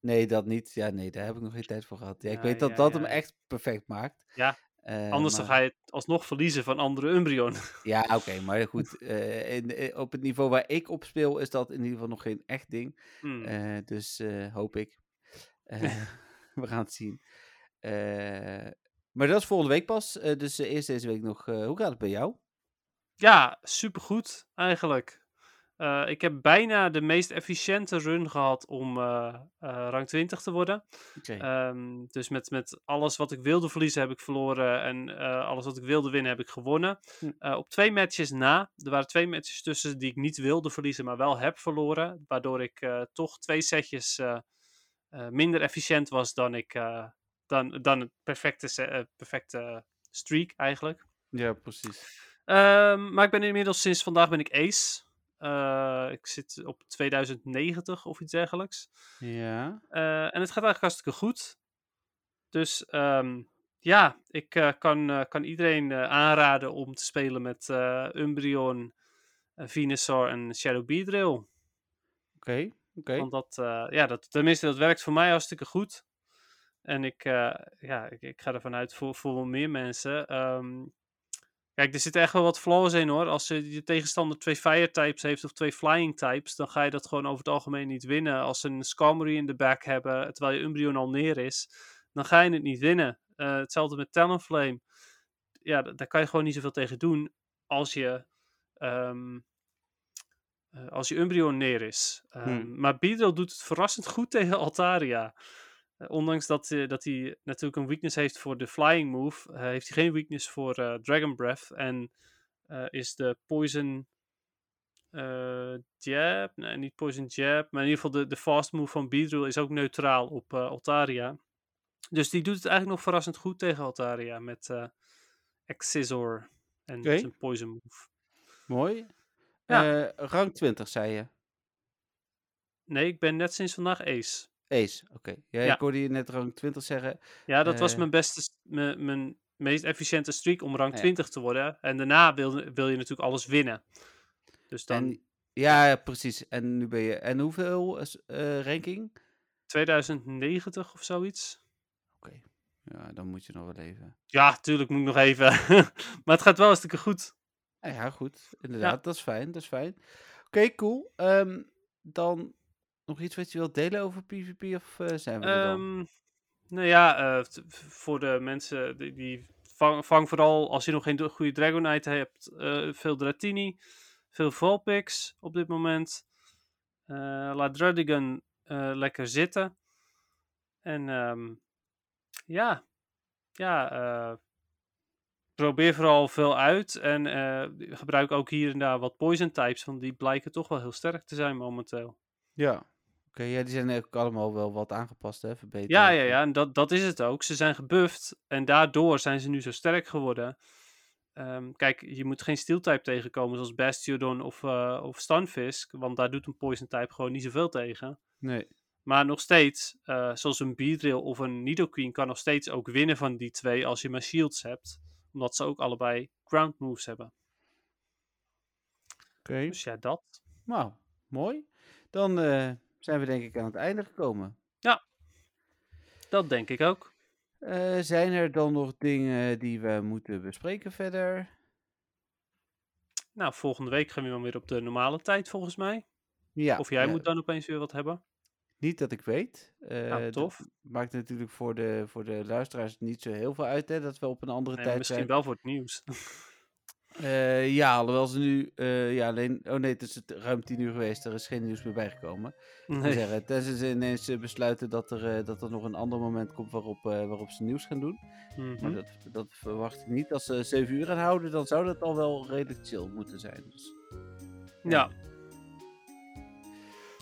S3: Nee, dat niet. Ja, nee, daar heb ik nog geen tijd voor gehad. Ja, ik
S4: Ja,
S3: weet dat
S4: ja,
S3: dat
S4: ja.
S3: hem echt perfect maakt.
S4: Ja,
S3: Eh,
S4: Anders dan
S3: maar-
S4: ga je het alsnog verliezen van andere Umbreon.
S3: Ja, oké, maar goed. eh, in- eh, op het niveau waar ik op speel is dat in ieder geval nog geen echt ding.
S4: Hmm.
S3: Eh, dus eh, hoop ik. Eh, we gaan het zien. Eh, maar dat is volgende week pas. Eh, dus eh, eerst deze week nog. eh, hoe gaat het bij jou?
S4: Ja, supergoed eigenlijk. Eh, ik heb bijna de meest efficiënte run gehad om eh, eh, rank 20 te worden. Ehm, dus met, met alles wat ik wilde verliezen heb ik verloren. En eh, alles wat ik wilde winnen heb ik gewonnen.
S3: Hm.
S4: Eh, op twee matches na. Er waren twee matches tussen die ik niet wilde verliezen, maar wel heb verloren. Waardoor ik eh, toch twee setjes eh, eh, minder efficiënt was dan ik. eh, dan, dan het perfecte, se- eh, perfecte streak eigenlijk.
S3: Ja, precies.
S4: Ehm, maar ik ben inmiddels sinds vandaag ben ik ace. Eh, ik zit op 2090 of iets dergelijks.
S3: Ja.
S4: Eh, en het gaat eigenlijk hartstikke goed. Dus ehm, ja, ik eh, kan, eh, kan iedereen eh, aanraden om te spelen met eh Umbreon, eh, Venusaur en Shadow Beedrill.
S3: Oké, oké.
S4: Want dat, eh, ja, dat, tenminste, dat werkt voor mij hartstikke goed. En ik, eh, ja, ik, ik ga ervan uit voor, voor wel meer mensen. Ehm, kijk, er zitten echt wel wat flaws in hoor. Als je, je tegenstander twee fire types heeft of twee flying types, dan ga je dat gewoon over het algemeen niet winnen. Als ze een Skarmory in de back hebben, terwijl je Umbreon al neer is, dan ga je het niet winnen. Eh, hetzelfde met Talonflame. Ja, da- daar kan je gewoon niet zoveel tegen doen als je ehm, eh, als je Umbreon neer is. Ehm,
S3: Hmm.
S4: Maar Beedrill doet het verrassend goed tegen Altaria. Eh, ondanks dat, eh, dat hij natuurlijk een weakness heeft voor de flying move, eh, heeft hij geen weakness voor eh, Dragon Breath. En eh, is de Poison eh, Jab, nee niet Poison Jab, maar in ieder geval de, de fast move van Beedrill is ook neutraal op eh, Altaria. Dus die doet het eigenlijk nog verrassend goed tegen Altaria met eh Excisor en
S3: Oké.
S4: zijn Poison move.
S3: Mooi.
S4: Ja.
S3: Eh, rang 20, zei je.
S4: Nee, ik ben net sinds vandaag ace.
S3: Ace, oké. Ja,
S4: Ja.
S3: ik hoorde je net rang 20 zeggen.
S4: Ja, dat was
S3: Eh.
S4: mijn beste, s- mijn, mijn meest efficiënte streak om rank
S3: Ja.
S4: 20 te worden. En daarna wil, wil je natuurlijk alles winnen. Dus dan
S3: En, ja, ja, precies. En nu ben je... En hoeveel is, eh, ranking?
S4: 2090 of zoiets.
S3: Oké. Ja, dan moet je nog wel even.
S4: Ja, tuurlijk moet ik nog even. maar het gaat wel hartstikke goed.
S3: Ah, ja, goed. Inderdaad, dat is fijn. Dat is fijn. Oké, cool. Ehm, dan nog iets wat je wilt delen over PvP of eh, zijn we er dan?
S4: Ehm, nou ja, eh, t- voor de mensen die, die vang, vang vooral als je nog geen do- goede Dragonite hebt, eh, veel Dratini, veel Vulpix op dit moment. Eh, laat Drudigan eh, lekker zitten. En ehm, ja, ja eh, probeer vooral veel uit. En eh, gebruik ook hier en daar wat poison types, want die blijken toch wel heel sterk te zijn momenteel.
S3: Ja. Oké. ja, die zijn ook allemaal wel wat aangepast, hè? Verbeterd.
S4: Ja, ja, ja. En dat, dat is het ook. Ze zijn gebufft en daardoor zijn ze nu zo sterk geworden. Ehm, kijk, je moet geen steel type tegenkomen zoals Bastiodon of, eh of Stunfisk. Want daar doet een poison type gewoon niet zoveel tegen.
S3: Nee.
S4: Maar nog steeds, eh, zoals een Beedrill of een Nidoqueen kan nog steeds ook winnen van die twee als je maar shields hebt. Omdat ze ook allebei ground moves hebben.
S3: Oké.
S4: Dus ja, dat.
S3: Nou, mooi. Dan eh, zijn we denk ik aan het einde gekomen.
S4: Dat denk ik ook.
S3: Eh, zijn er dan nog dingen die we moeten bespreken verder?
S4: Nou, volgende week gaan we dan weer op de normale tijd volgens mij.
S3: Ja.
S4: of jij
S3: ja,
S4: moet dan opeens weer wat hebben.
S3: Niet dat ik weet. Eh,
S4: Nou,
S3: dat
S4: tof.
S3: Maakt natuurlijk voor de, voor de luisteraars niet zo heel veel uit, hè? Dat we op een andere
S4: Nee, maar
S3: tijd
S4: misschien
S3: zijn.
S4: wel voor het nieuws.
S3: Eh, ja, alhoewel ze nu... eh, ja, alleen... Oh nee, het is het ruim tien uur geweest. Er is geen nieuws meer bijgekomen.
S4: nee.
S3: Nee. Zeggen. Tenzij ze ineens eh, besluiten dat er, eh, dat er nog een ander moment komt waarop, eh, waarop ze nieuws gaan doen.
S4: Mhm.
S3: Maar dat, dat verwacht ik niet. Als ze 7 uur gaan houden, dan zou dat al wel redelijk chill moeten zijn. Dus,
S4: Ja.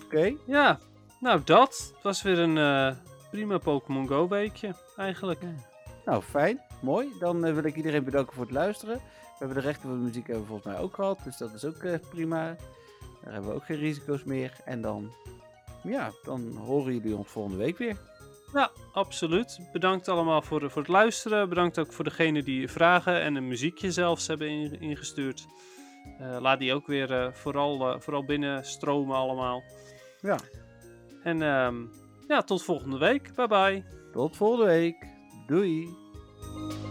S3: Oké.
S4: ja, nou dat. Het was weer een eh, prima Pokémon Go weekje eigenlijk.
S3: Nou, fijn. Mooi. Dan eh, wil ik iedereen bedanken voor het luisteren. We hebben de rechten van de muziek hebben we volgens mij ook gehad. Dus dat is ook eh, prima. Daar hebben we ook geen risico's meer. En dan, ja, dan horen jullie ons volgende week weer.
S4: Ja, absoluut. Bedankt allemaal voor, eh, voor het luisteren. Bedankt ook voor degene die vragen en een muziekje zelfs hebben in- ingestuurd. Eh, laat die ook weer eh, vooral, eh, vooral binnen stromen allemaal.
S3: Ja.
S4: En ehm, ja, tot volgende week. Bye bye.
S3: Tot volgende week. Doei.